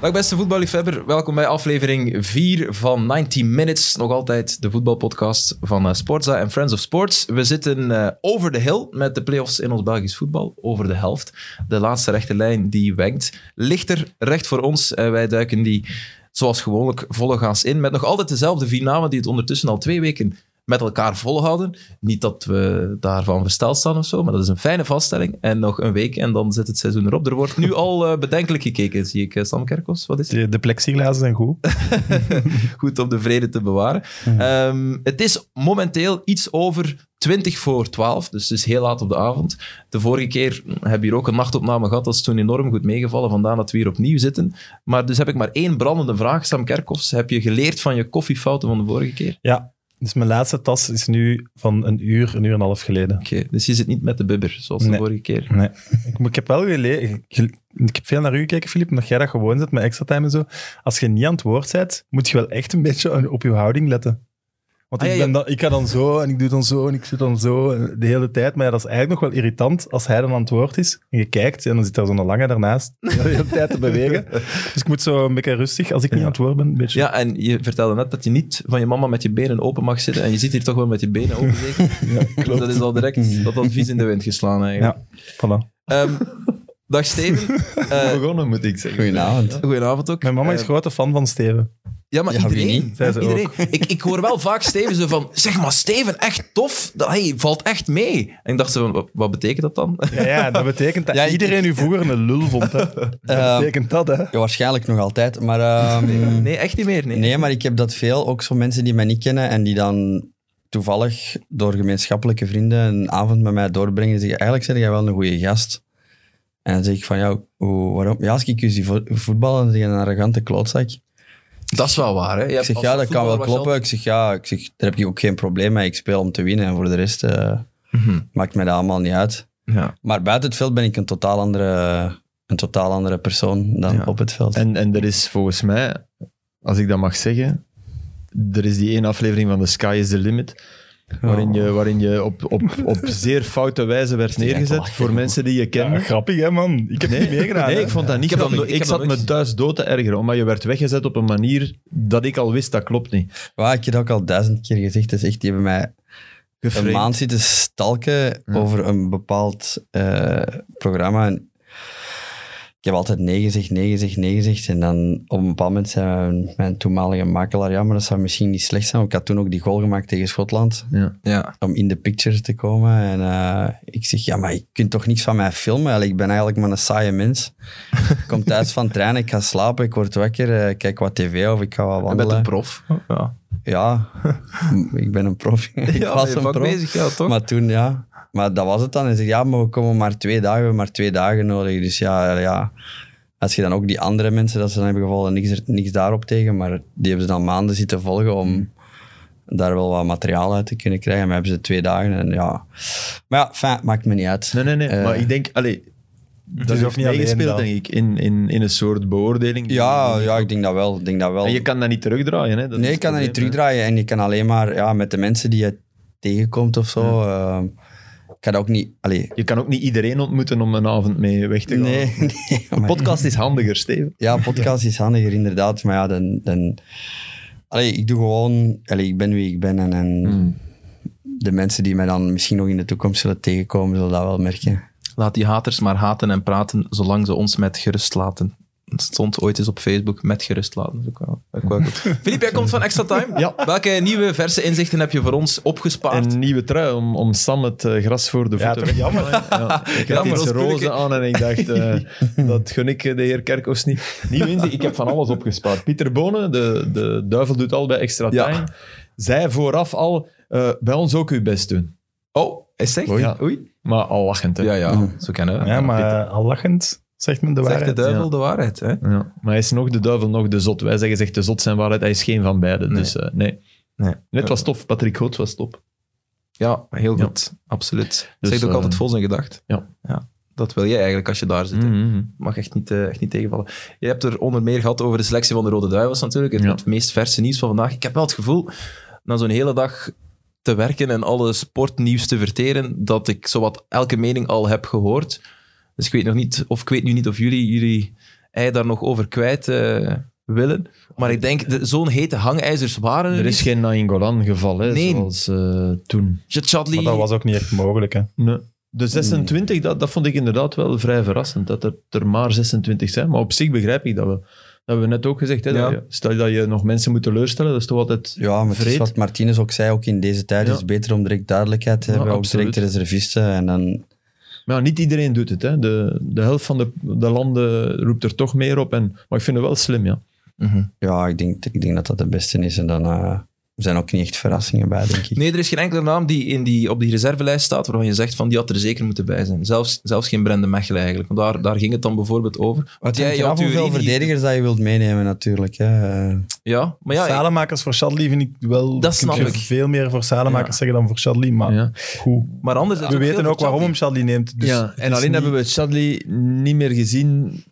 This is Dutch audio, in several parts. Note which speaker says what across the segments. Speaker 1: Dag beste voetballiefhebber, welkom bij aflevering 4 van 90 Minutes. Nog altijd de voetbalpodcast van eh, Sportza en Friends of Sports. We zitten eh, over de hill met de play-offs in ons Belgisch voetbal. Over de helft. De laatste rechte lijn die wenkt. Lichter recht voor ons. en wij duiken die zoals gewoonlijk vollegaans in. Met nog altijd dezelfde vier namen die het ondertussen al twee weken met elkaar volhouden. Niet dat we daarvan versteld staan of zo, maar dat is een fijne vaststelling. En nog een week en dan zit het seizoen erop. Er wordt nu al eh, bedenkelijk gekeken, zie ik. eh, Sam Kerkos, wat is het?
Speaker 2: De, de plexiglazen zijn goed.
Speaker 1: Goed om de vrede te bewaren.
Speaker 2: Mhm.
Speaker 1: Ehm, het is momenteel iets over 20 voor 12, dus het is heel laat op de avond. De vorige keer hebben we hier ook een nachtopname gehad, dat is toen enorm goed meegevallen, vandaar dat we hier opnieuw zitten. Maar dus heb ik maar één brandende vraag, Sam Kerkhoffs. Heb je geleerd van je koffiefouten van de vorige keer?
Speaker 2: Ja, dus mijn laatste tas is nu van een uur, een uur en een half geleden.
Speaker 1: Oké, dus je zit niet met de bibber, zoals de
Speaker 2: Nee.
Speaker 1: vorige keer.
Speaker 2: Nee. Ik, maar ik heb wel geleerd. Ik heb veel naar u gekeken, Filip, omdat jij dat gewoon zit met extra time en zo. Als je niet aan het woord bent, moet je wel echt een beetje op je houding letten. Want
Speaker 1: Ah,
Speaker 2: ik,
Speaker 1: ja,
Speaker 2: ben dan, ik ga dan zo en ik doe dan zo en ik zit dan zo eh, de hele tijd. Maar ja, dat is eigenlijk nog wel irritant als hij dan aan het woord is. En je kijkt en dan zit daar zo'n lange daarnaast de hele tijd te bewegen. Dus ik moet zo een beetje rustig, als ik niet aan het woord ben, een beetje...
Speaker 1: Ja, en je vertelde net dat je niet van je mama met je benen open mag zitten. En je zit hier toch wel met je benen open, zeker? Dus dat is al direct dat advies in de wind geslaan, eigenlijk.
Speaker 2: Mhm. ja voilà.
Speaker 1: Ehm, dag Steven. Eh,
Speaker 3: begonnen, moet ik zeggen. Goedenavond.
Speaker 1: goedenavond ook.
Speaker 2: Mijn mama is
Speaker 1: Eh,
Speaker 2: grote fan van Steven.
Speaker 1: Ja, maar
Speaker 3: Ja, wie
Speaker 1: iedereen.
Speaker 3: niet?
Speaker 2: Zij ze
Speaker 1: iedereen. Ik, ik hoor wel vaak Steven zo van, zeg maar Steven, echt tof. Dat, hey, valt echt mee. En ik dacht zo van, wat, wat betekent dat dan?
Speaker 2: Ja, ja, dat betekent dat
Speaker 3: Ja, ik-
Speaker 2: iedereen u vroeger een lul vond. Hè. Ehm, Dat
Speaker 3: Eh,
Speaker 2: betekent dat, hè?
Speaker 3: Ja, waarschijnlijk nog altijd. Maar, ehm, nee,
Speaker 1: Nee, echt niet meer. Nee.
Speaker 3: maar ik heb dat veel. Ook zo mensen die mij niet kennen en die dan toevallig door gemeenschappelijke vrienden een avond met mij doorbrengen. Die zeggen, eigenlijk zeg jij wel een goede gast. En dan zeg ik van, ja, hoe, waarom? Ja, als ik u zie vo- voetballen, dan zeg je een arrogante klootzak.
Speaker 1: Dat is wel waar. Hè? Je
Speaker 3: Ik
Speaker 1: hebt
Speaker 3: zeg,
Speaker 1: als
Speaker 3: ja, dat kan wel
Speaker 1: voetballer was je
Speaker 3: kloppen. Ik zeg, ja, ik zeg, daar heb ik ook geen probleem mee. Ik speel om te winnen. En voor de rest eh,
Speaker 1: Mhm.
Speaker 3: maakt mij dat allemaal niet uit.
Speaker 1: altijd- Ja.
Speaker 3: Maar buiten het veld ben ik een totaal andere, een totaal andere persoon dan
Speaker 1: Ja.
Speaker 3: op het veld.
Speaker 4: En, en er is volgens mij, als ik dat mag zeggen, er is die één aflevering van The Sky is the Limit,
Speaker 2: Oh.
Speaker 4: waarin je, waarin je op, op, op zeer foute wijze werd
Speaker 3: echt
Speaker 4: neergezet
Speaker 3: lachen,
Speaker 4: voor
Speaker 3: man.
Speaker 4: mensen die je
Speaker 2: Ja,
Speaker 4: kende.
Speaker 2: grappig, hè, man? Ik heb niet meegedaan.
Speaker 4: nee,
Speaker 2: hè.
Speaker 4: ik vond dat niet
Speaker 1: Ik heb
Speaker 4: grappig.
Speaker 1: dat nooit-
Speaker 4: ik
Speaker 1: ik heb
Speaker 4: zat
Speaker 1: dat
Speaker 4: me thuis dood te ergeren, omdat je werd weggezet op een manier dat ik al wist, dat klopt niet.
Speaker 3: Ja, ik heb dat ook al duizend keer gezegd. Dat is echt, die hebben mij een
Speaker 4: Geframed.
Speaker 3: maand zitten stalken
Speaker 4: Ja.
Speaker 3: over een bepaald eh, programma. En ik heb altijd nee gezegd, nee gezegd, nee gezegd. En dan op een bepaald moment zei mijn, mijn toenmalige makelaar, ja, maar dat zou misschien niet slecht zijn. want Ik had toen ook die goal gemaakt tegen Schotland,
Speaker 1: Ja.
Speaker 3: om in de picture te komen. En eh, ik zeg, ja, maar je kunt toch niks van mij filmen? Allee, ik ben eigenlijk maar een saaie mens. Ik kom thuis van trainen, ik ga slapen, ik word wakker, eh, kijk wat tv of ik ga wat
Speaker 1: Je
Speaker 3: wandelen.
Speaker 1: bent een prof. Ja,
Speaker 3: Ja, m- ik ben een prof. ik
Speaker 1: ja
Speaker 3: was
Speaker 1: ben je
Speaker 3: een
Speaker 1: vaak
Speaker 3: prof.
Speaker 1: bezig, ja, toch?
Speaker 3: Maar toen, ja. Maar dat was het dan. En zei, ja, maar we komen maar twee dagen, we hebben maar twee dagen nodig. Dus ja, ja. Als je dan ook die andere mensen dat ze dan hebben gevolgd, niks, er- niks daarop tegen. Maar die hebben ze dan maanden zitten volgen om daar wel wat materiaal uit te kunnen krijgen. Maar hebben ze twee dagen en ja. Maar ja, fijn, maakt me niet uit.
Speaker 4: Nee, nee, nee.
Speaker 3: Eh,
Speaker 4: maar ik denk, allee, dat
Speaker 2: is
Speaker 4: is
Speaker 2: ook
Speaker 4: heeft
Speaker 2: niet alleen
Speaker 4: meegespeeld,
Speaker 2: dat.
Speaker 4: denk ik, in, in, in een soort beoordeling. die-
Speaker 3: Ja,
Speaker 4: die-
Speaker 3: ja, ik denk dat wel. Ik denk dat wel.
Speaker 4: En je kan dat niet terugdraaien, hè? Dat is
Speaker 3: nee,
Speaker 4: het
Speaker 3: je kan dat niet
Speaker 4: probleem, hè.
Speaker 3: terugdraaien. En je kan alleen maar ja, met de mensen die je tegenkomt of zo. ehm, ik kan dat ook niet. Allee,
Speaker 4: Je kan ook niet iedereen ontmoeten om een avond mee weg te gaan.
Speaker 3: nee, nee.
Speaker 4: Een
Speaker 3: maar-
Speaker 4: podcast is handiger, Steven.
Speaker 3: ja, podcast is handiger inderdaad. Maar ja, dan. dan allee, ik doe gewoon. Allee, ik ben wie ik ben. En, en
Speaker 4: Mm. Hmm.
Speaker 3: de mensen die mij dan misschien nog in de toekomst zullen tegenkomen, zullen dat wel merken.
Speaker 1: Laat die haters maar haten en praten, zolang ze ons met gerust laten. Het stond ooit eens op Facebook, met gerust laten. Dat is ook wel- dat is ook wel goed. Filip, jij komt van Extra Time.
Speaker 4: Ja.
Speaker 1: Welke nieuwe verse inzichten heb je voor ons opgespaard?
Speaker 4: Een nieuwe trui om, om Sam het eh, gras voor de
Speaker 2: Ja,
Speaker 4: voeten
Speaker 2: toch
Speaker 4: te
Speaker 2: jammer.
Speaker 4: maaien. Ja, ik had
Speaker 1: Jammer,
Speaker 4: iets
Speaker 1: ons
Speaker 4: roze
Speaker 1: pulke.
Speaker 4: aan en ik dacht, eh, dat gun ik eh, de heer Kerkhoffs niet. Nieuw inzicht, ik heb van alles opgespaard. Pieter Bonen, de, de duivel doet al bij Extra
Speaker 1: Ja.
Speaker 4: Time, zei vooraf al, eh, bij ons ook uw best doen.
Speaker 1: Oh, is echt?
Speaker 4: Ja, oei. Maar al lachend, hè.
Speaker 1: Ja, ja, zo kennen we.
Speaker 2: Ja, maar eh, al lachend zegt men de
Speaker 1: Zegt de
Speaker 2: waarheid.
Speaker 1: duivel de waarheid. Hè?
Speaker 4: Ja, maar hij is nog de duivel, nog de zot. Wij zeggen zegt de zot zijn waarheid, hij is geen van beiden.
Speaker 1: Nee.
Speaker 4: Dus eh, nee.
Speaker 1: Nee.
Speaker 4: Net was tof, Patrick Goots was top.
Speaker 1: Ja, heel
Speaker 4: Ja.
Speaker 1: goed. Absoluut.
Speaker 4: Dus,
Speaker 1: Zegt ook
Speaker 4: eh,
Speaker 1: altijd vol zijn gedacht.
Speaker 4: ja.
Speaker 1: Dat wil jij eigenlijk als je daar zit. hè.
Speaker 4: Mhm.
Speaker 1: Mag echt niet, eh, echt niet tegenvallen. Je hebt er onder meer gehad over de selectie van de Rode Duivels natuurlijk. Het,
Speaker 4: Ja.
Speaker 1: het meest verse nieuws van vandaag. Ik heb wel het gevoel, na zo'n hele dag te werken en alle sportnieuws te verteren, dat ik zowat elke mening al heb gehoord. Dus ik weet nog niet, of ik weet nu niet of jullie, jullie hij daar nog over kwijt eh, willen. Maar ik denk, de- zo'n hete hangijzers waren
Speaker 4: Er is geen Nainggolan geval, hè,
Speaker 1: Nee.
Speaker 4: zoals eh, toen.
Speaker 2: Maar
Speaker 1: Chadli,
Speaker 2: dat was ook niet echt mogelijk, hè.
Speaker 4: Nee. De 26, dat, dat vond ik inderdaad wel vrij verrassend, dat er, er maar 26 zijn. Maar op zich begrijp ik dat wel. Dat hebben we net ook gezegd. Hè, dat
Speaker 1: Ja.
Speaker 4: je- stel je dat je nog mensen moet teleurstellen, dat is toch altijd...
Speaker 3: Ja, maar het is
Speaker 4: Vreed.
Speaker 3: wat Martinez ook zei, ook in deze tijd
Speaker 4: Ja.
Speaker 3: is het beter om direct duidelijkheid te
Speaker 4: Ja,
Speaker 3: hebben. Ook
Speaker 4: absoluut.
Speaker 3: direct de reservisten. En dan,
Speaker 4: Maar ja, niet iedereen doet het. Hè. De, de helft van de, de landen roept er toch meer op. En, maar ik vind het wel slim, ja.
Speaker 1: Mhm.
Speaker 3: ja, ik denk, ik denk dat dat de beste is. En dan eh, er zijn ook niet echt verrassingen bij, denk ik.
Speaker 1: Nee, er is geen enkele naam die, in die op die reservelijst staat waarvan je zegt van die had er zeker moeten bij zijn. Zelfs, zelfs geen Brendan Mechelen eigenlijk. Want daar, daar ging het dan bijvoorbeeld over.
Speaker 3: Wat
Speaker 1: jij-
Speaker 3: jij,
Speaker 1: je had uw
Speaker 3: hoeveel
Speaker 1: Rini-
Speaker 3: verdedigers dat je wilt meenemen, natuurlijk. Hè. Eh,
Speaker 1: Ja, maar ja, ik-
Speaker 2: Salemakers voor Shadley vind ik wel...
Speaker 1: Dat snap
Speaker 2: kun je
Speaker 1: ik.
Speaker 2: veel meer voor Salemakers
Speaker 1: Ja.
Speaker 2: zeggen dan voor Shadley, maar
Speaker 4: ja.
Speaker 2: goed.
Speaker 1: maar anders...
Speaker 2: We weten ook waarom hem Shadley neemt. Dus
Speaker 4: ja,
Speaker 2: het
Speaker 4: en
Speaker 2: is
Speaker 4: alleen
Speaker 2: niet-
Speaker 4: hebben we Chadli niet meer gezien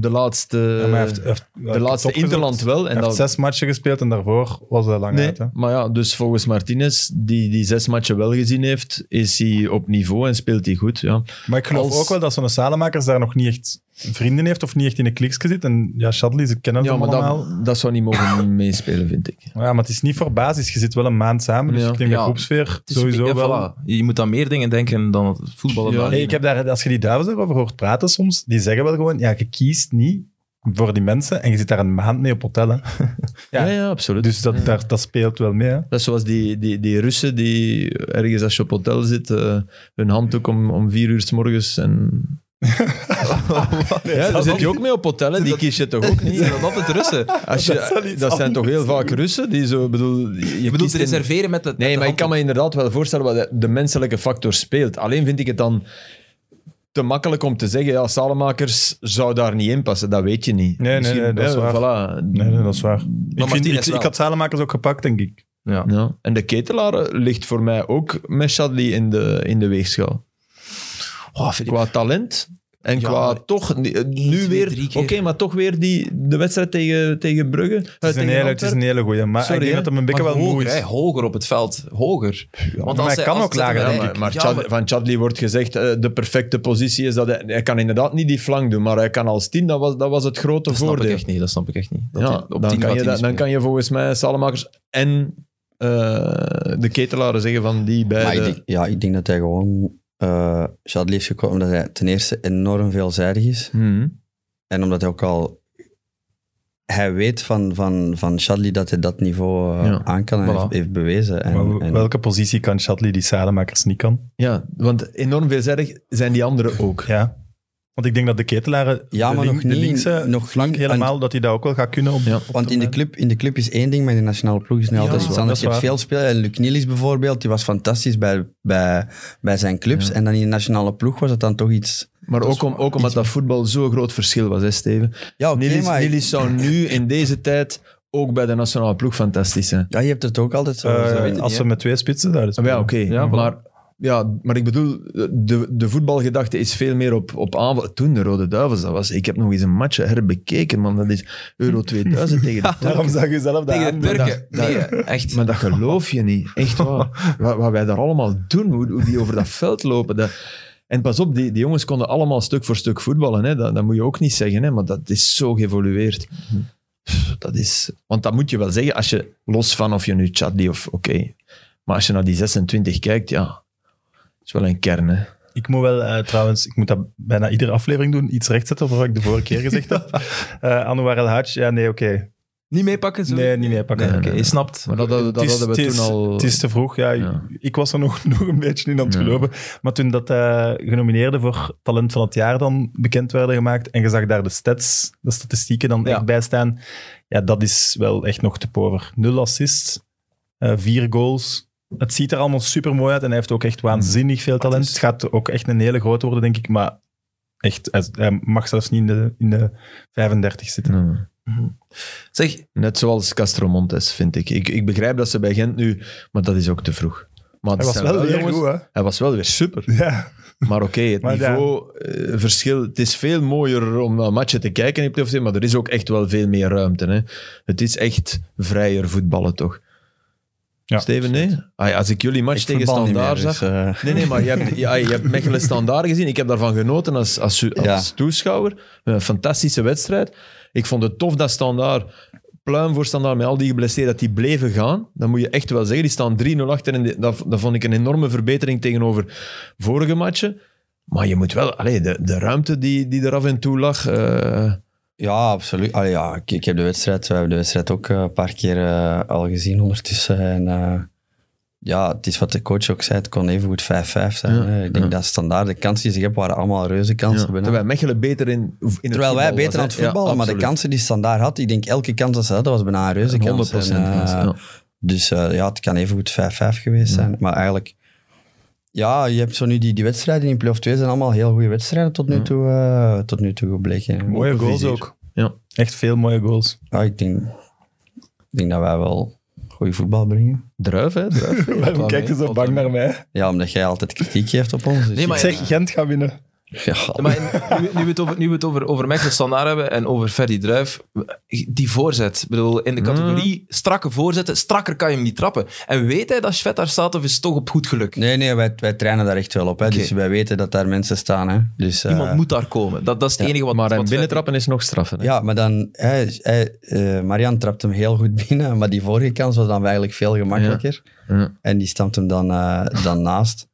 Speaker 4: de laatste,
Speaker 2: Ja, maar hij heeft- hij heeft- hij
Speaker 4: eh, de
Speaker 2: heeft
Speaker 4: laatste
Speaker 2: opgezocht.
Speaker 4: Interland wel. En
Speaker 2: Hij heeft
Speaker 4: dat,
Speaker 2: zes matchen gespeeld en daarvoor was hij lang
Speaker 4: nee,
Speaker 2: uit. Hè?
Speaker 4: maar ja, dus volgens Martinez, die die zes matchen wel gezien heeft, is hij op niveau en speelt hij goed. Ja.
Speaker 2: Maar ik geloof
Speaker 4: Als-
Speaker 2: ook wel dat zo'n Salemakers daar nog niet echt vrienden heeft of niet echt in een kliksje zit. En ja, Shadley, ze kennen
Speaker 4: Ja,
Speaker 2: hem
Speaker 4: maar
Speaker 2: allemaal.
Speaker 4: dat, dat zou niet mogen meespelen, vind ik.
Speaker 2: Ja, maar het is niet voor basis. Je zit wel een maand samen, dus
Speaker 4: Ja.
Speaker 2: ik denk dat
Speaker 1: Ja.
Speaker 2: groepsfeer
Speaker 1: Het is een
Speaker 2: sowieso
Speaker 1: beetje-
Speaker 2: wel...
Speaker 1: ja, voilà. Je moet aan meer dingen denken dan het voetballen.
Speaker 4: Ja.
Speaker 1: Ja,
Speaker 2: Hey, ik heb daar, als je die duivels daarover hoort praten soms, die zeggen wel gewoon, ja, je kiest niet voor die mensen en je zit daar een maand mee op hotel. Hè. Ja.
Speaker 4: Ja, ja, absoluut.
Speaker 2: Dus dat, daar, dat speelt wel mee. Hè.
Speaker 4: Dat is zoals die, die, die Russen die ergens als je op hotel zit, eh, hun handdoek om, om vier uur s morgens. En... ja, daar zit je ook mee op hotel, hè? die kies je toch ook niet?
Speaker 1: dat altijd Russen.
Speaker 4: Als je,
Speaker 2: Dat is wel
Speaker 4: dat
Speaker 2: iets
Speaker 4: zijn toch heel vaak Russen die zo, bedoel, je,
Speaker 1: Je bedoelt
Speaker 4: kiest
Speaker 1: te
Speaker 4: een-
Speaker 1: reserveren met het...
Speaker 4: Nee, maar ik kan me inderdaad wel voorstellen wat de, de menselijke factor speelt. Alleen vind ik het dan te makkelijk om te zeggen, ja, Salemakers zou daar niet in passen. Dat weet je niet.
Speaker 2: Nee, nee,
Speaker 4: Misschien-
Speaker 2: nee, dat is
Speaker 4: hè, Voilà.
Speaker 2: Nee, nee, dat is waar. Ik, vind,
Speaker 1: Martinez
Speaker 2: ik,
Speaker 1: wel.
Speaker 2: ik had Salemakers ook gepakt, denk ik.
Speaker 1: Ja.
Speaker 4: Ja. En de ketelaar eh, ligt voor mij ook met Shadley in de, in de weegschaal.
Speaker 1: Oh, Philippe.
Speaker 4: Qua talent en
Speaker 1: Ja,
Speaker 4: qua
Speaker 1: maar
Speaker 4: toch... eh, Nu
Speaker 1: twee,
Speaker 4: weer...
Speaker 1: drie
Speaker 4: Oké,
Speaker 1: keer.
Speaker 4: maar toch weer die, de wedstrijd tegen, tegen Brugge. eh,
Speaker 2: Het is, een
Speaker 4: tegen
Speaker 2: hele, het is
Speaker 4: Antwerpen.
Speaker 2: een hele goeie. Maar
Speaker 4: Sorry,
Speaker 2: ik
Speaker 4: hè,
Speaker 2: denk dat hem een beetje
Speaker 1: Maar
Speaker 2: wel moe
Speaker 1: hoger, hè,
Speaker 2: is.
Speaker 1: hoger op het veld. Hoger. Want
Speaker 2: maar hij kan ook lager,
Speaker 4: Ja,
Speaker 1: dan
Speaker 4: maar, maar Chad- van Chadli wordt gezegd, eh, de perfecte positie is dat hij, hij kan inderdaad niet die flank doen, maar hij kan als tien, dat was, dat was het grote
Speaker 1: Dat snap ik
Speaker 4: voordeel.
Speaker 1: echt niet. Dat snap ik echt niet. Dat
Speaker 4: ja,
Speaker 1: hij op
Speaker 4: dan,
Speaker 1: 10 gaat
Speaker 4: kan je,
Speaker 1: hij
Speaker 4: dat-
Speaker 1: niet
Speaker 4: dan
Speaker 1: spelen.
Speaker 4: kan je volgens mij Salemakers en eh, de ketelaren zeggen van die
Speaker 3: Maar ik
Speaker 4: beide.
Speaker 3: denk, ja, ik denk dat hij gewoon eh Shadley heeft gekocht omdat hij ten eerste enorm veelzijdig is.
Speaker 4: Mhm.
Speaker 3: En omdat hij ook al... Hij weet van, van, van Shadley dat hij dat niveau eh,
Speaker 4: Ja.
Speaker 3: aan kan en
Speaker 1: Voilà.
Speaker 3: heeft, heeft bewezen. En,
Speaker 2: Maar
Speaker 3: en-
Speaker 2: welke positie kan Shadley die Salemakers niet kan?
Speaker 4: Ja, want enorm veelzijdig zijn die anderen ook.
Speaker 2: Ja. Want ik denk dat de ketelaren,
Speaker 3: ja,
Speaker 2: de,
Speaker 3: maar
Speaker 2: link-
Speaker 3: nog
Speaker 2: de
Speaker 3: niet,
Speaker 2: linkse,
Speaker 3: nog niet, want-
Speaker 2: helemaal, dat die dat ook wel gaat kunnen. Op, eh,
Speaker 4: Ja.
Speaker 2: op
Speaker 3: Want in de,
Speaker 2: termijn.
Speaker 3: club, in de club is één ding, maar in de nationale ploeg is het
Speaker 1: Ja,
Speaker 3: altijd
Speaker 1: dat
Speaker 3: iets
Speaker 1: is
Speaker 3: anders. Je
Speaker 2: waar.
Speaker 3: hebt veel spelers. En Luc Nielis bijvoorbeeld, die was fantastisch bij, bij, bij zijn clubs. En dan in de nationale ploeg was het dan toch iets...
Speaker 4: Maar ook, om, ook omdat dat voetbal zo'n groot verschil was, hè, Steven.
Speaker 3: Ja, oké,
Speaker 4: Nilis,
Speaker 3: maar...
Speaker 4: Nilis zou nu in deze tijd ook bij de nationale ploeg fantastisch zijn.
Speaker 3: Ja, je hebt het ook altijd zo.
Speaker 2: Eh,
Speaker 3: zo weet-
Speaker 2: als ze met twee spitsen zouden
Speaker 4: Maar
Speaker 2: spelen.
Speaker 4: Ja, Ah, oké.
Speaker 1: Ja, voilà.
Speaker 4: maar, ja, maar ik bedoel, de, de voetbalgedachte is veel meer op, op aanval. Toen de Rode Duivels, dat was... Ik heb nog eens een match herbekeken, man. Dat is Euro 2000 tegen de Turken.
Speaker 2: Daarom zag je zelf dat
Speaker 1: Tegen de
Speaker 2: aan.
Speaker 1: Turken.
Speaker 4: dat-
Speaker 1: Nee, echt.
Speaker 4: Maar dat geloof je niet. Echt waar. wat, wat wij daar allemaal doen, hoe, hoe die over dat veld lopen. Dat... En pas op, die, die jongens konden allemaal stuk voor stuk voetballen. Hè. Dat, dat moet je ook niet zeggen, hè, maar dat is zo geëvolueerd. Pff, Dat is... Want dat moet je wel zeggen, als je los van of je nu Chadli of... Oké. Maar als je naar die 26 kijkt, ja... Dat is wel een kern, hè.
Speaker 2: Ik moet wel eh, trouwens, ik moet dat bijna iedere aflevering doen, iets rechtzetten voor wat ik de vorige keer gezegd heb. Eh Anouar El Hadj, ja nee, oké.
Speaker 1: Niet meepakken? zo?
Speaker 2: Nee, niet meepakken.
Speaker 1: Nee,
Speaker 2: Nee,
Speaker 1: oké,
Speaker 4: nee,
Speaker 1: Je snapt.
Speaker 4: Maar dat, dat, dat
Speaker 2: Het is-
Speaker 4: hadden we
Speaker 2: het is-
Speaker 4: toen al...
Speaker 2: Het is te vroeg, ja. ik-
Speaker 4: Ja.
Speaker 2: Ik, was er nog, nog een beetje in aan het
Speaker 4: Ja.
Speaker 2: geloven. Maar toen dat eh genomineerden voor Talent van het Jaar dan bekend werden gemaakt en je zag daar de stats, de statistieken dan
Speaker 1: Ja.
Speaker 2: echt bij staan, ja, dat is wel echt nog te pover. Nul assists, eh, vier goals. Het ziet er allemaal super mooi uit en hij heeft ook echt waanzinnig veel talent. Het gaat ook echt een hele grote worden, denk ik, maar echt, hij- hij mag zelfs niet in de, in de 35 zitten.
Speaker 4: Ja.
Speaker 1: Zeg,
Speaker 4: Net zoals Castro Montes, vind ik. ik. Ik begrijp dat ze bij Gent nu... Maar dat is ook te vroeg. Maar het
Speaker 2: Hij was
Speaker 4: zijn
Speaker 2: wel weer
Speaker 4: jongens-
Speaker 2: goed, hè?
Speaker 4: Hij was wel weer super.
Speaker 2: Ja.
Speaker 4: Maar oké, het
Speaker 2: Maar ja.
Speaker 4: niveauverschil... Het is veel mooier om naar matchen te kijken, heb ik het over, maar er is ook echt wel veel meer ruimte. Hè. Het is echt vrijer voetballen, toch?
Speaker 2: Ja.
Speaker 4: Steven, nee? Ah, ja, als ik jullie match tegen
Speaker 3: voetbal niet
Speaker 4: Standaard
Speaker 3: meer,
Speaker 4: zag...
Speaker 3: dus, eh,
Speaker 4: Nee, nee, maar je hebt, ja, je hebt Mechelen Standaard gezien. Ik heb daarvan genoten als, als, als
Speaker 3: Ja.
Speaker 4: toeschouwer. Een fantastische wedstrijd. Ik vond het tof dat Standaard, pluim voor Standaard met al die geblesseerden, dat die bleven gaan. Dat moet je echt wel zeggen. Die staan 3-0 achter en die- dat, dat vond ik een enorme verbetering tegenover vorige matchen. Maar je moet wel... Allee, de, de ruimte die, die er af en toe lag... eh,
Speaker 3: Ja, absoluut. Allee, ja, ik, ik heb de wedstrijd, we hebben de wedstrijd ook eh, een paar keer eh, al gezien ondertussen. En, eh, ja, het is wat de coach ook zei, het kon evengoed 5-5 zijn.
Speaker 4: Ja,
Speaker 3: hè. Ik denk
Speaker 4: ja.
Speaker 3: dat standaard de kansen die ze hebben, waren allemaal reuze
Speaker 4: ja,
Speaker 3: kansen.
Speaker 4: terwijl Mechelen beter in, in het
Speaker 3: Terwijl wij
Speaker 4: voetbal
Speaker 3: beter
Speaker 4: was,
Speaker 3: aan het
Speaker 4: hè. Ja,
Speaker 3: voetballen, maar de
Speaker 4: absoluut.
Speaker 3: kansen die standaard had, ik denk elke kans dat ze hadden, was bijna een reuze
Speaker 4: Een
Speaker 3: kans.
Speaker 4: 100%
Speaker 3: En, eh,
Speaker 4: kans, ja.
Speaker 3: Dus eh, ja, het kan evengoed 5-5 geweest zijn. Maar eigenlijk, ja, je hebt zo nu die, die wedstrijden in play-off 2 zijn allemaal heel goede wedstrijden tot nu toe, eh, tot nu toe gebleken.
Speaker 2: Mooie goals
Speaker 4: vizier.
Speaker 2: ook.
Speaker 4: Ja.
Speaker 2: Echt veel mooie goals.
Speaker 3: Ja, ik denk, ik denk dat wij wel goede voetbal brengen.
Speaker 4: Druif, hè? Druif.
Speaker 2: Waarom kijkt hij zo bang naar mij?
Speaker 3: Ja, omdat jij altijd kritiek geeft op ons. Dus
Speaker 1: Nee, maar-
Speaker 3: ik-
Speaker 2: Zeg, Gent gaat winnen.
Speaker 3: ja,
Speaker 1: Ja, Maar in- nu, nu we het, over, nu we het over, over Mechelen Standaard hebben en over Ferdi Druif, die voorzet. Ik bedoel, in de categorie strakke voorzetten, strakker kan je hem niet trappen. En weet hij dat Svet daar staat of is het toch op goed geluk?
Speaker 3: nee, nee wij, wij trainen daar echt wel op. Hè.
Speaker 1: Oké.
Speaker 3: Dus wij weten dat daar mensen staan. Hè. Dus, eh,
Speaker 1: Iemand moet daar komen. Dat, dat is het enige wat...
Speaker 4: Maar
Speaker 1: wat
Speaker 4: een
Speaker 1: Fred-
Speaker 4: binnentrappen is nog straffen. hè.
Speaker 3: Ja, maar dan... Hij, hij, eh, Marian trapt hem heel goed binnen, maar die vorige kans was dan eigenlijk veel gemakkelijker.
Speaker 4: Ja.
Speaker 3: En die stampt hem dan, eh, dan naast.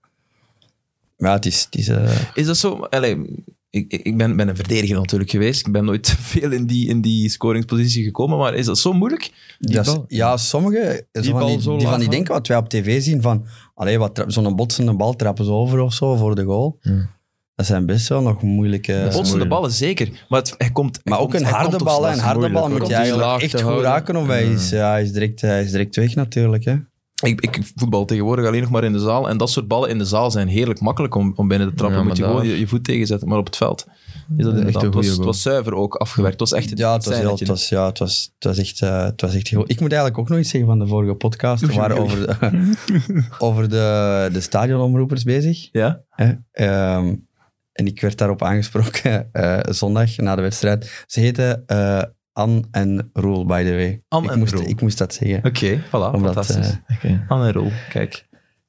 Speaker 3: Maar ja, het is... Het is eh,
Speaker 1: Is dat zo? Allee, ik, ik ben, ben een verdediger natuurlijk geweest. Ik ben nooit veel in die, in die scoringspositie gekomen. Maar is dat zo moeilijk?
Speaker 3: Ja, s-
Speaker 4: bal.
Speaker 3: Ja, sommige zo van
Speaker 4: bal
Speaker 3: die, die,
Speaker 4: zo laag
Speaker 3: van die
Speaker 4: hangen.
Speaker 3: denken wat wij op tv zien van allee, wat tra- zo'n botsende bal trappen ze over of zo voor de goal.
Speaker 4: Ja.
Speaker 3: Dat zijn best wel nog moeilijke...
Speaker 1: Botsende
Speaker 4: moeilijk.
Speaker 1: ballen, zeker. Maar het, hij komt, hij
Speaker 3: Maar ook
Speaker 1: komt-
Speaker 3: een
Speaker 1: hij
Speaker 3: harde
Speaker 1: komt op
Speaker 3: bal, hè.
Speaker 1: snelheid.
Speaker 3: een harde
Speaker 4: moeilijk,
Speaker 3: bal
Speaker 4: hoor.
Speaker 3: moet je
Speaker 4: Om die
Speaker 3: eigenlijk
Speaker 4: laag te
Speaker 3: echt goed
Speaker 4: houden.
Speaker 3: raken of hij is, ja, hij is, direct, eh, hij is direct weg natuurlijk. Hè.
Speaker 1: Ik, ik voetbal tegenwoordig alleen nog maar in de zaal. En dat soort ballen in de zaal zijn heerlijk makkelijk om, om binnen te trappen.
Speaker 4: Ja,
Speaker 1: moet je
Speaker 4: maar
Speaker 1: gewoon
Speaker 4: daar-
Speaker 1: je, je voet tegenzetten. Maar op het veld is dat
Speaker 4: een
Speaker 1: inderdaad... Het
Speaker 4: goeie
Speaker 1: was, het
Speaker 4: goal.
Speaker 1: was zuiver ook afgewerkt. Het was echt...
Speaker 3: Ja, het was, heel,
Speaker 1: zijnetje.
Speaker 3: het, was, ja het, was, het, was echt, eh, het was echt heel... Ik moet eigenlijk ook nog iets zeggen van de vorige podcast. We waren over de, over de, de stadionomroepers bezig.
Speaker 1: Ja?
Speaker 3: Hè? Ehm, en ik werd daarop aangesproken eh, zondag na de wedstrijd. Ze heten eh Anne en Roel, by the way.
Speaker 1: Anne
Speaker 3: ik,
Speaker 1: en
Speaker 3: moest,
Speaker 1: Roel.
Speaker 3: ik moest dat zeggen.
Speaker 1: Oké, voilà.
Speaker 3: Omdat,
Speaker 1: fantastisch.
Speaker 3: eh,
Speaker 4: Oké.
Speaker 1: Aan een rol, kijk.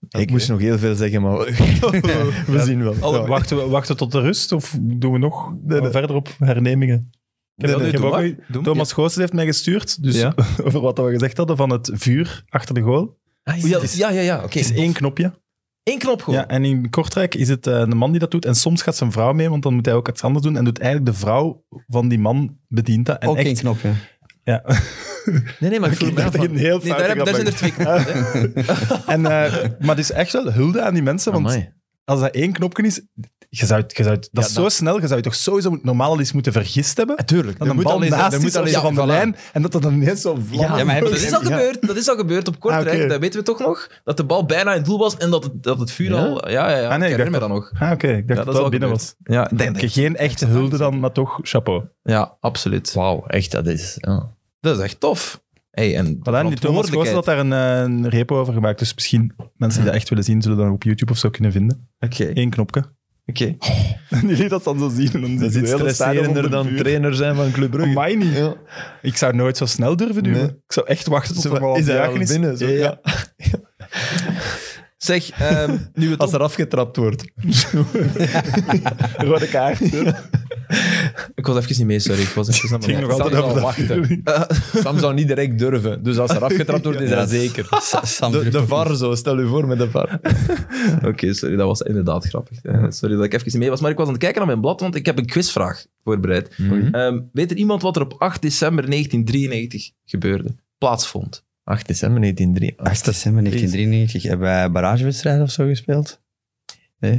Speaker 4: Ik moest nog heel veel zeggen, maar we zien wel.
Speaker 1: Alle-
Speaker 2: Oh, Wachten, we, wachten tot de rust of doen we nog
Speaker 4: nee.
Speaker 2: verder op hernemingen? Ik heb-
Speaker 1: nee,
Speaker 2: ik heb
Speaker 1: doe
Speaker 2: ook
Speaker 1: maar.
Speaker 2: nog-
Speaker 1: Doe maar.
Speaker 2: Thomas Goossens heeft mij gestuurd dus
Speaker 1: Ja.
Speaker 2: over wat we gezegd hadden van het vuur achter de goal.
Speaker 1: O, Ja, ja, ja. ja, Oké.
Speaker 2: Het is één knopje.
Speaker 1: Eén knop gewoon.
Speaker 2: Ja, en in Kortrijk is het eh, de man die dat doet. En soms gaat zijn vrouw mee, want dan moet hij ook iets anders doen. En doet eigenlijk de vrouw van die man bedient dat. En
Speaker 3: ook geen
Speaker 2: echt,
Speaker 3: knopje.
Speaker 2: ja.
Speaker 4: Nee, nee, maar ik voel
Speaker 2: Ik
Speaker 4: me
Speaker 2: dacht dat je een
Speaker 4: van...
Speaker 2: heel
Speaker 1: Nee, daar,
Speaker 2: foute
Speaker 1: heb- daar
Speaker 2: grap
Speaker 1: zijn er
Speaker 2: maakt.
Speaker 1: twee knoppen. hè.
Speaker 2: En, eh, Maar het is echt wel hulde aan die mensen, want
Speaker 4: Amai.
Speaker 2: als dat één knopje is... Je zou, het- je zou, het- dat
Speaker 4: Ja,
Speaker 2: is zo snel, je zou je toch sowieso moet- normaal al eens moeten vergist hebben.
Speaker 4: Tuurlijk.
Speaker 2: Dat een bal
Speaker 4: al eens-
Speaker 2: naast
Speaker 4: er
Speaker 2: is
Speaker 4: moet al
Speaker 2: of
Speaker 4: eens-
Speaker 2: van de
Speaker 4: voilà.
Speaker 2: lijn en dat dat dan ineens zo vlam...
Speaker 3: Ja, maar heb je-
Speaker 1: Dat is al
Speaker 3: Ja.
Speaker 1: gebeurd. Dat is al gebeurd op Kortrijk.
Speaker 2: Ah, oké.
Speaker 1: Dat weten we toch nog? Dat de bal bijna in het doel was en dat het, dat het vuur
Speaker 4: Ja?
Speaker 1: al... Ja, ja, ja.
Speaker 2: Ah, nee,
Speaker 1: ik
Speaker 2: ik dacht
Speaker 1: herinner me dat nog.
Speaker 2: Ah, oké. Ik dacht
Speaker 1: Ja,
Speaker 2: dat dat,
Speaker 1: al
Speaker 2: binnen
Speaker 1: gebeurd.
Speaker 2: was.
Speaker 1: Ja, ik denk
Speaker 2: Oké, geen echte hulde dan, maar toch chapeau.
Speaker 1: Ja, absoluut.
Speaker 4: Wauw, echt, dat is... Ja.
Speaker 1: Dat is echt tof. Hey, en
Speaker 2: Voilà, die Thomas Goossens
Speaker 1: verantwoordelijkheid.
Speaker 2: had daar een, eh, een repo over gemaakt. Dus misschien mensen die dat echt willen zien, zullen dat op YouTube of zo kunnen vinden.
Speaker 1: Oké,
Speaker 2: Eén knopje.
Speaker 1: oké.
Speaker 2: En die liet dat dan zo zien. En dan
Speaker 4: Dat is iets stresserender dan trainer zijn van Club Brugge.
Speaker 2: Mij niet. Ik zou nooit zo snel durven duwen.
Speaker 4: Nee.
Speaker 2: Ik zou echt wachten tot
Speaker 4: Zo
Speaker 2: er
Speaker 4: van,
Speaker 2: wel
Speaker 4: is hij
Speaker 2: afdragen
Speaker 4: al binnen? Zo,
Speaker 2: Ja, ja.
Speaker 1: Zeg, ehm, nu we toch...
Speaker 4: Als er afgetrapt wordt.
Speaker 2: Rode kaart. Het
Speaker 1: Ik was even niet mee, sorry. Ik was even aan
Speaker 2: ging
Speaker 1: mijn-
Speaker 2: nog altijd
Speaker 4: zal
Speaker 2: over dat
Speaker 4: wachten.
Speaker 2: vuur.
Speaker 4: Sam zou niet direct durven. Dus als er afgetrapt wordt, is dat zeker.
Speaker 3: Sa- Sam
Speaker 4: De,
Speaker 3: durft
Speaker 4: de
Speaker 3: ook
Speaker 4: VAR zo, stel u voor met de VAR.
Speaker 1: Oké, sorry, dat was inderdaad grappig. Eh, Sorry dat ik even niet mee was. Maar ik was aan het kijken naar mijn blad, want ik heb een quizvraag voorbereid. Ehm, weet er iemand wat er op 8 december 1993 gebeurde? Plaatsvond.
Speaker 4: 8 december Ah, 1903.
Speaker 3: 8 december 1993 hebben wij barragewedstrijden of zo gespeeld. Nee,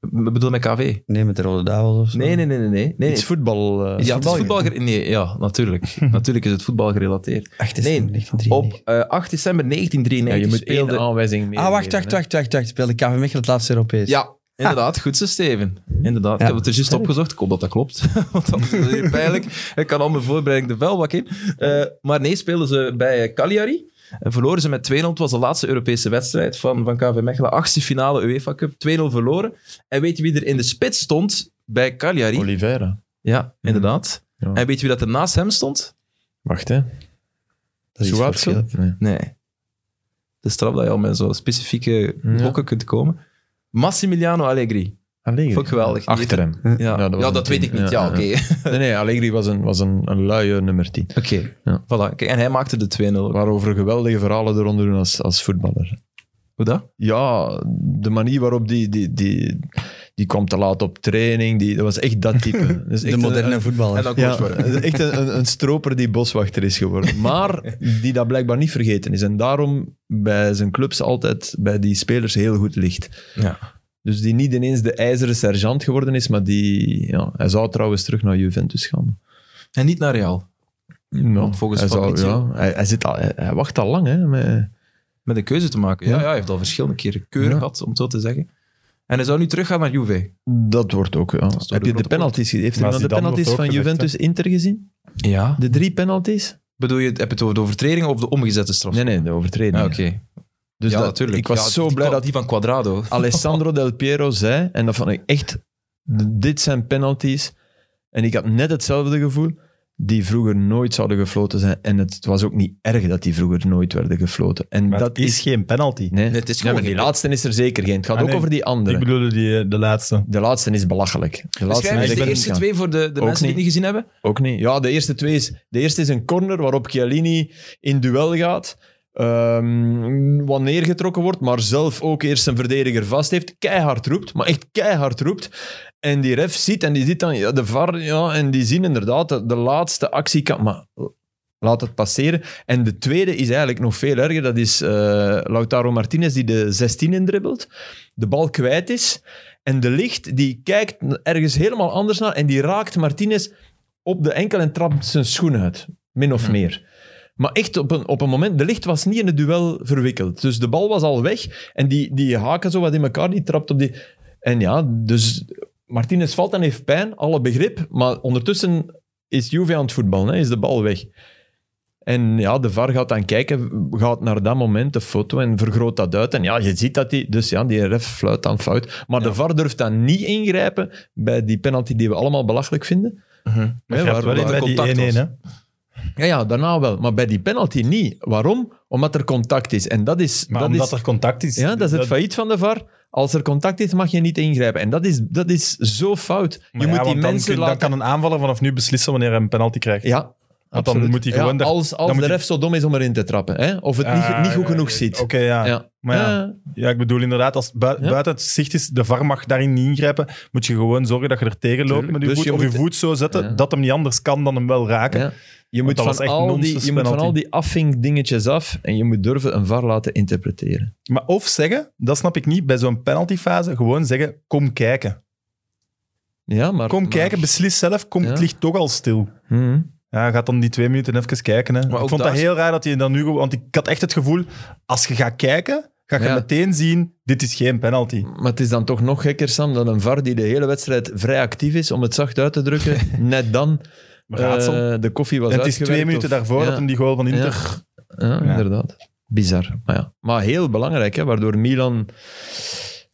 Speaker 1: Ik bedoel met KV? Nee,
Speaker 3: nee met de Rode Duivels of zo.
Speaker 1: nee, nee. nee, nee, nee, nee.
Speaker 4: Iets voetbal... eh,
Speaker 1: ja, het is
Speaker 4: voetbal-
Speaker 1: voetbal... gere- Nee, ja, natuurlijk. natuurlijk is het voetbal gerelateerd.
Speaker 3: 8 december
Speaker 1: Nee,
Speaker 3: 1993.
Speaker 1: Op eh, 8 december dus
Speaker 4: Ja, je
Speaker 1: 1993
Speaker 4: moet
Speaker 1: speelde...
Speaker 4: één aanwijzing meer
Speaker 3: Ah, wacht, wacht, wacht, wacht, wacht. Speelde KV Mechelen het laatste Europees?
Speaker 1: Ja, inderdaad. Goed zo, Steven. Inderdaad. Ik
Speaker 3: Ja.
Speaker 1: heb het er juist opgezocht. Ik hoop dat dat klopt. Want anders is het hier pijnlijk. Ik kan al mijn voorbereiding de vuilbak in. Eh, maar nee, speelden ze bij eh, Cagliari. En verloren ze met 2-0. Het was de laatste Europese wedstrijd van, van KV Mechelen. Achtste finale UEFA Cup. 2-0 verloren. En weet je wie er in de spits stond bij Cagliari?
Speaker 4: Oliveira.
Speaker 1: Ja, inderdaad.
Speaker 4: Mhm. Ja.
Speaker 1: En weet je wie dat er naast hem stond?
Speaker 4: Wacht, hè.
Speaker 3: dat is iets voor
Speaker 4: Suatso?
Speaker 3: Philip.
Speaker 4: Nee.
Speaker 1: Nee. de straf dat je al met zo'n specifieke
Speaker 4: Ja.
Speaker 1: blokken kunt komen. Massimiliano Allegri.
Speaker 4: Allegri.
Speaker 1: Vond ik geweldig. Die
Speaker 4: Achter hem.
Speaker 1: heeft- Ja, ja,
Speaker 4: dat
Speaker 1: dat,
Speaker 4: was een
Speaker 1: weet ik
Speaker 4: tien.
Speaker 1: niet. Ja,
Speaker 4: Ja, ja.
Speaker 1: oké.
Speaker 4: Nee, nee, Allegri was een, was een, een luie nummer 10.
Speaker 1: Oké,
Speaker 4: Ja.
Speaker 1: voilà. Kijk, en hij maakte de 2-0.
Speaker 4: Waarover geweldige verhalen eronder doen als, als voetballer.
Speaker 1: Hoe dat?
Speaker 4: Ja, de manier waarop die... die, die die kwam te laat op training. Die, dat was echt dat type. Dus echt
Speaker 3: de
Speaker 4: een-
Speaker 3: moderne
Speaker 4: een-
Speaker 3: voetballer.
Speaker 1: En dan
Speaker 4: Ja,
Speaker 1: coach worden.
Speaker 4: dat is echt een, een, een stroper die boswachter is geworden. Maar die dat blijkbaar niet vergeten is. En daarom bij zijn clubs altijd bij die spelers heel goed ligt.
Speaker 1: Ja.
Speaker 4: Dus die niet ineens de ijzeren sergeant geworden is, maar die... Ja, hij zou trouwens terug naar Juventus gaan.
Speaker 1: En niet naar Real.
Speaker 4: Nou,
Speaker 1: volgens
Speaker 4: hij, zou,
Speaker 1: Fabrizio.
Speaker 4: ja, hij, hij zit al, hij, hij wacht al lang, hè. met-
Speaker 1: Met een keuze te maken. Ja,
Speaker 4: Ja.
Speaker 1: ja hij heeft al verschillende keren keuren
Speaker 4: Ja.
Speaker 1: gehad, om het zo te zeggen. En hij zou nu teruggaan naar Juve.
Speaker 4: dat wordt ook... Ja.
Speaker 1: toch
Speaker 4: Heb
Speaker 1: de
Speaker 4: je de
Speaker 1: grote
Speaker 4: penalties gezien? Heeft
Speaker 2: Maar
Speaker 4: iemand de
Speaker 2: Zidane
Speaker 4: penalties
Speaker 2: wordt
Speaker 4: van
Speaker 2: ook gezegd,
Speaker 4: Juventus-Inter gezien?
Speaker 1: Ja.
Speaker 4: De drie penalties?
Speaker 1: Bedoel je, heb je het over de overtreding of de omgezette straf?
Speaker 4: Nee, nee, de overtreding.
Speaker 1: Ah, oké.
Speaker 4: Dus
Speaker 1: ja,
Speaker 4: dat-
Speaker 1: natuurlijk.
Speaker 4: Ik was
Speaker 1: Ja,
Speaker 4: zo
Speaker 1: die
Speaker 4: blij
Speaker 1: kwa-
Speaker 4: dat
Speaker 1: Die van Quadrado.
Speaker 4: Alessandro Del Piero zei, en dat vond ik echt, dit zijn penalties. En ik had net hetzelfde gevoel, die vroeger nooit zouden gefloten zijn. En het was ook niet erg dat die vroeger nooit werden gefloten. En
Speaker 2: Maar
Speaker 4: dat
Speaker 2: het is
Speaker 4: is...
Speaker 2: geen penalty.
Speaker 4: Nee,
Speaker 1: het is
Speaker 4: Ja, maar
Speaker 1: gewoon
Speaker 4: die
Speaker 1: geen-
Speaker 4: laatste is er zeker geen. Het gaat
Speaker 2: Ah,
Speaker 4: ook
Speaker 2: nee.
Speaker 4: over die andere.
Speaker 2: Ik bedoel die, eh, de laatste.
Speaker 4: De laatste is belachelijk. De laatste
Speaker 1: Beschrijf
Speaker 4: is
Speaker 1: eens
Speaker 4: echt
Speaker 1: de
Speaker 4: niet
Speaker 1: eerste
Speaker 4: gaan.
Speaker 1: twee voor de, de
Speaker 4: Ook
Speaker 1: mensen die het
Speaker 4: niet.
Speaker 1: niet gezien hebben.
Speaker 4: Ook niet. Ja, de eerste twee is... De eerste is een corner waarop Chiellini in duel gaat. ehm wat neergetrokken wordt, maar zelf ook eerst zijn verdediger vast heeft. Keihard roept, maar echt keihard roept. En die ref ziet en die ziet dan ja, de VAR. Ja, en die zien inderdaad de, de laatste actie. Kan, maar laat het passeren. En de tweede is eigenlijk nog veel erger. Dat is eh, Lautaro Martinez die de 16 indribbelt. De bal kwijt is. En de licht die kijkt ergens helemaal anders naar. En die raakt Martinez op de enkel en trapt zijn schoen uit. Min of meer. Maar echt op een, op een moment, de licht was niet in het duel verwikkeld. Dus de bal was al weg. En die, die haken zo wat in elkaar, die trapt op die. En ja, dus Martinez valt en heeft pijn, alle begrip. Maar ondertussen is Juve aan het voetballen, hè, is de bal weg. En ja, de VAR gaat dan kijken, gaat naar dat moment de foto en vergroot dat uit. En ja, je ziet dat die... Dus ja, die ref fluit dan fout. Maar de VAR durft dan niet ingrijpen bij die penalty die we allemaal belachelijk vinden.
Speaker 2: Maar
Speaker 4: Hè,
Speaker 2: je hebt wel in bij
Speaker 1: contact
Speaker 2: die 1-1,
Speaker 1: was.
Speaker 2: hè?
Speaker 4: ja, ja, daarna wel. Maar bij die penalty niet. Waarom? Omdat er contact is. En dat is...
Speaker 2: Maar
Speaker 4: dat
Speaker 2: omdat
Speaker 4: is,
Speaker 2: er contact is.
Speaker 4: ja, dat is het failliet van de VAR. Als er contact is, mag je niet ingrijpen. En dat is, dat is zo fout. Je
Speaker 2: Maar ja,
Speaker 4: moet die
Speaker 2: want dan
Speaker 4: mensen
Speaker 2: kun-
Speaker 4: laten...
Speaker 2: Dan kan een aanvaller vanaf nu beslissen wanneer hij een penalty krijgt.
Speaker 4: Ja,
Speaker 2: dan
Speaker 4: absoluut.
Speaker 2: moet hij gewoon
Speaker 4: Ja,
Speaker 2: daar-
Speaker 4: als
Speaker 2: dan
Speaker 4: als
Speaker 2: moet
Speaker 4: de
Speaker 2: hij-
Speaker 4: ref zo dom is om erin te trappen. Hè? Of het
Speaker 2: Ah,
Speaker 4: niet, niet goed
Speaker 2: ja,
Speaker 4: genoeg
Speaker 2: ja,
Speaker 4: ziet.
Speaker 2: Oké, ja.
Speaker 4: Ja.
Speaker 2: Maar ja,
Speaker 4: Ja.
Speaker 2: ja, ik bedoel inderdaad, als het bui-
Speaker 4: Ja.
Speaker 2: buiten het zicht is, de VAR mag daarin niet ingrijpen, moet je gewoon zorgen dat je er tegen loopt
Speaker 4: Tuurlijk.
Speaker 2: met je
Speaker 4: Dus
Speaker 2: voet,
Speaker 4: je
Speaker 2: of je
Speaker 4: moet-
Speaker 2: voet zo zetten,
Speaker 4: Ja.
Speaker 2: dat hem niet anders kan dan hem wel raken.
Speaker 4: Ja. Je, moet
Speaker 2: dat was
Speaker 4: van
Speaker 2: echt
Speaker 4: al die,
Speaker 2: nonsens
Speaker 4: je moet van
Speaker 2: penalty.
Speaker 4: al die afvinkdingetjes af en je moet durven een VAR laten interpreteren.
Speaker 2: Maar of zeggen, dat snap ik niet, bij zo'n penaltyfase gewoon zeggen, kom kijken.
Speaker 4: Ja, maar,
Speaker 2: Kom
Speaker 4: maar-
Speaker 2: kijken, beslis zelf, kom,
Speaker 4: Ja.
Speaker 2: het ligt toch al stil.
Speaker 4: Mhm.
Speaker 2: Ja, gaat dan die twee minuten even kijken. Hè.
Speaker 1: ook
Speaker 2: Ik vond dat
Speaker 1: daar-
Speaker 2: heel raar dat je dan nu... gewoon- Want ik had echt het gevoel, als je gaat kijken, ga je
Speaker 4: Ja.
Speaker 2: meteen zien, dit is geen penalty.
Speaker 4: Maar het is dan toch nog gekker, Sam, dat een VAR die de hele wedstrijd vrij actief is, om het zacht uit te drukken, net dan
Speaker 2: Raadsel.
Speaker 4: eh, de koffie was
Speaker 2: en het is
Speaker 4: uitgewerkt
Speaker 2: twee minuten
Speaker 4: of-
Speaker 2: daarvoor
Speaker 4: ja,
Speaker 2: dat hem die goal van Inter...
Speaker 4: ja, inderdaad. Bizar. Maar, ja. maar heel belangrijk, hè, waardoor Milan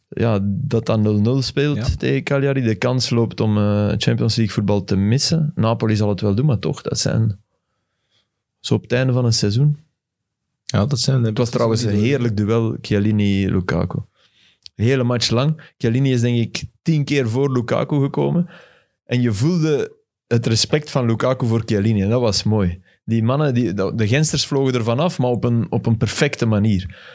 Speaker 4: ja, dat dan 0-0 speelt
Speaker 1: Ja.
Speaker 4: tegen Cagliari. De kans loopt om eh, Champions League voetbal te missen. Napoli zal het wel doen, maar toch, dat zijn... Zo op het einde van een seizoen.
Speaker 1: Ja, dat zijn
Speaker 4: Het was trouwens een heerlijk duel, Chiellini-Lukaku. De hele match lang. Chiellini is denk ik tien keer voor Lukaku gekomen. En je voelde het respect van Lukaku voor Chiellini. En dat was mooi. Die mannen, die, dat- de gensters vlogen ervan af, maar op een, op een perfecte manier.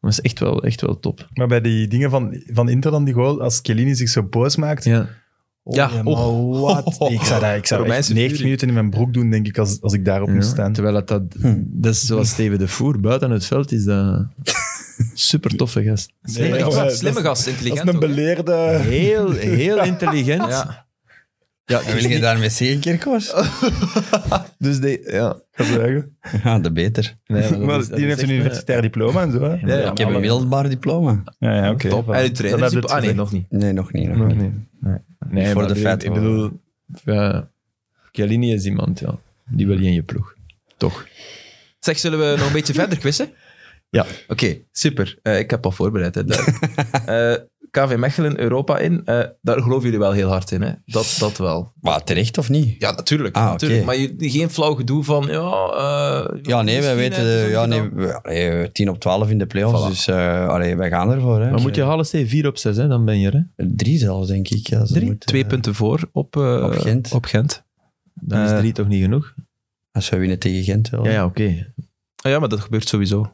Speaker 4: Dat is echt wel, echt wel top.
Speaker 2: Maar bij die dingen van, van Inter dan die goal, als Chiellini zich zo boos maakt...
Speaker 4: Ja.
Speaker 2: oh,
Speaker 1: Ja,
Speaker 2: maar
Speaker 1: oh.
Speaker 2: wat? Nee, Ik zou, dat, ik zou echt
Speaker 1: Romeinse
Speaker 2: 90
Speaker 1: furie.
Speaker 2: minuten in mijn broek doen, denk ik, als, als ik daarop moest staan.
Speaker 4: Terwijl dat, dat, dat is zoals Steven de Voer, buiten het veld is dat super toffe gast.
Speaker 2: Nee,
Speaker 1: Slimme,
Speaker 2: maar-
Speaker 1: gast, slimme gast,
Speaker 2: Dat
Speaker 1: intelligent.
Speaker 2: is een
Speaker 1: ook, hè.
Speaker 2: beleerde...
Speaker 4: Heel, heel intelligent.
Speaker 1: ja.
Speaker 4: Ja,
Speaker 3: En wil je daarmee zeggen, Kerkhoos?
Speaker 4: dus die, ja.
Speaker 3: Ja, de beter.
Speaker 4: Nee, maar dat
Speaker 2: Maar
Speaker 4: is- dat
Speaker 2: die heeft
Speaker 4: is echt,
Speaker 2: een
Speaker 4: eh,
Speaker 2: universitair diploma en zo. hè.
Speaker 1: Ja, ja.
Speaker 3: Ik heb een middelbaar diploma.
Speaker 2: Ja, ja, oké.
Speaker 1: Top. En uw trainer
Speaker 2: Dan
Speaker 1: is-
Speaker 2: heb je
Speaker 1: Ah nee,
Speaker 2: Dus het
Speaker 1: nog niet.
Speaker 3: Nee, nog niet. Nog
Speaker 4: Nog
Speaker 3: niet.
Speaker 4: niet. Nee,
Speaker 3: Voor
Speaker 4: maar
Speaker 3: de
Speaker 4: ik-
Speaker 3: feiten.
Speaker 4: Ik bedoel, ja, Chiellini is iemand, ja. Die wil je in je ploeg. Toch.
Speaker 1: Zeg, zullen we nog een beetje verder quizzen?
Speaker 4: Ja.
Speaker 1: Oké, super. Eh, ik heb al voorbereid, hè, duidelijk. Eh, KV Mechelen Europa in. Eh, daar geloven jullie wel heel hard in, hè? Dat, dat wel.
Speaker 3: Maar terecht of niet?
Speaker 1: Ja, natuurlijk.
Speaker 3: Ah,
Speaker 1: natuurlijk.
Speaker 3: oké.
Speaker 1: Maar jullie- geen flauw gedoe van, ja... eh,
Speaker 3: Ja, nee, wij
Speaker 1: misschien,
Speaker 3: weten...
Speaker 1: eh,
Speaker 3: eh,
Speaker 1: het is
Speaker 3: ja, nee,
Speaker 1: ongedaan.
Speaker 3: we- allee, we- 10 op 12 in de playoffs,
Speaker 1: Voilà.
Speaker 3: dus eh, allee, wij gaan ervoor. Hè.
Speaker 4: Maar moet je halen, C 4 op 6, hè? dan ben je er. Hè?
Speaker 3: Drie zelfs, denk ik. Ja, ze
Speaker 1: Drie?
Speaker 3: moeten-
Speaker 1: Twee punten voor eh, op, eh,
Speaker 3: op Gent.
Speaker 1: Op Gent.
Speaker 4: Dan is
Speaker 1: Eh.
Speaker 4: drie toch niet genoeg?
Speaker 3: Als wij winnen tegen Gent wel.
Speaker 4: Ja, ja oké.
Speaker 1: Ah ja, maar dat gebeurt sowieso.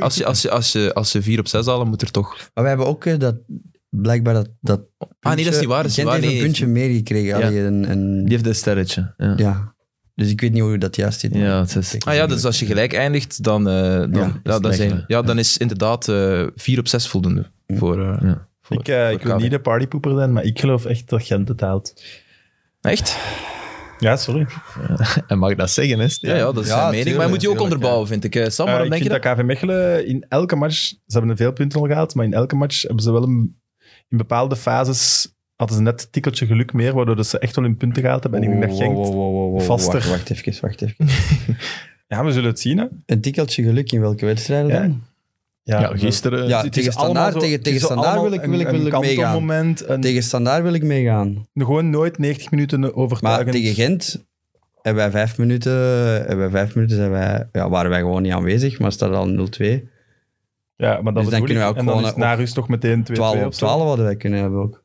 Speaker 1: als, je, als, je, als, je, als je vier op zes halen, moet er toch...
Speaker 3: Maar wij hebben ook eh, dat, blijkbaar dat, dat
Speaker 1: Ah, nee, dat is
Speaker 3: puntje-
Speaker 1: niet waar. Dat is
Speaker 3: Gent
Speaker 1: niet waar.
Speaker 3: heeft
Speaker 1: Nee,
Speaker 3: een puntje meer gekregen.
Speaker 4: Ja.
Speaker 3: Allee, een, een,
Speaker 4: Die heeft een sterretje. Ja, ja.
Speaker 3: ja. Dus ik weet niet hoe dat juist zit.
Speaker 4: het is...
Speaker 1: Ah ja, dus als je gelijk eindigt, dan, eh, dan, ja,
Speaker 4: is
Speaker 1: dan,
Speaker 4: Mechelen.
Speaker 1: zijn, ja, dan is inderdaad eh vier op zes voldoende. Voor, eh,
Speaker 4: Ja.
Speaker 1: voor-
Speaker 2: Ik, eh,
Speaker 1: voor
Speaker 2: ik wil
Speaker 1: KV.
Speaker 2: niet de partypoeper zijn, maar ik geloof echt dat Gent het haalt.
Speaker 1: Echt?
Speaker 2: Ja, sorry.
Speaker 4: En mag ik dat zeggen, hè? Steven?
Speaker 1: Ja, ja, dat is
Speaker 3: Ja,
Speaker 1: zijn mening. Maar
Speaker 3: tuurlijk,
Speaker 1: je moet die ook
Speaker 3: tuurlijk,
Speaker 1: onderbouwen, vind ik. Eh, Sam,
Speaker 2: Eh,
Speaker 1: waarom
Speaker 2: ik
Speaker 1: denk je
Speaker 2: vind
Speaker 1: dat?
Speaker 2: dat KV Mechelen in elke match... Ze hebben veel punten al gehaald, maar in elke match hebben ze wel een... In bepaalde fases hadden ze net een tikkeltje geluk meer, waardoor dat ze echt wel hun punten gehaald hebben. En ik denk dat Genk... vaster-
Speaker 3: Wacht, wacht even, wacht even.
Speaker 2: Ja, we zullen het zien, hè.
Speaker 3: Een tikkeltje geluk in welke wedstrijden
Speaker 2: Ja.
Speaker 3: dan?
Speaker 4: Ja, gisteren.
Speaker 3: Ja,
Speaker 2: het is
Speaker 3: tegen
Speaker 2: allemaal
Speaker 3: Standaard,
Speaker 2: zo-
Speaker 3: tegen-
Speaker 2: het
Speaker 3: tegen
Speaker 2: is zo
Speaker 3: Standaard wil
Speaker 2: allemaal
Speaker 3: ik- wil ik-
Speaker 2: een-
Speaker 3: wil ik
Speaker 2: een
Speaker 3: meegaan.
Speaker 2: kantelmoment, een-
Speaker 3: Tegen Standaard wil ik meegaan.
Speaker 2: Gewoon nooit 90 minuten
Speaker 3: Maar
Speaker 2: overtuigend.
Speaker 3: tegen Gent hebben wij vijf minuten, hebben wij vijf minuten zijn wij, ja, waren wij gewoon niet aanwezig, maar staat al 0-2. 12
Speaker 2: Ja, maar dat
Speaker 3: Dus dan
Speaker 2: bedoel
Speaker 3: kunnen
Speaker 2: ik.
Speaker 3: we ook
Speaker 2: en dan
Speaker 3: gewoon,
Speaker 2: is het
Speaker 3: eh,
Speaker 2: na rust nog meteen 2-2
Speaker 3: op
Speaker 2: of zo.
Speaker 3: 12 hadden wij kunnen hebben ook.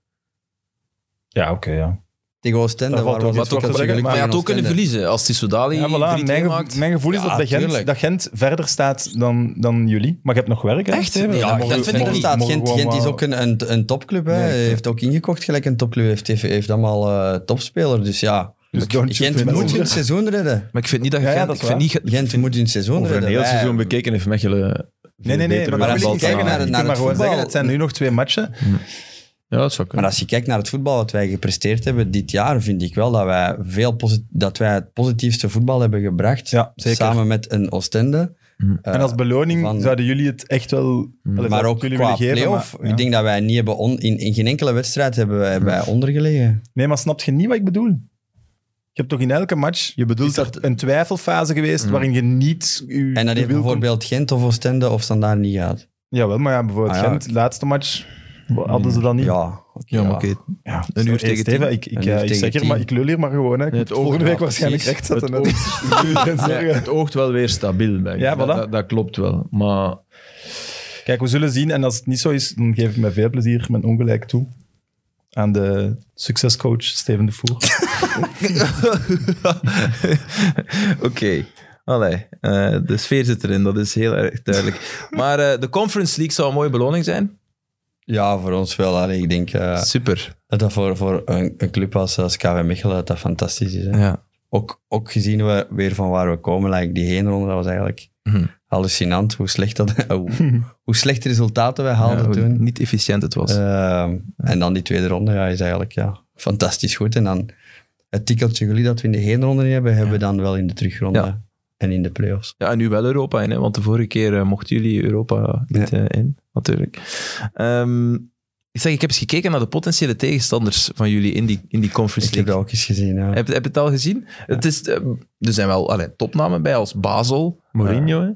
Speaker 2: Ja, oké, ja.
Speaker 3: Tegen Oostende,
Speaker 2: Daar valt
Speaker 3: waar was
Speaker 2: wel
Speaker 3: het
Speaker 2: iets voor te
Speaker 3: tikkeltje
Speaker 2: zeggen,
Speaker 3: geluk
Speaker 2: maar
Speaker 1: Maar je
Speaker 3: tegen
Speaker 1: had ook kunnen
Speaker 3: Oostende?
Speaker 1: verliezen als die Sodali
Speaker 2: ja voilà. Mijn, gevo-
Speaker 1: maakt.
Speaker 2: mijn gevoel is
Speaker 3: Ja,
Speaker 2: dat, de Gent,
Speaker 3: tuurlijk.
Speaker 2: dat Gent verder staat dan, dan jullie. Maar je hebt nog werk, hè,
Speaker 1: Echt?
Speaker 2: Steven?
Speaker 1: Ja,
Speaker 2: Dan mogen
Speaker 1: dat
Speaker 2: we-
Speaker 1: vind ik
Speaker 2: mogen
Speaker 3: Verder
Speaker 2: we-
Speaker 1: niet.
Speaker 3: staat
Speaker 2: mogen we
Speaker 3: Gent.
Speaker 2: gewoon
Speaker 3: Gent is
Speaker 2: maar-
Speaker 3: ook een, een, een topclub. Hè.
Speaker 2: Nee, ik vind-
Speaker 3: heeft ook ingekocht gelijk een topclub. Heeft, heeft, heeft allemaal eh, topspeler. Dus ja,
Speaker 2: Dus don't you
Speaker 3: Gent
Speaker 2: feel
Speaker 3: moet
Speaker 2: over.
Speaker 3: hun seizoen redden.
Speaker 1: Maar ik vind niet dat je
Speaker 2: Ja, ja,
Speaker 1: Gent-
Speaker 2: dat
Speaker 1: ik
Speaker 2: is
Speaker 1: vind
Speaker 2: waar.
Speaker 1: niet Gent-
Speaker 3: Gent moet hun seizoen
Speaker 4: Over een
Speaker 3: redden.
Speaker 4: heel
Speaker 3: Wij-
Speaker 4: seizoen bekeken heeft Mechelen.
Speaker 2: Nee, nee, nee. Maar
Speaker 3: Maar
Speaker 2: dat
Speaker 3: als
Speaker 2: wil ik
Speaker 3: je
Speaker 2: niet
Speaker 3: kijkt
Speaker 2: zeggen.
Speaker 3: naar-
Speaker 2: hè. Ik
Speaker 3: naar
Speaker 2: wil maar
Speaker 3: het
Speaker 2: gewoon zeggen,
Speaker 3: voetbal-
Speaker 2: het zijn nu nog twee matchen.
Speaker 4: Ja, dat zou
Speaker 3: Maar
Speaker 4: kunnen.
Speaker 3: als je kijkt naar het voetbal wat wij gepresteerd hebben dit jaar, vind ik wel dat wij, veel posi- dat wij het positiefste voetbal hebben gebracht.
Speaker 2: Ja, zeker.
Speaker 3: Samen met een Oostende. Eh,
Speaker 2: en als beloning
Speaker 3: van-
Speaker 2: zouden jullie het echt wel... Allee,
Speaker 3: maar
Speaker 2: zou
Speaker 3: ook
Speaker 2: ik jullie
Speaker 3: qua
Speaker 2: willen geven,
Speaker 3: play-off.
Speaker 2: maar- ja.
Speaker 3: Ik denk dat wij niet hebben... On, in, in geen enkele wedstrijd hebben wij, hebben wij ondergelegen.
Speaker 2: Nee, maar snap je niet wat ik bedoel? Je hebt toch in elke match je bedoelt dat... een twijfelfase geweest waarin je niet... Je,
Speaker 3: Mm. En dat
Speaker 2: je
Speaker 3: heeft
Speaker 2: wil kon-
Speaker 3: bijvoorbeeld Gent of Oostende of Standaard niet gehad.
Speaker 2: Jawel, maar ja, bijvoorbeeld
Speaker 3: Ah, ja.
Speaker 2: Gent, de laatste match, hadden ze dat niet.
Speaker 3: Ja,
Speaker 1: Ja, maar oké.
Speaker 2: Ja,
Speaker 1: Een
Speaker 2: zo,
Speaker 1: uur
Speaker 2: hey,
Speaker 1: tegen
Speaker 2: Steven, ik,
Speaker 3: Een
Speaker 2: ik,
Speaker 3: uur
Speaker 2: ja, ik
Speaker 3: tegen
Speaker 2: zeg hier,
Speaker 3: tien.
Speaker 2: maar ik lul hier maar gewoon. Hè. Ik
Speaker 4: Nee,
Speaker 2: moet
Speaker 4: het
Speaker 2: volgende week
Speaker 4: oog- ja,
Speaker 2: waarschijnlijk recht
Speaker 4: precies.
Speaker 2: zetten. hè.
Speaker 4: Het
Speaker 2: En
Speaker 4: Ja,
Speaker 2: zeggen-
Speaker 4: het oogt wel weer stabiel. Denk ik.
Speaker 2: Ja, voilà.
Speaker 4: dat, dat, dat klopt wel. Maar
Speaker 2: Kijk, we zullen zien. En als het niet zo is, dan geef ik met veel plezier mijn ongelijk toe. Aan de succescoach Steven de Voer.
Speaker 1: Oké. Allee, eh, de sfeer zit erin, dat is heel erg duidelijk. Maar eh, de Conference League zou een mooie beloning zijn.
Speaker 3: ja, voor ons wel. Allee, ik denk... eh,
Speaker 1: Super.
Speaker 3: Dat dat voor, voor een, een club als, als KV Mechelen dat dat fantastisch is. Hè?
Speaker 1: Ja.
Speaker 3: Ook, ook gezien we, weer van waar we komen, like die heenronde, dat was eigenlijk
Speaker 1: Mhm.
Speaker 3: hallucinant hoe slecht, dat, hoe, hoe slecht de resultaten wij haalden
Speaker 1: Ja, hoe
Speaker 3: toen.
Speaker 1: Niet efficiënt het was.
Speaker 3: Ehm, en dan die tweede ronde ja, is eigenlijk ja, fantastisch goed. En dan het tikkeltje geluk dat we in de heenronde niet hebben, hebben we dan wel in de terugronde
Speaker 1: Ja.
Speaker 3: en in de playoffs.
Speaker 1: Ja, en nu wel Europa in, hè? want de vorige keer eh, mochten jullie Europa niet eh, in, natuurlijk. Ehm, ik zeg, ik heb eens gekeken naar de potentiële tegenstanders van jullie in die, in die Conference
Speaker 3: Ik heb
Speaker 1: League.
Speaker 3: dat ook eens gezien. Ja.
Speaker 1: Heb, heb je het al gezien? Het is, eh, er zijn wel allee, topnamen bij, als Basel,
Speaker 4: Mourinho, hè?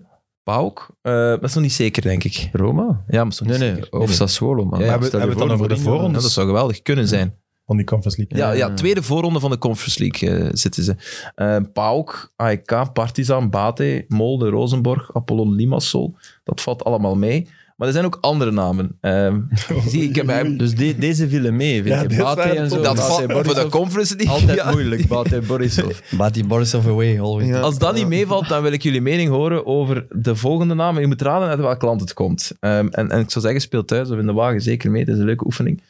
Speaker 1: Pauk. Eh, dat is nog niet zeker, denk ik.
Speaker 4: Roma?
Speaker 1: Ja, maar dat is nog
Speaker 4: Nee,
Speaker 1: niet
Speaker 4: nee.
Speaker 1: zeker.
Speaker 4: Of Sassuolo, man.
Speaker 1: Ja,
Speaker 4: Ja,
Speaker 1: hebben-
Speaker 4: stel je
Speaker 2: hebben we het
Speaker 4: voor,
Speaker 2: dan over de
Speaker 4: Mourinho.
Speaker 2: voorronde?
Speaker 1: Ja, dat zou geweldig kunnen zijn.
Speaker 2: Van die Conference League.
Speaker 1: Ja, ja,
Speaker 4: Ja.
Speaker 1: tweede voorronde van de Conference League eh, zitten ze. Eh Pauk, AEK, Partizan, Bate, Molde, Rozenborg, Apollon Limassol. Dat valt allemaal mee. Maar er zijn ook andere namen. Ehm, ik zie, ik heb hem-
Speaker 4: Dus de- deze vielen mee,
Speaker 2: Ja,
Speaker 4: vind je?
Speaker 2: dit
Speaker 4: Bate
Speaker 2: waren
Speaker 4: en zo.
Speaker 2: toch-
Speaker 1: dat
Speaker 4: Bate,
Speaker 1: valt voor de
Speaker 4: Borisov.
Speaker 1: Conference League.
Speaker 4: Altijd
Speaker 1: ja.
Speaker 4: moeilijk, Bate Borisov.
Speaker 3: But he Borisov away, always.
Speaker 4: Ja.
Speaker 1: Als dat niet meevalt, dan wil ik jullie mening horen over de volgende namen. Je moet raden uit welk land het komt. Ehm, en, en ik zou zeggen, speel thuis of in de wagen zeker mee. Dat is een leuke oefening.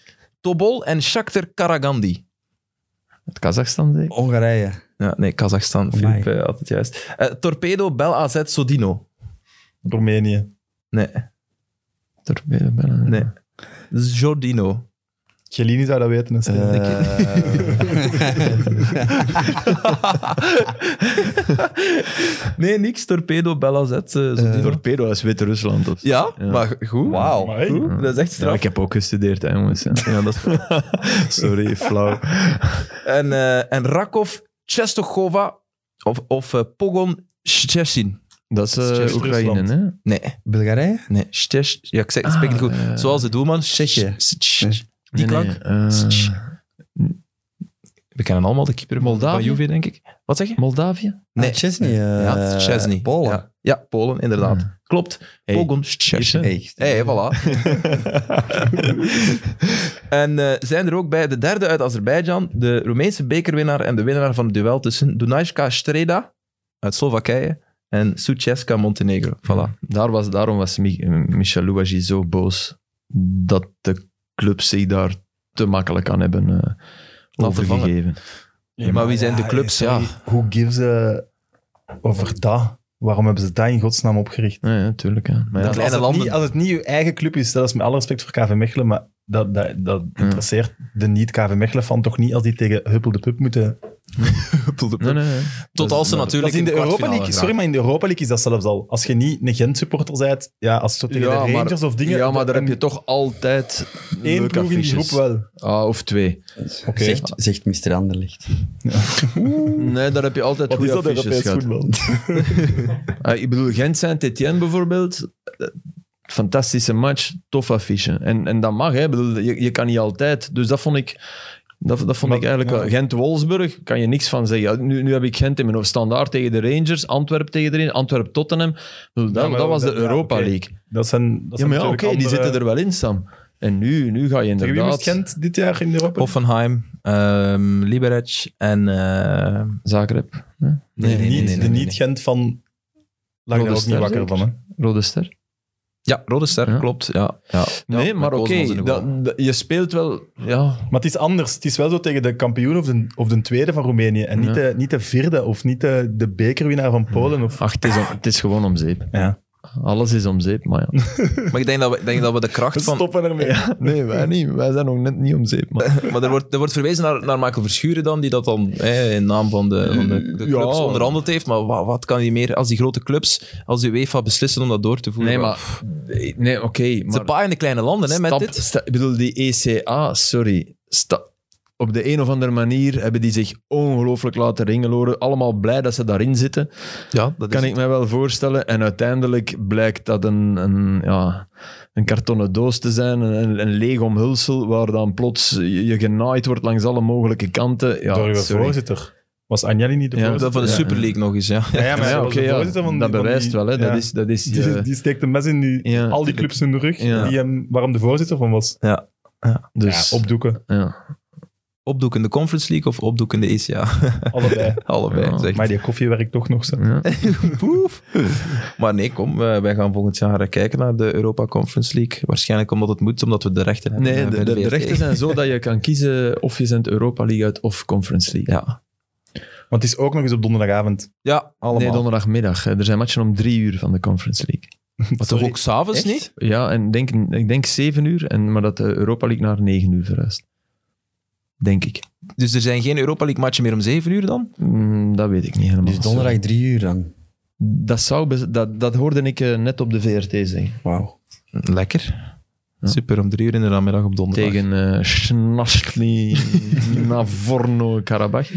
Speaker 1: Tobol en Shakhtar Karagandi.
Speaker 4: Het Kazachstan, zeker?
Speaker 3: Hongarije.
Speaker 1: Ja, nee, Kazachstan.
Speaker 3: Amai.
Speaker 1: Filip, eh, altijd juist. Eh, Torpedo, Bel AZ, Sodino.
Speaker 2: Roemenië.
Speaker 1: Nee,
Speaker 4: Torpedo Bellen.
Speaker 1: nee. Jordino.
Speaker 2: Chiellini zou dat weten. hè, Steven.
Speaker 1: Nee, niks. Torpedo, Bel AZ, eh, Sodino.
Speaker 4: Torpedo is Wit-Rusland. of zo.
Speaker 1: ja,
Speaker 4: Ja.
Speaker 1: maar goed.
Speaker 3: Wauw.
Speaker 2: Maar hey,
Speaker 1: Goed. Dat is echt
Speaker 4: Ja,
Speaker 1: straf.
Speaker 4: ik heb ook gestudeerd, hè, jongens.
Speaker 1: Ja, dat is waar.
Speaker 4: Sorry, flauw.
Speaker 1: en, eh, en Rakov, Czestochova of, of eh, Pogon Szczecin.
Speaker 4: Dat is
Speaker 2: Dat is
Speaker 4: eh
Speaker 2: Tsjechisch
Speaker 4: Oekraïne,
Speaker 2: Rusland.
Speaker 4: hè?
Speaker 1: Nee,
Speaker 3: Bulgarije?
Speaker 1: nee. Stjes- ja, ik zeg, ik spreek het goed.
Speaker 4: Ah, eh,
Speaker 1: Zoals de doelman.
Speaker 3: Tsjechië.
Speaker 1: Stjes- stjes-
Speaker 3: Nee.
Speaker 1: Die
Speaker 4: Nee,
Speaker 1: klank.
Speaker 4: nee, eh,
Speaker 1: Stjes. We kennen allemaal de keeper van- van
Speaker 4: Moldavië?
Speaker 1: Juve, denk ik. Wat zeg je?
Speaker 4: Moldavië?
Speaker 1: Nee.
Speaker 3: Nee, Chesney. eh,
Speaker 1: ja, Chesney.
Speaker 3: Polen.
Speaker 1: Ja, Ja, Polen, inderdaad. Klopt.
Speaker 3: Hey.
Speaker 1: Pogon Szczesny.
Speaker 3: Echt.
Speaker 1: Hé, hey, voilà. en eh, zijn er ook bij de derde uit Azerbeidzjan, de Roemeense bekerwinnaar en de winnaar van het duel tussen Dunajska Streda uit Slowakije en Suceska Montenegro. Voilà.
Speaker 4: Daar was, daarom was Mi- Michel Louwagie zo boos dat de club zich daar te makkelijk aan hebben eh,
Speaker 1: vervangen.
Speaker 4: overgegeven.
Speaker 1: maar wie zijn de clubs?
Speaker 2: sorry,
Speaker 1: Ja.
Speaker 2: Who gives a over dat? Waarom hebben ze dat in godsnaam opgericht?
Speaker 4: Ja, ja, tuurlijk. Ja. Maar ja,
Speaker 2: Als
Speaker 1: Kleine
Speaker 2: het,
Speaker 1: landen.
Speaker 2: niet, als het niet je eigen club is, dat is met alle respect voor KV Mechelen, maar dat, dat, dat
Speaker 1: Hmm.
Speaker 2: interesseert de niet-KV Mechelen van toch niet als die tegen Huppel de Pup moeten.
Speaker 4: nee, nee, nee.
Speaker 1: Tot als ze
Speaker 2: Dat
Speaker 1: natuurlijk
Speaker 2: is in de
Speaker 1: een
Speaker 2: Europa
Speaker 1: kwartfinale
Speaker 2: League, sorry,
Speaker 1: geraken.
Speaker 2: maar in de Europa League is dat zelfs al. Als je niet een Gent-supporter bent, ja, als het zo tegen de Rangers of dingen...
Speaker 4: Ja, maar daar
Speaker 2: een-
Speaker 4: heb je toch altijd
Speaker 2: één
Speaker 4: leuke
Speaker 2: ploeg in die groep
Speaker 4: affiches.
Speaker 2: wel.
Speaker 4: Ah, of twee.
Speaker 2: Oké.
Speaker 3: Zegt, zegt Mr. Anderlicht.
Speaker 4: Nee, daar heb je altijd
Speaker 2: Wat is
Speaker 4: goede
Speaker 2: dat
Speaker 4: affiches
Speaker 2: Europees
Speaker 4: gehad.
Speaker 2: voetbal?
Speaker 4: Ah, ik bedoel, Gent Saint-Etienne bijvoorbeeld. eh, Fantastische match, tof affiche. En, en dat mag, hè. Ik bedoel, je, je kan niet altijd. Dus dat vond ik... Dat, dat vond
Speaker 2: Maar-
Speaker 4: ik eigenlijk...
Speaker 2: ja.
Speaker 4: wel- Gent-Wolfsburg, kan je niks van zeggen. Ja, nu, nu heb ik Gent in mijn hoofd. Standaard tegen de Rangers, Antwerpen tegen de Rangers, Antwerp-Tottenham. Ik bedoel, Dat,
Speaker 2: Ja, maar
Speaker 4: dat was de
Speaker 2: dat- ja,
Speaker 4: Europa
Speaker 2: oké.
Speaker 4: League.
Speaker 2: Dat zijn, dat
Speaker 4: Ja,
Speaker 2: zijn
Speaker 4: maar ja, oké,
Speaker 2: natuurlijk
Speaker 4: die
Speaker 2: andere-
Speaker 4: zitten er wel in, Sam. En nu, nu ga je
Speaker 2: Tegen wie moest
Speaker 4: inderdaad...
Speaker 2: Gent dit jaar in de Europa League?
Speaker 1: Hoffenheim, ehm Liberec en... eh,
Speaker 4: Zagreb,
Speaker 1: nee, nee, nee,
Speaker 2: niet,
Speaker 1: nee,
Speaker 2: de
Speaker 1: nee, nee.
Speaker 2: niet-Gent van... Lag ik
Speaker 4: Rode
Speaker 2: daar ook niet
Speaker 4: Ster
Speaker 2: wakker
Speaker 4: zeker?
Speaker 2: van, hè?
Speaker 4: Rode Ster.
Speaker 1: Ja, Rode Ster,
Speaker 4: Ja.
Speaker 1: klopt. Ja, ja.
Speaker 4: Nee,
Speaker 1: Ja,
Speaker 4: maar
Speaker 1: met
Speaker 4: oké,
Speaker 1: Kozemans in de goal.
Speaker 4: dat- dat- je speelt wel... Ja,
Speaker 2: Maar het is anders. Het is wel zo tegen de kampioen of de, of de tweede van Roemenië. En niet,
Speaker 4: Ja.
Speaker 2: de, niet de vierde of niet de, de bekerwinnaar van Polen. Of,
Speaker 4: ach, het is, om- het is gewoon om zeep.
Speaker 2: Ja.
Speaker 4: Alles is om zeep, maar ja.
Speaker 1: Maar ik denk dat we, denk dat we de kracht van...
Speaker 2: Stoppen ermee.
Speaker 4: Nee, wij niet. Wij zijn nog net niet om zeep, maar...
Speaker 1: Maar er wordt, er wordt verwezen naar, naar Michael Verschuren dan, die dat dan eh, in naam van de, van de, de
Speaker 4: Ja.
Speaker 1: clubs onderhandeld heeft. Maar wat, wat kan hij meer als die grote clubs, als de UEFA beslissen om dat door te voeren?
Speaker 4: Nee,
Speaker 1: Het
Speaker 4: maar... Nee, oké,
Speaker 1: is een
Speaker 4: maar...
Speaker 1: paar in de kleine landen hè, met
Speaker 4: stap-
Speaker 1: dit.
Speaker 4: sta- ik bedoel, die ECA, sorry. sta- op de een of andere manier hebben die zich ongelooflijk laten ringeloren. Allemaal blij dat ze daarin zitten.
Speaker 1: Ja, dat
Speaker 4: kan ik mij wel voorstellen. En uiteindelijk blijkt dat een, een, ja, een kartonnen doos te zijn, een, een leeg omhulsel, waar dan plots je, je genaaid wordt langs alle mogelijke kanten. Ja,
Speaker 2: Door uw
Speaker 4: sorry.
Speaker 2: voorzitter. Was Agnelli niet de
Speaker 4: Ja,
Speaker 2: voorzitter?
Speaker 1: Dat van de
Speaker 4: Ja.
Speaker 1: Super League nog eens, ja.
Speaker 2: Ja, ja, maar
Speaker 4: Ja,
Speaker 2: hij was
Speaker 4: oké,
Speaker 2: de
Speaker 4: ja.
Speaker 2: voorzitter van die-
Speaker 4: dat
Speaker 2: van
Speaker 4: bewijst
Speaker 2: die-
Speaker 4: wel, hè.
Speaker 2: ja.
Speaker 4: Dat is, dat is
Speaker 2: Die,
Speaker 4: je-
Speaker 2: die steekt een mes in die,
Speaker 4: Ja,
Speaker 2: al die
Speaker 4: tuurlijk.
Speaker 2: clubs in de rug.
Speaker 4: Ja.
Speaker 2: Die hem, waarom de voorzitter van was.
Speaker 4: dus,
Speaker 2: Ja, opdoeken.
Speaker 4: ja.
Speaker 1: Opdoek in de Conference League of opdoek in de ECA?
Speaker 2: Allebei.
Speaker 1: Allebei,
Speaker 4: Ja.
Speaker 1: zeg.
Speaker 2: maar die koffie werkt toch nog zo.
Speaker 4: Ja.
Speaker 1: Poef. Maar nee, kom, eh, wij gaan volgend jaar kijken naar de Europa Conference League. Waarschijnlijk omdat het moet, omdat we de rechten hebben.
Speaker 4: Nee,
Speaker 1: eh,
Speaker 4: de,
Speaker 1: bij
Speaker 4: de, de
Speaker 1: VRT.
Speaker 4: rechten zijn zo dat je kan kiezen of je zendt Europa League uit of Conference League.
Speaker 1: Ja,
Speaker 2: Want het is ook nog eens op donderdagavond.
Speaker 1: ja allemaal.
Speaker 4: Nee, donderdagmiddag. hè. Er zijn matchen om drie uur van de Conference League.
Speaker 1: maar toch
Speaker 2: Sorry.
Speaker 1: ook s'avonds
Speaker 2: Echt?
Speaker 1: niet?
Speaker 4: Ja, en denk, ik denk zeven uur, en, maar dat de Europa League naar negen uur verhuist. Denk ik.
Speaker 1: Dus er zijn geen Europa League matchen meer om 7 uur dan?
Speaker 4: Mm, dat weet ik niet helemaal.
Speaker 3: Dus donderdag drie uur dan.
Speaker 4: Dat, zou bez- dat, dat hoorde ik eh, net op de VRT zeggen.
Speaker 3: Wauw.
Speaker 1: Lekker.
Speaker 4: Ja.
Speaker 1: Super, om drie uur in de namiddag op donderdag.
Speaker 4: Tegen eh Snasli Navorno-Karabakh.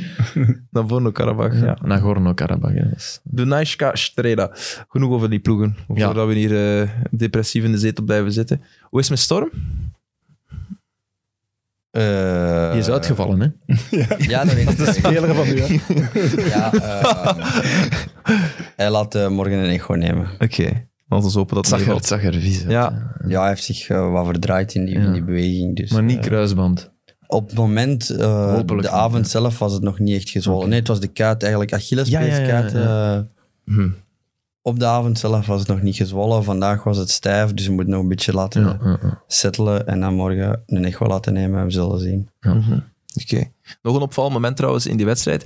Speaker 1: Nagorno-Karabakh, ja.
Speaker 4: Nagorno-Karabakh, ja. dat is-
Speaker 1: Dunajska Streda. Genoeg over die ploegen. Voordat we hier eh, depressief in de zetel blijven zitten. Hoe is het met Storm?
Speaker 3: Eh,
Speaker 4: Die is uitgevallen, hè?
Speaker 3: Ja, dat weet ik.
Speaker 2: De speler van u, hè.
Speaker 3: Ja, eh, hij laat eh, morgen een echo nemen.
Speaker 1: Oké. Laten we hopen dat het
Speaker 4: Zag
Speaker 1: niet
Speaker 4: er,
Speaker 1: valt.
Speaker 4: zag er vies uit.
Speaker 1: Ja.
Speaker 4: hè.
Speaker 3: Ja, hij heeft zich eh, wat verdraaid in die, in die
Speaker 4: Ja.
Speaker 3: beweging. Dus,
Speaker 4: Maar niet
Speaker 3: eh,
Speaker 4: kruisband.
Speaker 3: op het moment, eh,
Speaker 4: Hopelijk
Speaker 3: de
Speaker 4: niet,
Speaker 3: avond zelf, was het nog niet echt gezwollen.
Speaker 4: Oké.
Speaker 3: Nee, het was de kuit eigenlijk, Achillespeeskaart.
Speaker 4: Ja, ja, ja,
Speaker 3: eh,
Speaker 1: Hm.
Speaker 3: op de avond zelf was het nog niet gezwollen. Vandaag was het stijf, dus we moeten nog een beetje laten
Speaker 4: Ja, ja, ja.
Speaker 3: settelen. En dan morgen een echo laten nemen, we zullen zien.
Speaker 1: Mhm. Oké. Nog een opvallend moment trouwens in die wedstrijd.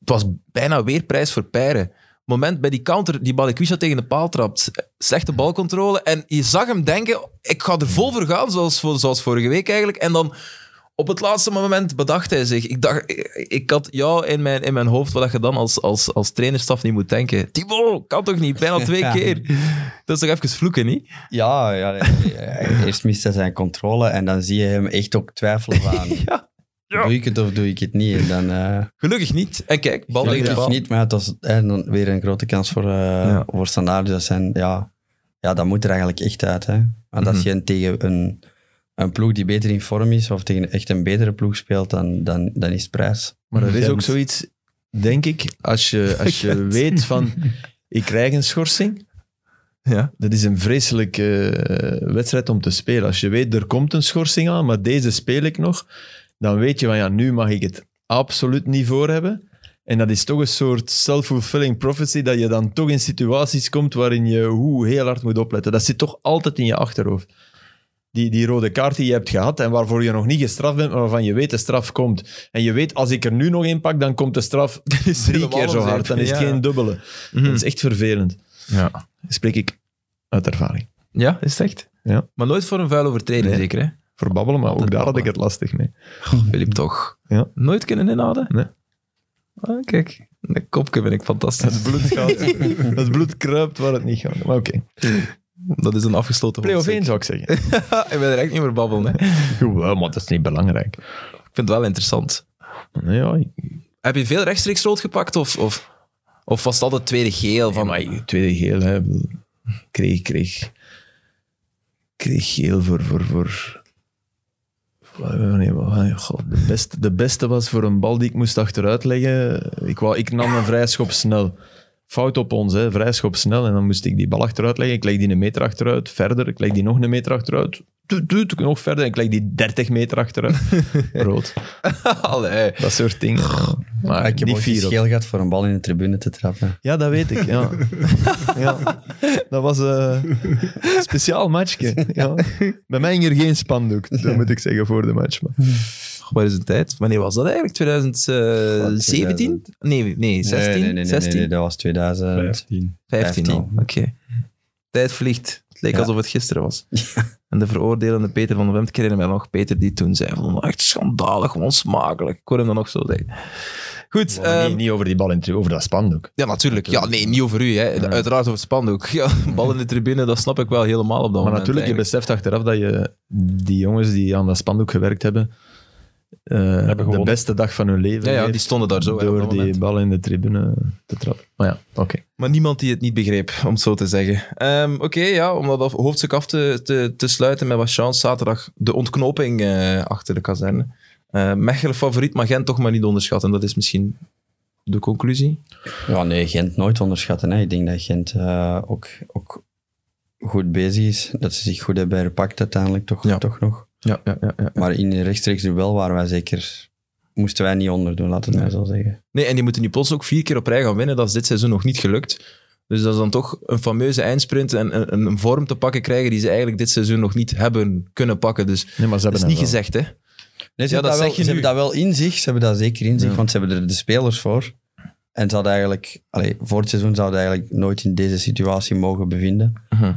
Speaker 1: Het was bijna weer prijs voor Peiren. Moment bij die counter die Balikwisha tegen de paal trapt. Slechte balcontrole. En je zag hem denken: ik ga er vol voor gaan, zoals, voor- zoals vorige week eigenlijk. En dan op het laatste moment bedacht hij zich. Ik, dacht, ik, ik had jou in mijn, in mijn hoofd wat je dan als, als, als trainerstaf niet moet denken. Timo, kan toch niet? Bijna twee
Speaker 3: Ja.
Speaker 1: keer. Dat is toch even vloeken, niet?
Speaker 3: Ja, ja, ja, ja, eerst mist hij zijn controle en dan zie je hem echt ook twijfelen aan.
Speaker 1: Ja.
Speaker 3: Doe ik het of doe ik het niet? En dan, eh
Speaker 1: Gelukkig niet. En kijk, bal tegen de
Speaker 3: gelukkig
Speaker 1: bal.
Speaker 3: niet, maar het was eh, dan weer een grote kans voor, eh voor Standaard. Dus dat, zijn, ja, ja, dat moet er eigenlijk echt uit. Hè. Want als je tegen een, een ploeg die beter in vorm is, of tegen echt een betere ploeg speelt, dan, dan, dan is het prijs.
Speaker 4: Maar er is
Speaker 2: Gent.
Speaker 4: ook zoiets, denk ik, als je, als je weet van, ik krijg een schorsing.
Speaker 1: Ja.
Speaker 4: Dat is een vreselijke eh, wedstrijd om te spelen. Als je weet, er komt een schorsing aan, maar deze speel ik nog. Dan weet je van, ja, nu mag ik het absoluut niet voor hebben. En dat is toch een soort self-fulfilling prophecy, dat je dan toch in situaties komt waarin je hoe heel hard moet opletten. Dat zit toch altijd in je achterhoofd. Die, die rode kaart die je hebt gehad en waarvoor je nog niet gestraft bent, maar waarvan je weet de straf komt. En je weet, als ik er nu nog in pak, dan komt de straf drie
Speaker 1: helemaal
Speaker 4: keer zo
Speaker 1: zeker,
Speaker 4: hard. Mhm. Dan is het
Speaker 1: ja.
Speaker 4: geen dubbele. Dat is echt vervelend.
Speaker 1: Ja.
Speaker 4: Spreek ik uit ervaring.
Speaker 1: ja, is het echt?
Speaker 4: Ja.
Speaker 1: Maar nooit voor een vuil overtreding,
Speaker 4: Nee.
Speaker 1: zeker hè?
Speaker 4: Voor babbelen, maar ook daar had ik het lastig mee.
Speaker 1: Filip toch.
Speaker 4: Ja.
Speaker 1: Nooit kunnen inhouden?
Speaker 4: Nee.
Speaker 1: Ah, kijk, de kopje ben ik fantastisch.
Speaker 4: bloed gaat, het bloed kruipt waar het niet gaat. Maar oké.
Speaker 1: Dat is een afgesloten
Speaker 4: Play-off
Speaker 1: hoofdstuk.
Speaker 4: 1 zou ik zeggen.
Speaker 1: ik ben er echt niet meer babbelen. Hè. Ik
Speaker 4: Jawel, maar dat is niet belangrijk.
Speaker 1: vind het wel interessant.
Speaker 4: Nee, ja, ik-
Speaker 1: Heb je veel rechtstreeks rood gepakt? Of, of, of was dat het tweede geel? Van,
Speaker 4: maar ik- tweede geel, hè. Ik bedoel, Kreeg, kreeg, kreeg geel voor... voor, voor eh, Nee, maar, God, de, beste, de beste was voor een bal die ik moest achteruit leggen. Ik, wou, ik nam een vrijschop snel. Fout op ons, hè. vrijschop snel. En dan moest ik die bal achteruit leggen. Ik leg die een meter achteruit, verder. Ik leg die nog een meter achteruit. Doet, doet, nog verder. En ik leg die 30 meter achteruit. Rood.
Speaker 1: Allee.
Speaker 4: Dat soort dingen. ja. Maar
Speaker 3: ik heb
Speaker 4: Ah, die
Speaker 3: ook
Speaker 4: vier op-
Speaker 3: geel gehad voor een bal in de tribune te trappen.
Speaker 4: ja, dat weet ik. Ja. ja. Dat was eh, een speciaal matchje. Ja. Bij mij ging er geen spandoek, dat moet ik zeggen, voor de match. Maar.
Speaker 1: Waar is de tijd? Wanneer was dat eigenlijk? 2017? Nee, nee 16?
Speaker 3: Nee, nee, nee, nee,
Speaker 1: 16?
Speaker 3: nee, dat was 2000.
Speaker 2: 15.
Speaker 1: 15, al.
Speaker 3: 15.
Speaker 1: Oké. Tijd vliegt. Het leek
Speaker 3: Ja.
Speaker 1: alsof het gisteren was. En de veroordelende Peter van de Wemt, ik herinner mij nog, Peter die toen zei van, echt schandalig, onsmakelijk. Ik hoor hem dan nog zo zeggen. Goed, ehm,
Speaker 4: niet over die bal in over dat spandoek.
Speaker 1: ja natuurlijk. Ja, nee, niet over u. Hè. Uiteraard over het spandoek. Ja, bal in de tribune, dat snap ik wel helemaal op dat
Speaker 4: Maar
Speaker 1: moment.
Speaker 4: natuurlijk, je
Speaker 1: eigenlijk.
Speaker 4: beseft achteraf dat je die jongens die aan dat spandoek gewerkt hebben, eh, de
Speaker 2: gewonnen.
Speaker 4: beste dag van hun leven
Speaker 1: Ja, ja,
Speaker 4: heeft
Speaker 1: die stonden daar zo. hè, op
Speaker 4: door
Speaker 1: dat
Speaker 4: die
Speaker 1: moment.
Speaker 4: bal in de tribune te trappen. Maar ja, oké.
Speaker 1: Maar niemand die het niet begreep, om het zo te zeggen. Ehm, Oké, ja, om dat af- hoofdstuk af te, te, te sluiten met wat chance zaterdag. De ontknoping eh, achter de kazerne. Eh Mechelen favoriet, maar Gent toch maar niet onderschatten. Dat is misschien de conclusie.
Speaker 3: Ja, nee, Gent nooit onderschatten. Hè. Ik denk dat Gent eh, ook, ook goed bezig is. Dat ze zich goed hebben herpakt uiteindelijk, toch,
Speaker 1: Ja.
Speaker 3: toch nog.
Speaker 1: Ja, ja, ja, ja.
Speaker 3: Maar in een rechtstreeks duel waren wij zeker... Moesten wij niet onderdoen, laten we het maar zo zeggen.
Speaker 1: Nee, en die moeten nu plots ook vier keer op rij gaan winnen. Dat is dit seizoen nog niet gelukt. Dus dat is dan toch een fameuze eindsprint en een, een- een vorm te pakken krijgen die ze eigenlijk dit seizoen nog niet hebben kunnen pakken. Dus
Speaker 4: Nee, maar ze
Speaker 1: dat is
Speaker 4: hebben
Speaker 1: niet
Speaker 4: hem wel.
Speaker 1: gezegd, hè?
Speaker 3: Nee, ze,
Speaker 1: Ja,
Speaker 3: hebben,
Speaker 1: dat
Speaker 3: dat
Speaker 1: zeg
Speaker 3: wel,
Speaker 1: je
Speaker 3: ze hebben
Speaker 1: nu.
Speaker 3: dat wel in zich. Ze hebben dat zeker in zich,
Speaker 1: Ja.
Speaker 3: want ze hebben er de spelers voor. En ze hadden eigenlijk... Allee, voor het seizoen zouden eigenlijk nooit in deze situatie mogen bevinden.
Speaker 1: Mhm.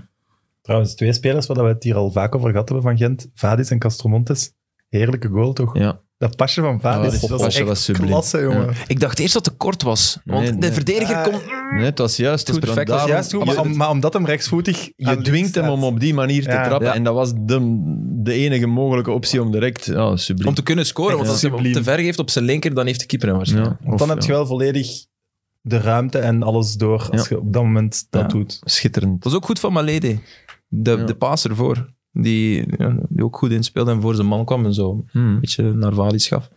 Speaker 2: Trouwens, twee spelers waar we het hier al vaak over gehad hebben van Gent. Vadis en Castromontes. Heerlijke goal, toch?
Speaker 4: Ja.
Speaker 2: Dat pasje van
Speaker 4: Ja,
Speaker 2: Vadis
Speaker 4: dat
Speaker 2: was
Speaker 4: pasje
Speaker 2: echt
Speaker 4: was subliem.
Speaker 2: klasse, jongen.
Speaker 1: Ik dacht eerst dat het kort was. Want
Speaker 4: Nee,
Speaker 1: de
Speaker 4: nee.
Speaker 1: verdediger
Speaker 2: Ah,
Speaker 1: komt...
Speaker 4: Nee, het was juist
Speaker 1: Het is
Speaker 4: goed,
Speaker 1: perfect, het was
Speaker 4: want daarom-
Speaker 2: Dus Juist goed, maar,
Speaker 4: je-
Speaker 2: om- maar omdat hem rechtsvoetig aan
Speaker 4: Je
Speaker 2: links
Speaker 4: dwingt hem
Speaker 2: staat.
Speaker 4: om op die manier te
Speaker 2: Ja.
Speaker 4: trappen.
Speaker 1: Ja.
Speaker 4: En dat was de, de enige mogelijke optie om direct... Ja, subliem.
Speaker 1: Om te kunnen scoren, want
Speaker 2: Echt
Speaker 1: als hij hem te
Speaker 2: subliem.
Speaker 1: ver geeft op zijn linker, dan heeft de keeper hem waarschijnlijk.
Speaker 4: Ja,
Speaker 2: Want
Speaker 4: of,
Speaker 2: dan heb je
Speaker 4: ja,
Speaker 2: wel volledig de ruimte en alles door als je op dat moment dat
Speaker 1: Ja.
Speaker 2: doet.
Speaker 4: Schitterend.
Speaker 1: Dat was ook goed van Malede. De,
Speaker 4: Ja.
Speaker 1: de paas ervoor. Die, ja, die ook goed inspeelde en voor zijn man kwam en zo. Een
Speaker 4: Hmm.
Speaker 1: beetje naar Valis gaf.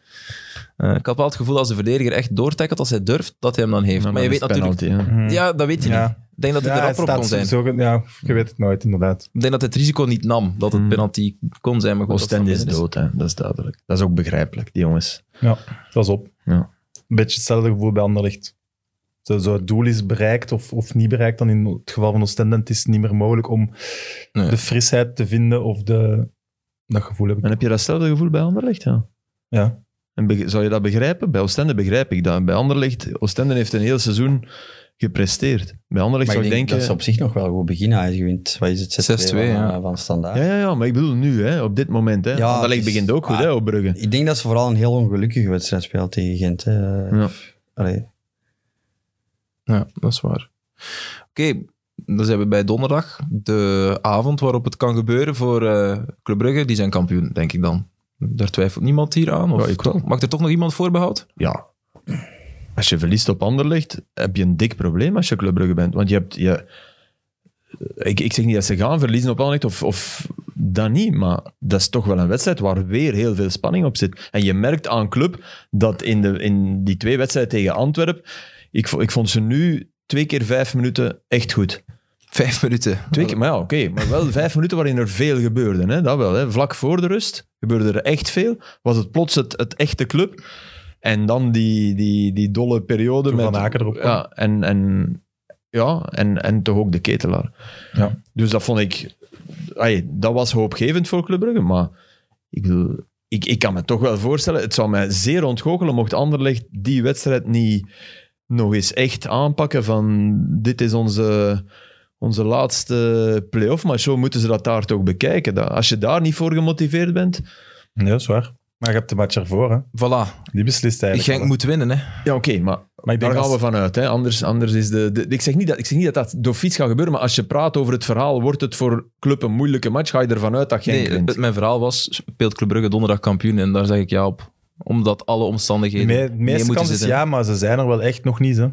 Speaker 1: Eh, ik had wel het gevoel als de verdediger echt doortackelt als hij durft, dat hij hem dan heeft.
Speaker 4: Ja,
Speaker 1: maar je
Speaker 4: dat
Speaker 1: weet
Speaker 4: is
Speaker 1: natuurlijk...
Speaker 4: penalty, hè.
Speaker 1: Ja, dat weet je
Speaker 2: Mhm. Ja.
Speaker 1: niet. Ik denk dat hij
Speaker 2: Ja,
Speaker 1: er
Speaker 2: het
Speaker 1: rapper op kon
Speaker 2: staat
Speaker 1: zijn.
Speaker 2: zo, ja, je weet het nooit, inderdaad.
Speaker 1: Ik denk dat hij het risico niet nam dat het
Speaker 4: Hmm.
Speaker 1: penalty kon zijn. Maar goed, dat
Speaker 4: Oostende
Speaker 1: van
Speaker 4: is
Speaker 1: binnen
Speaker 4: dood, hè. dat is duidelijk. Dat is ook begrijpelijk, die jongens.
Speaker 2: Ja, dat is op.
Speaker 4: Ja.
Speaker 2: Een beetje hetzelfde gevoel bij Anderlicht. Zo, zo het doel is bereikt of, of niet bereikt, dan in het geval van Oostende het is niet meer mogelijk om
Speaker 1: Nee.
Speaker 2: de frisheid te vinden of de... Dat gevoel heb ik.
Speaker 4: En heb je datzelfde gevoel bij Anderlecht? Ja.
Speaker 2: Ja.
Speaker 4: En be- zou je dat begrijpen? Bij Oostende begrijp ik dat. Bij Anderlecht, Oostende heeft een heel seizoen gepresteerd. Bij Anderlecht
Speaker 3: Maar
Speaker 4: zou
Speaker 3: ik denk
Speaker 4: denken...
Speaker 3: dat ze op zich nog wel goed beginnen. Hij gewint, wat is het, 6-2 van,
Speaker 1: 6-2, ja.
Speaker 3: eh, van standaard.
Speaker 4: Ja, ja, ja, maar ik bedoel nu, hè, op dit moment. Hè.
Speaker 3: Ja,
Speaker 4: Anderlecht
Speaker 3: het is-
Speaker 4: begint ook goed
Speaker 3: ah,
Speaker 4: hè, op Brugge.
Speaker 3: Ik denk dat ze vooral een heel ongelukkige wedstrijd speelt tegen Gent. Hè.
Speaker 4: Ja.
Speaker 3: Allee.
Speaker 1: Ja, dat is waar. Oké, dan zijn we bij donderdag. De avond waarop het kan gebeuren voor eh Club Brugge. Die zijn kampioen, denk ik dan. Daar twijfelt niemand hier aan. Of
Speaker 4: Ja, ik
Speaker 1: toch-
Speaker 4: wel.
Speaker 1: maakt er toch nog iemand voorbehoud?
Speaker 4: ja, als je verliest op Anderlecht, heb je een dik probleem als je Club Brugge bent. Want je hebt... Je, ik, ik zeg niet dat ze gaan verliezen op Anderlecht of, of dat niet, maar dat is toch wel een wedstrijd waar weer heel veel spanning op zit. En je merkt aan Club dat in, de, in die twee wedstrijden tegen Antwerpen, ik, vo- ik vond ze nu twee keer vijf minuten echt goed.
Speaker 1: Vijf minuten.
Speaker 4: Twee keer, maar ja, oké. Maar wel vijf minuten waarin er veel gebeurde. Hè? Dat wel. Hè? Vlak voor de rust gebeurde er echt veel. Was het plots het, het echte club. En dan die, die, die dolle periode
Speaker 2: Toen
Speaker 4: met...
Speaker 2: Van Aken erop kwam.
Speaker 4: Ja, en, en, ja en, en toch ook de ketelaar.
Speaker 1: Ja.
Speaker 4: Dus dat vond ik... ai, dat was hoopgevend voor Club Brugge, maar ik, bedoel, ik, ik kan me toch wel voorstellen... Het zou mij zeer ontgoochelen mocht Anderlecht die wedstrijd niet nog eens echt aanpakken van dit is onze, onze laatste play-off, maar zo moeten ze dat daar toch bekijken. Dat, als je daar niet voor gemotiveerd bent...
Speaker 2: Nee, dat is waar. Maar je hebt de match ervoor, hè.
Speaker 1: Voilà.
Speaker 2: Die beslist eigenlijk.
Speaker 1: Genk
Speaker 2: alles.
Speaker 1: moet winnen, hè.
Speaker 4: Ja, oké, maar
Speaker 2: Maar ik
Speaker 4: daar
Speaker 2: denk
Speaker 4: gaan
Speaker 2: als-
Speaker 4: we vanuit. Hè? Anders, anders is de, de- ik, zeg niet dat, ik zeg niet dat dat door fiets gaat gebeuren, maar als je praat over het verhaal, wordt het voor club een moeilijke match, ga je ervan uit dat Genk
Speaker 1: Nee,
Speaker 4: wint.
Speaker 1: het- mijn verhaal was, speelt Club Brugge donderdag kampioen? En daar zeg ik ja op. Omdat alle omstandigheden
Speaker 2: Me- De
Speaker 1: mee
Speaker 2: meeste
Speaker 1: moeten
Speaker 2: kans is
Speaker 1: zitten.
Speaker 2: ja, maar ze zijn er wel echt nog niet, hè.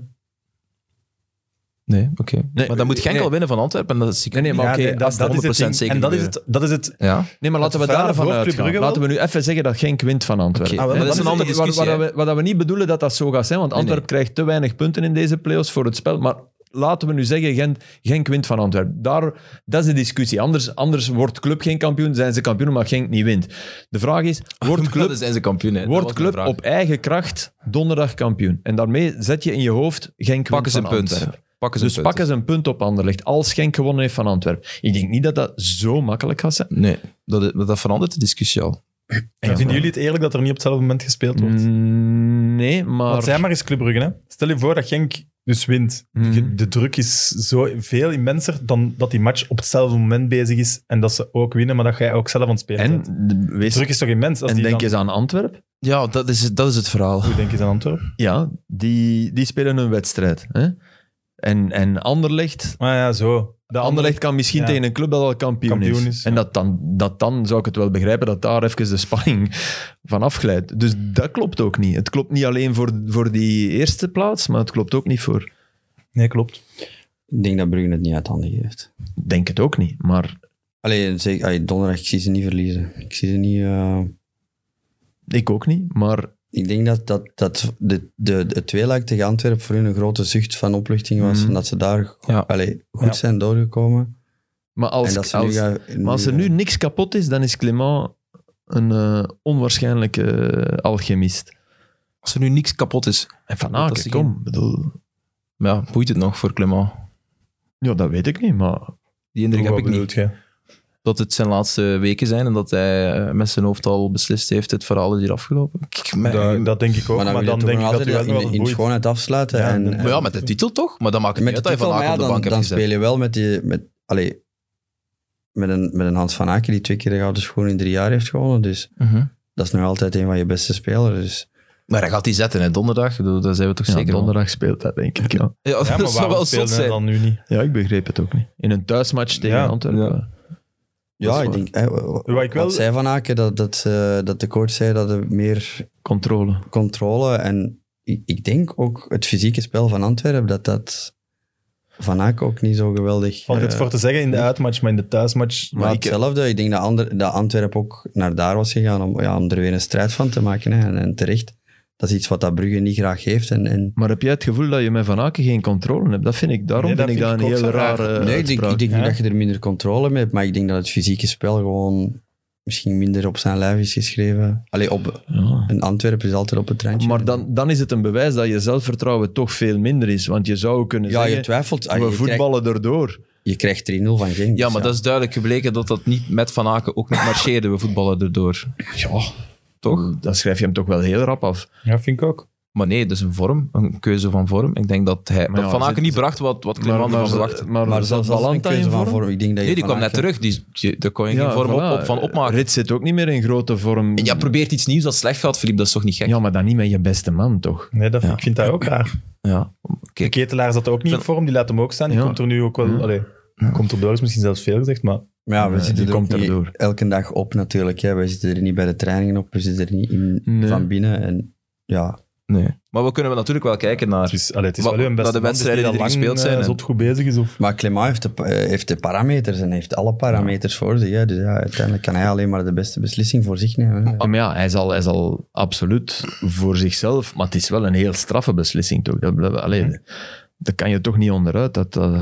Speaker 1: Nee, oké. maar dan moet Genk
Speaker 4: nee.
Speaker 1: al winnen van Antwerpen. En dat is
Speaker 4: Nee, nee, maar
Speaker 2: Ja,
Speaker 4: oké,
Speaker 2: nee,
Speaker 4: dat,
Speaker 1: dat-
Speaker 2: is
Speaker 4: dat,
Speaker 2: het
Speaker 1: 100%
Speaker 2: ding.
Speaker 1: zeker
Speaker 2: En dat is,
Speaker 1: gebeuren.
Speaker 2: het, dat is het...
Speaker 1: Ja.
Speaker 4: nee, maar laten we
Speaker 2: het vuile
Speaker 4: daarvan
Speaker 2: voor Club
Speaker 4: uitgaan.
Speaker 2: Brugge
Speaker 4: Laten we nu even zeggen dat Genk wint van Antwerpen.
Speaker 1: Oké,
Speaker 2: Ah, wel,
Speaker 1: nee,
Speaker 2: maar
Speaker 1: dat is
Speaker 2: dan
Speaker 1: een
Speaker 2: is
Speaker 1: andere
Speaker 2: het-
Speaker 4: Waar,
Speaker 1: discussie. hè.
Speaker 4: waar we, wat we niet bedoelen dat dat zo gaat zijn, want
Speaker 1: Nee,
Speaker 4: Antwerpen krijgt te weinig punten in deze play-offs voor het spel. Maar laten we nu zeggen, Genk, Genk wint van Antwerpen. Daar, dat is de discussie. Anders, anders wordt Club geen kampioen, zijn ze kampioen, maar Genk niet wint. De vraag is, wordt
Speaker 1: Maar
Speaker 4: Club
Speaker 1: dan zijn ze kampioen, hè. Dat
Speaker 4: Wordt
Speaker 1: was mijn
Speaker 4: club
Speaker 1: vraag.
Speaker 4: op eigen kracht donderdag kampioen. En daarmee zet je in je hoofd Genk
Speaker 1: Pakken ze een
Speaker 4: wint van
Speaker 1: punt.
Speaker 4: Antwerpen.
Speaker 1: Pakken ze
Speaker 4: Dus
Speaker 1: een punt.
Speaker 4: pakken ze een punt op Anderlecht als Genk gewonnen heeft van Antwerpen. Ik denk niet dat dat zo makkelijk gaat zijn.
Speaker 1: Nee, dat, dat verandert de discussie al.
Speaker 2: En vinden jullie het eerlijk dat er niet op hetzelfde moment gespeeld wordt?
Speaker 4: Mm, Nee,
Speaker 2: Want zij
Speaker 4: maar...
Speaker 2: maar eens Club Brugge, hè. Stel je voor dat Genk dus wint.
Speaker 4: Mhm.
Speaker 2: De- De druk is zo veel immenser dan dat die match op hetzelfde moment bezig is en dat ze ook winnen, maar dat jij ook zelf aan het spelen
Speaker 4: En,
Speaker 2: bent.
Speaker 4: de-
Speaker 2: De
Speaker 4: wees,
Speaker 2: druk is toch immens? Als
Speaker 4: en
Speaker 2: die
Speaker 4: denk
Speaker 2: dan-
Speaker 4: eens aan Antwerpen.
Speaker 1: Ja, dat is, dat is het verhaal.
Speaker 2: Hoe denk je aan Antwerpen?
Speaker 4: Ja, die, die spelen een wedstrijd. Hè? En, en Anderlecht...
Speaker 2: Ah ja, zo. De
Speaker 4: Anderlecht kan misschien
Speaker 2: Ja.
Speaker 4: tegen een club dat al kampioen,
Speaker 2: Kampioen
Speaker 4: is.
Speaker 2: is,
Speaker 4: En
Speaker 2: ja.
Speaker 4: dat dan, dat dan zou ik het wel begrijpen dat daar even de spanning van afglijdt. Dus dat klopt ook niet. Het klopt niet alleen voor, voor die eerste plaats, maar het klopt ook niet voor.
Speaker 2: Nee, klopt.
Speaker 3: Ik denk dat Brugge het niet uit handen geeft.
Speaker 4: Ik Denk het ook niet. Maar
Speaker 3: Allee, zeker, allee, donderdag, ik zie ze niet verliezen. Ik zie ze niet... eh,
Speaker 4: ik ook niet. Maar
Speaker 3: Ik denk dat, dat, dat de, de, het tweeluik tegen Antwerpen voor hun een grote zucht van opluchting was.
Speaker 4: Mhm.
Speaker 3: En dat ze daar
Speaker 1: Ja.
Speaker 3: allee, goed
Speaker 2: Ja.
Speaker 3: zijn doorgekomen.
Speaker 4: Maar als,
Speaker 3: en dat ze
Speaker 4: als,
Speaker 3: nu gaan,
Speaker 4: maar als er nu niks kapot is, dan is Clément een eh, onwaarschijnlijke eh, alchemist.
Speaker 1: Als er nu niks kapot is,
Speaker 4: En Van
Speaker 1: Dat
Speaker 4: Aken,
Speaker 1: ze
Speaker 4: kom. Bedoel,
Speaker 1: ja, boeit het nog voor Clement.
Speaker 4: ja, dat weet ik niet, maar...
Speaker 1: Die indruk heb
Speaker 2: Wat
Speaker 1: ik niet.
Speaker 2: bedoelt jij?
Speaker 1: dat het zijn laatste weken zijn en dat hij eh, met zijn hoofd al beslist heeft, het verhaal is hier afgelopen. Kijk, maar,
Speaker 2: Dat, dat denk ik ook,
Speaker 3: Maar dan,
Speaker 2: maar dan
Speaker 3: wil je
Speaker 2: denk ik
Speaker 3: toch
Speaker 2: dat
Speaker 3: nog
Speaker 2: u wel
Speaker 3: altijd in,
Speaker 2: wel
Speaker 3: in, in
Speaker 2: boeit.
Speaker 3: schoonheid afsluiten.
Speaker 2: Ja,
Speaker 3: en,
Speaker 2: dat-
Speaker 3: en-
Speaker 1: maar ja, met de titel toch? Maar dat maakt het
Speaker 3: met
Speaker 1: niet
Speaker 3: de
Speaker 1: uit dat je
Speaker 3: titel,
Speaker 1: Van Aken
Speaker 3: maar ja,
Speaker 1: op de bank
Speaker 3: dan, dan
Speaker 1: hebt
Speaker 3: speel
Speaker 1: gezet.
Speaker 3: je wel met die... Met, allee, met een, met een Hans van Aken die twee keer de gouden schoen in drie jaar heeft gewonnen. Dus
Speaker 1: Mhm.
Speaker 3: dat is nog altijd een van je beste spelers. Dus
Speaker 1: Maar hij gaat die zetten, hè, donderdag. Ik bedoel, Daar zijn we toch
Speaker 4: Ja,
Speaker 1: zeker van.
Speaker 4: donderdag speelt dat, denk ik. Ja.
Speaker 1: Ja,
Speaker 2: Ja,
Speaker 1: dat
Speaker 2: maar
Speaker 1: zou wel
Speaker 2: waarom
Speaker 1: zot
Speaker 2: speelde hij
Speaker 1: zijn.
Speaker 2: dan nu niet?
Speaker 4: ja, ik begreep het ook niet. In een thuismatch tegen
Speaker 2: Ja.
Speaker 4: Antwerpen.
Speaker 1: Ja.
Speaker 3: ja,
Speaker 1: is
Speaker 3: ik
Speaker 1: waar.
Speaker 3: denk... eh, wa- wa-
Speaker 2: Wat ik wel-
Speaker 3: Wat zei Van Aken, dat, dat, ze- dat de coach zei dat er meer
Speaker 4: Controle.
Speaker 3: controle en ik, ik denk ook het fysieke spel van Antwerpen, dat dat Van Aken ook niet zo geweldig...
Speaker 2: Valt
Speaker 3: eh,
Speaker 2: het voor te zeggen in de uitmatch, maar in de thuismatch...
Speaker 3: maar hetzelfde, ik denk dat, ander, dat Antwerpen ook naar daar was gegaan om, ja, om er weer een strijd van te maken. Hè, en, en terecht, dat is iets wat dat Brugge niet graag heeft. En, en
Speaker 4: Maar heb jij het gevoel dat je met Van Aken geen controle hebt? Dat vind ik, daarom
Speaker 2: Nee, dat
Speaker 4: vind ik dat
Speaker 2: vind
Speaker 4: een
Speaker 2: ik ook
Speaker 4: heel
Speaker 2: zo raar.
Speaker 4: rare
Speaker 3: nee, ik denk,
Speaker 4: uitspraak.
Speaker 3: ik denk
Speaker 2: hè?
Speaker 3: niet dat je er minder controle mee hebt, maar ik denk dat het fysieke spel gewoon misschien minder op zijn lijf is geschreven. Allee, op,
Speaker 4: Ja.
Speaker 3: en Antwerpen is altijd op het treintje.
Speaker 4: Maar dan, dan is het een bewijs dat je zelfvertrouwen toch veel minder is. Want je zou kunnen
Speaker 3: ja, je
Speaker 4: zeggen,
Speaker 3: twijfelt. Ah,
Speaker 4: we
Speaker 3: je, krijgt,
Speaker 4: voetballen erdoor.
Speaker 3: je krijgt 3-0 van Genk.
Speaker 1: Ja,
Speaker 3: dus
Speaker 1: maar dat is duidelijk gebleken dat dat niet met Van Aken ook niet marcheerde. We voetballen erdoor.
Speaker 4: Ja,
Speaker 1: Toch?
Speaker 4: Dan schrijf je hem toch wel heel rap af.
Speaker 2: Ja, vind ik ook.
Speaker 1: Maar nee, dat is een vorm, een keuze van vorm. Ik denk dat, hij,
Speaker 4: Maar
Speaker 1: dat
Speaker 4: ja,
Speaker 1: Van Aken
Speaker 4: zit-
Speaker 1: niet bracht wat, wat Clement ervan verwachtte.
Speaker 4: maar,
Speaker 3: Maar
Speaker 4: zat
Speaker 3: zelfs als het een
Speaker 4: Balanta in
Speaker 3: keuze van
Speaker 4: vorm?
Speaker 3: vorm, ik denk dat je
Speaker 1: Nee, die kwam
Speaker 3: Van
Speaker 1: net
Speaker 3: Aken-
Speaker 1: terug. Die, die- daar kon je geen vorm op,
Speaker 4: voilà.
Speaker 1: op- van opmaken.
Speaker 4: Rit zit ook niet meer in grote vorm.
Speaker 1: Ja, probeert iets nieuws dat slecht gaat, Filip. Dat is toch niet gek?
Speaker 4: Ja, maar dan niet met je beste man, toch?
Speaker 2: Nee, dat,
Speaker 1: Ja.
Speaker 2: ik vind dat ook raar.
Speaker 1: Ja.
Speaker 2: De ketelaar zat er ook niet in vorm, die laat hem ook staan. Die
Speaker 4: Ja.
Speaker 2: komt er nu ook wel...
Speaker 4: Ja.
Speaker 2: Allee, komt er door, is misschien zelfs veel gezegd, maar
Speaker 3: Maar ja, we
Speaker 4: Nee,
Speaker 3: zitten
Speaker 4: die
Speaker 3: er ook
Speaker 4: komt
Speaker 3: niet
Speaker 4: erdoor.
Speaker 3: elke dag op natuurlijk. Hè. Wij zitten er niet bij de trainingen op, we zitten er niet in,
Speaker 4: Nee.
Speaker 3: van binnen. En ja,
Speaker 1: Nee. Maar we kunnen wel natuurlijk wel kijken
Speaker 2: Het
Speaker 1: naar...
Speaker 2: is, allee, het is
Speaker 1: Wat-
Speaker 2: wel een beste
Speaker 1: dat de
Speaker 2: man, het is
Speaker 1: wedstrijden die
Speaker 2: niet dat
Speaker 1: er
Speaker 2: lang,
Speaker 1: gespeeld zijn,
Speaker 2: eh,
Speaker 1: hè.
Speaker 2: zot goed bezig is. Of,
Speaker 3: maar Clément heeft de, pa- eh, heeft de parameters en heeft alle parameters voor zich. Hè. Dus ja, uiteindelijk kan hij alleen maar de beste beslissing voor zich nemen. hè.
Speaker 4: Ja, Oh, maar ja, hij zal, hij zal absoluut voor zichzelf... Maar het is wel een heel straffe beslissing, toch? Dat, dat, allee,
Speaker 1: Hm.
Speaker 4: dat kan je toch niet onderuit. Dat, dat,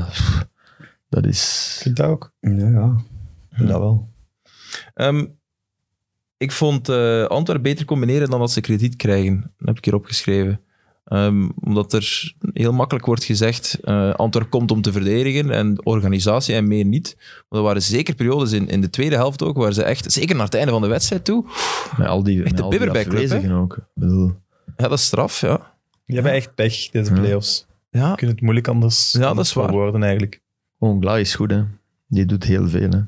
Speaker 4: dat is...
Speaker 2: ik vind dat ook.
Speaker 3: Ja, ja, dat wel.
Speaker 1: Ehm, ik vond eh Antwerpen beter combineren dan dat ze krediet krijgen. Dat heb ik hier opgeschreven. Ehm, omdat er heel makkelijk wordt gezegd, eh Antwerpen komt om te verdedigen en organisatie en meer niet. Maar er waren zeker periodes in, in de tweede helft ook, waar ze echt, zeker naar het einde van de wedstrijd toe,
Speaker 4: Met al die, met
Speaker 1: de
Speaker 4: al die
Speaker 1: Bibberbeck-club, hè?
Speaker 4: afwezigen ook. Ik bedoel,
Speaker 1: ja, dat is straf, ja.
Speaker 2: Je hebt echt pech, deze
Speaker 4: Ja.
Speaker 2: playoffs.
Speaker 1: Ja,
Speaker 2: Je kunt het moeilijk anders,
Speaker 1: Ja, dat
Speaker 2: anders
Speaker 1: is waar.
Speaker 2: verwoorden eigenlijk.
Speaker 4: Ongla is goed, hè. Die doet heel veel, hè.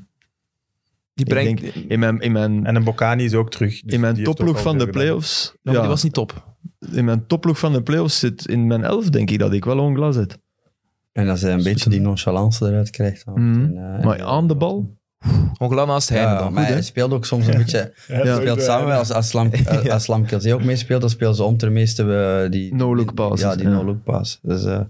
Speaker 1: die
Speaker 4: Ik
Speaker 1: brengt...
Speaker 4: denk, in mijn, in mijn,
Speaker 2: En een Bocani is ook terug. dus
Speaker 4: in mijn
Speaker 2: die heeft ook
Speaker 4: topploeg
Speaker 2: al
Speaker 4: van
Speaker 2: veel
Speaker 4: de
Speaker 2: gedaan.
Speaker 4: playoffs...
Speaker 1: Ja, maar
Speaker 4: Ja,
Speaker 1: die was niet top.
Speaker 4: In mijn topploeg van de playoffs zit in mijn elf, denk ik, dat ik wel Ongla zet.
Speaker 3: En dat ze een beetje die nonchalance eruit krijgt. dan.
Speaker 4: Dus Mhm.
Speaker 3: En, eh,
Speaker 4: Maar aan de bal?
Speaker 1: Ongelaan naast
Speaker 3: Ja,
Speaker 1: Heine dan.
Speaker 3: maar
Speaker 4: hè?
Speaker 3: hij speelt ook soms een beetje...
Speaker 2: Ja,
Speaker 3: Hij
Speaker 2: dat is
Speaker 3: speelt
Speaker 2: ook,
Speaker 3: samen,
Speaker 2: eh,
Speaker 3: als, als Lam, eh, als Lam Kelsey ook meespeelt, dan speelt ze om ter meeste eh, die...
Speaker 4: No-look passes,
Speaker 3: Ja, die
Speaker 4: ja.
Speaker 3: no-look pass. Dus eh,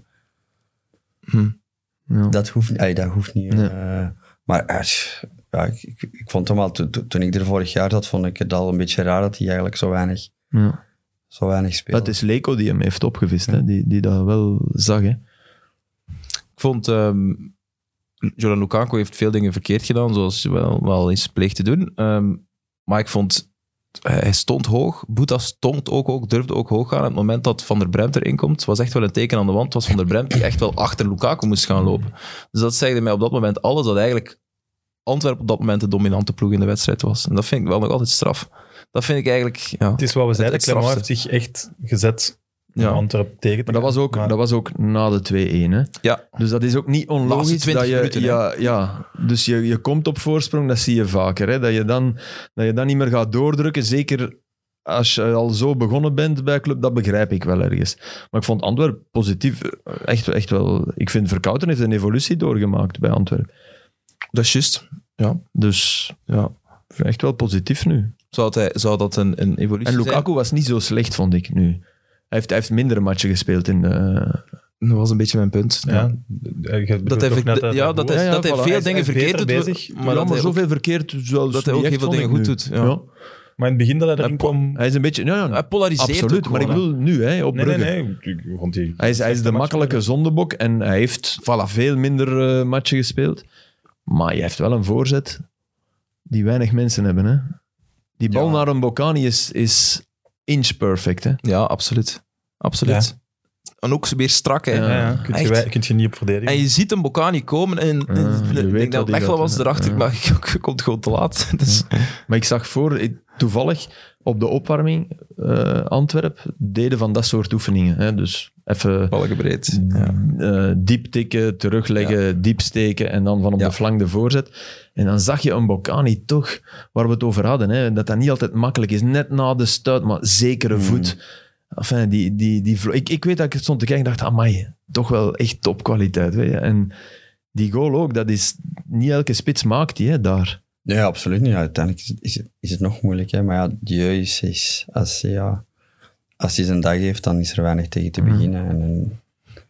Speaker 4: Ja.
Speaker 3: dat hoeft niet. ey, dat hoeft niet.
Speaker 4: Nee.
Speaker 3: eh, maar eh, tch, ja, ik, ik, ik vond hem al... Toen, toen- toen ik er vorig jaar zat, vond ik het al een beetje raar dat hij eigenlijk zo weinig,
Speaker 4: ja.
Speaker 3: zo weinig
Speaker 4: Maar
Speaker 3: speelde.
Speaker 4: Het is Leko die hem heeft opgevist, hè? Die, die dat wel zag. Hè?
Speaker 1: Ik vond... ehm Jordan Lukaku heeft veel dingen verkeerd gedaan, zoals hij wel, wel eens pleegt te doen. Ehm, maar ik vond... eh, Hij stond hoog. Boeta stond ook hoog, durfde ook hoog gaan. Op het moment dat Van der Bremt erin komt, was echt wel een teken aan de wand. Het was Van der Bremt die echt wel achter Lukaku moest gaan lopen. Dus dat zegde mij op dat moment alles dat eigenlijk Antwerpen op dat moment de dominante ploeg in de wedstrijd was. En dat vind ik wel nog altijd straf. Dat vind ik eigenlijk... Ja,
Speaker 2: Het is wat we zeiden,
Speaker 1: het
Speaker 2: Clement heeft
Speaker 1: strafste.
Speaker 2: zich echt gezet om
Speaker 1: ja.
Speaker 2: Antwerpen tegen te
Speaker 4: Maar dat was, ook,
Speaker 2: Maar-
Speaker 4: dat was ook na de 2-1. Hè?
Speaker 1: Ja.
Speaker 4: Dus dat is ook niet
Speaker 1: Laatste
Speaker 4: onlogisch.
Speaker 1: 20
Speaker 4: Dat je,
Speaker 1: minuten, hè?
Speaker 4: ja, ja, dus je, je komt op voorsprong, dat zie je vaker. Hè? Dat, je dan, dat je dan niet meer gaat doordrukken. Zeker als je al zo begonnen bent bij club, dat begrijp ik wel ergens. Maar ik vond Antwerp positief. eh, Echt, echt wel. Ik vind Verkouten heeft een evolutie doorgemaakt bij Antwerp.
Speaker 1: Dat is juist.
Speaker 4: Dus
Speaker 1: Ja.
Speaker 4: echt wel positief nu.
Speaker 1: Zou, dat hij, zou dat een, een evolutie
Speaker 4: En
Speaker 1: Dus zijn?
Speaker 4: Lukaku was niet zo slecht, vond ik nu. Hij heeft, hij heeft mindere matchen gespeeld in eh, de...
Speaker 1: Dat was een beetje mijn punt.
Speaker 2: Ja. Eh,
Speaker 1: Ja.
Speaker 2: dat
Speaker 1: Dat hij,
Speaker 2: heeft,
Speaker 1: ver- ja, dat hij,
Speaker 4: Ja, ja,
Speaker 1: dat hij
Speaker 4: voilà.
Speaker 1: veel
Speaker 4: Hij is-
Speaker 1: dingen
Speaker 2: hij is
Speaker 1: verkeerd doet.
Speaker 2: beter
Speaker 1: we-
Speaker 2: bezig.
Speaker 1: Maar dat hij, ook,
Speaker 4: zoveel verkeerd. zelfs
Speaker 1: dat hij ook
Speaker 4: niet
Speaker 1: heel
Speaker 4: echt,
Speaker 1: veel
Speaker 4: vond
Speaker 1: dingen
Speaker 4: ik
Speaker 1: goed
Speaker 4: nu.
Speaker 1: doet. Ja.
Speaker 4: Ja.
Speaker 2: Maar in het begin dat hij erin kwam...
Speaker 4: Hij is een beetje... Ja, ja,
Speaker 1: Hij polariseert
Speaker 4: absoluut,
Speaker 1: ook
Speaker 4: maar ik
Speaker 1: gewoon, hè.
Speaker 4: bedoel nu, hè, op
Speaker 2: Nee, nee,
Speaker 4: Brugge.
Speaker 2: nee. ik- ik vond die-
Speaker 4: Hij is, hij is de
Speaker 2: match
Speaker 4: makkelijke zondebok en hij heeft veel minder eh, matchen gespeeld. Maar hij heeft wel een voorzet die weinig mensen hebben. Hè. Die bal
Speaker 3: Ja.
Speaker 4: naar een Bocani is, is inch perfect. Hè.
Speaker 1: Ja, absoluut. Absoluut. En ook weer strak, hè.
Speaker 4: Ja.
Speaker 2: Ja, ja, Kun je,
Speaker 1: Echt.
Speaker 2: wij- kun je niet op
Speaker 1: En
Speaker 2: verdedigen.
Speaker 1: je ziet een Bocani komen en
Speaker 4: je
Speaker 1: ik
Speaker 4: weet
Speaker 1: denk
Speaker 4: dat
Speaker 1: dat
Speaker 4: die
Speaker 1: Mechelen
Speaker 4: dat-
Speaker 1: was erachter,
Speaker 4: ja.
Speaker 1: maar je komt gewoon te laat. Dus,
Speaker 4: Maar ik zag voor, ik- toevallig op de opwarming, eh Antwerp deden van dat soort oefeningen. Hè. Dus even
Speaker 1: Balkenbreed. Ja.
Speaker 4: eh, diep tikken, terugleggen, diep steken en dan van op
Speaker 1: Ja.
Speaker 4: de flank de voorzet. En dan zag je een Bocani toch, waar we het over hadden, hè, dat dat niet altijd makkelijk is. Net na de stuit, maar zekere voet. Enfin, die, die, die, vlo- ik, ik weet dat ik stond te kijken en dacht, amai, toch wel echt topkwaliteit. Weet je? En die goal ook, dat is, niet elke spits maakt die hè, daar.
Speaker 3: Nee, absoluut niet. Ja, Uiteindelijk is het, is het, is het nog moeilijk. Hè? Maar ja, Dieu is, is- als, hij, ja, als hij zijn dag heeft, dan is er weinig tegen
Speaker 4: Mhm.
Speaker 3: te beginnen. En, en-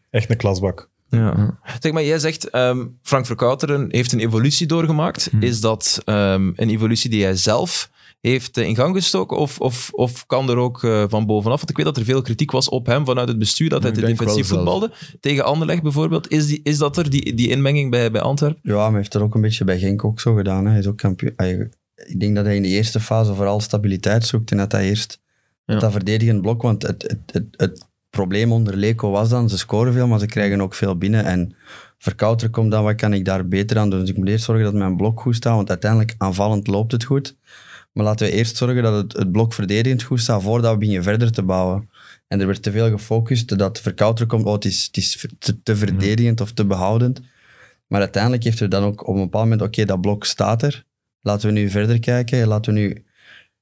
Speaker 2: Echt een klasbak.
Speaker 1: Ja. Zeg maar, jij zegt ehm, Frank Verkouteren heeft een evolutie doorgemaakt. Is dat ehm, een evolutie die hij zelf heeft eh, in gang gestoken? Of, of, of kan er ook eh, van bovenaf? Want ik weet dat er veel kritiek was op hem vanuit het bestuur dat hij
Speaker 4: Ik
Speaker 1: te
Speaker 4: denk wel
Speaker 1: defensief
Speaker 4: zelf.
Speaker 1: voetbalde. Tegen Anderlecht bijvoorbeeld. Is, die, is dat er, die, die inmenging bij, bij Antwerpen?
Speaker 3: ja, maar hij heeft dat ook een beetje bij Genk ook zo gedaan. Hè? Hij is ook kampioen. hij- ik denk dat hij in de eerste fase vooral stabiliteit zoekt en dat hij eerst
Speaker 4: Ja.
Speaker 3: dat verdedigend blok... Want het, het, het, het probleem onder Leko was dan, ze scoren veel, maar ze krijgen ook veel binnen. En verkouter komt dan, wat kan ik daar beter aan doen? Dus ik moet eerst zorgen dat mijn blok goed staat, want uiteindelijk aanvallend loopt het goed. Maar laten we eerst zorgen dat het, het blok verdedigend goed staat voordat we beginnen verder te bouwen. En er werd te veel gefocust dat verkouter komt, oh, het is, het is te, te verdedigend of te behoudend. Maar uiteindelijk heeft er dan ook op een bepaald moment, oké, dat blok staat er. Laten we nu verder kijken. Laten we nu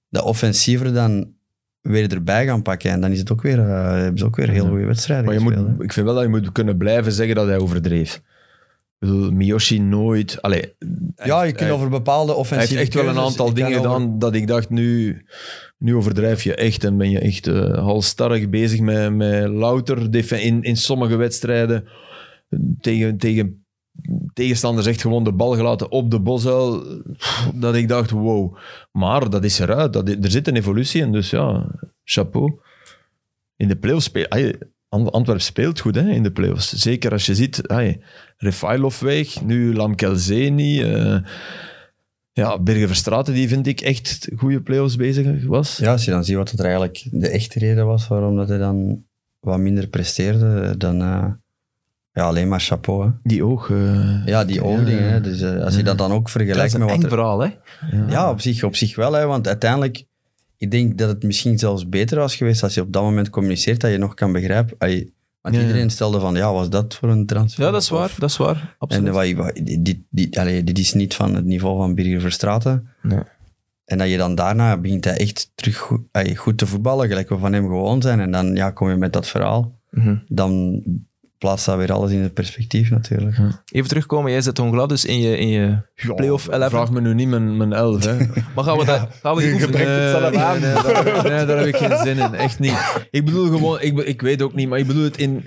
Speaker 3: dat offensiever dan weer erbij gaan pakken. En dan is het ook weer, eh, hebben ze ook weer heel
Speaker 4: Ja.
Speaker 3: goede wedstrijden
Speaker 4: Maar je
Speaker 3: gespeeld.
Speaker 4: moet, ik vind wel dat je moet kunnen blijven zeggen dat hij overdreef. Ik bedoel, Miyoshi nooit... Allee,
Speaker 3: Ja, je kunt
Speaker 4: hij-
Speaker 3: over bepaalde
Speaker 4: hij heeft
Speaker 3: offensieve
Speaker 4: echt wel een
Speaker 3: keuzes-
Speaker 4: aantal
Speaker 3: je kan
Speaker 4: dingen
Speaker 3: over-
Speaker 4: gedaan dat ik dacht, nu, nu overdrijf je echt en ben je echt eh halstarrig bezig met, met louter def- in, in sommige wedstrijden tegen, tegen tegenstanders echt gewoon de bal gelaten op de bosuil, dat ik dacht, wow. Maar dat is eruit, dat, i- er zit een evolutie in, dus ja, chapeau. In de playoffs speel... ai, Ant- Antwerp speelt goed hè, in de playoffs. Zeker als je ziet, ai, Refailov weg, nu Lamkelzeni, eh ja, Birger Verstraeten, die vind ik echt goede play-offs bezig was.
Speaker 3: Ja, als je dan ziet wat het er eigenlijk de echte reden was waarom dat hij dan wat minder presteerde, dan eh, ja, alleen maar chapeau. Hè.
Speaker 4: Die ook. eh,
Speaker 3: Ja, die oogdingen. Hè. Dus eh, als je dat dan ook
Speaker 1: Dat is
Speaker 3: vergelijkt
Speaker 1: een
Speaker 3: met wat
Speaker 1: eng
Speaker 3: er...
Speaker 1: verhaal, hè?
Speaker 3: Ja, op zich, op zich wel. Hè, want uiteindelijk, ik denk dat het misschien zelfs beter was geweest als je op dat moment communiceert dat je nog kan begrijpen. Ai, want
Speaker 4: Ja, ja.
Speaker 3: iedereen stelde van, ja, was dat voor een transfer?
Speaker 1: Ja, dat is
Speaker 3: Of-
Speaker 1: waar. Dat is waar. Absoluut.
Speaker 3: En eh, wat, wat, dit, dit, allee, dit is niet van het niveau van Birger Verstraeten.
Speaker 1: Nee.
Speaker 3: En dat je dan daarna begint hij echt terug goed, allee, goed te voetballen, gelijk we van hem gewoon zijn. En dan ja, kom je met dat verhaal.
Speaker 1: Mhm.
Speaker 3: Dan plaatst dat weer alles in het perspectief natuurlijk.
Speaker 1: Even terugkomen, jij zet Hongla dus in je, in je
Speaker 4: Ja,
Speaker 1: playoff 11.
Speaker 4: Vraag me nu niet mijn, mijn elf, hè.
Speaker 1: Maar gaan we, dat, gaan we die oefenen?
Speaker 2: brengt het zelf aan.
Speaker 4: Nee, nee, daar, nee, daar heb ik geen zin in. Echt niet. Ik bedoel gewoon, ik, be- ik weet ook niet, maar ik bedoel het in,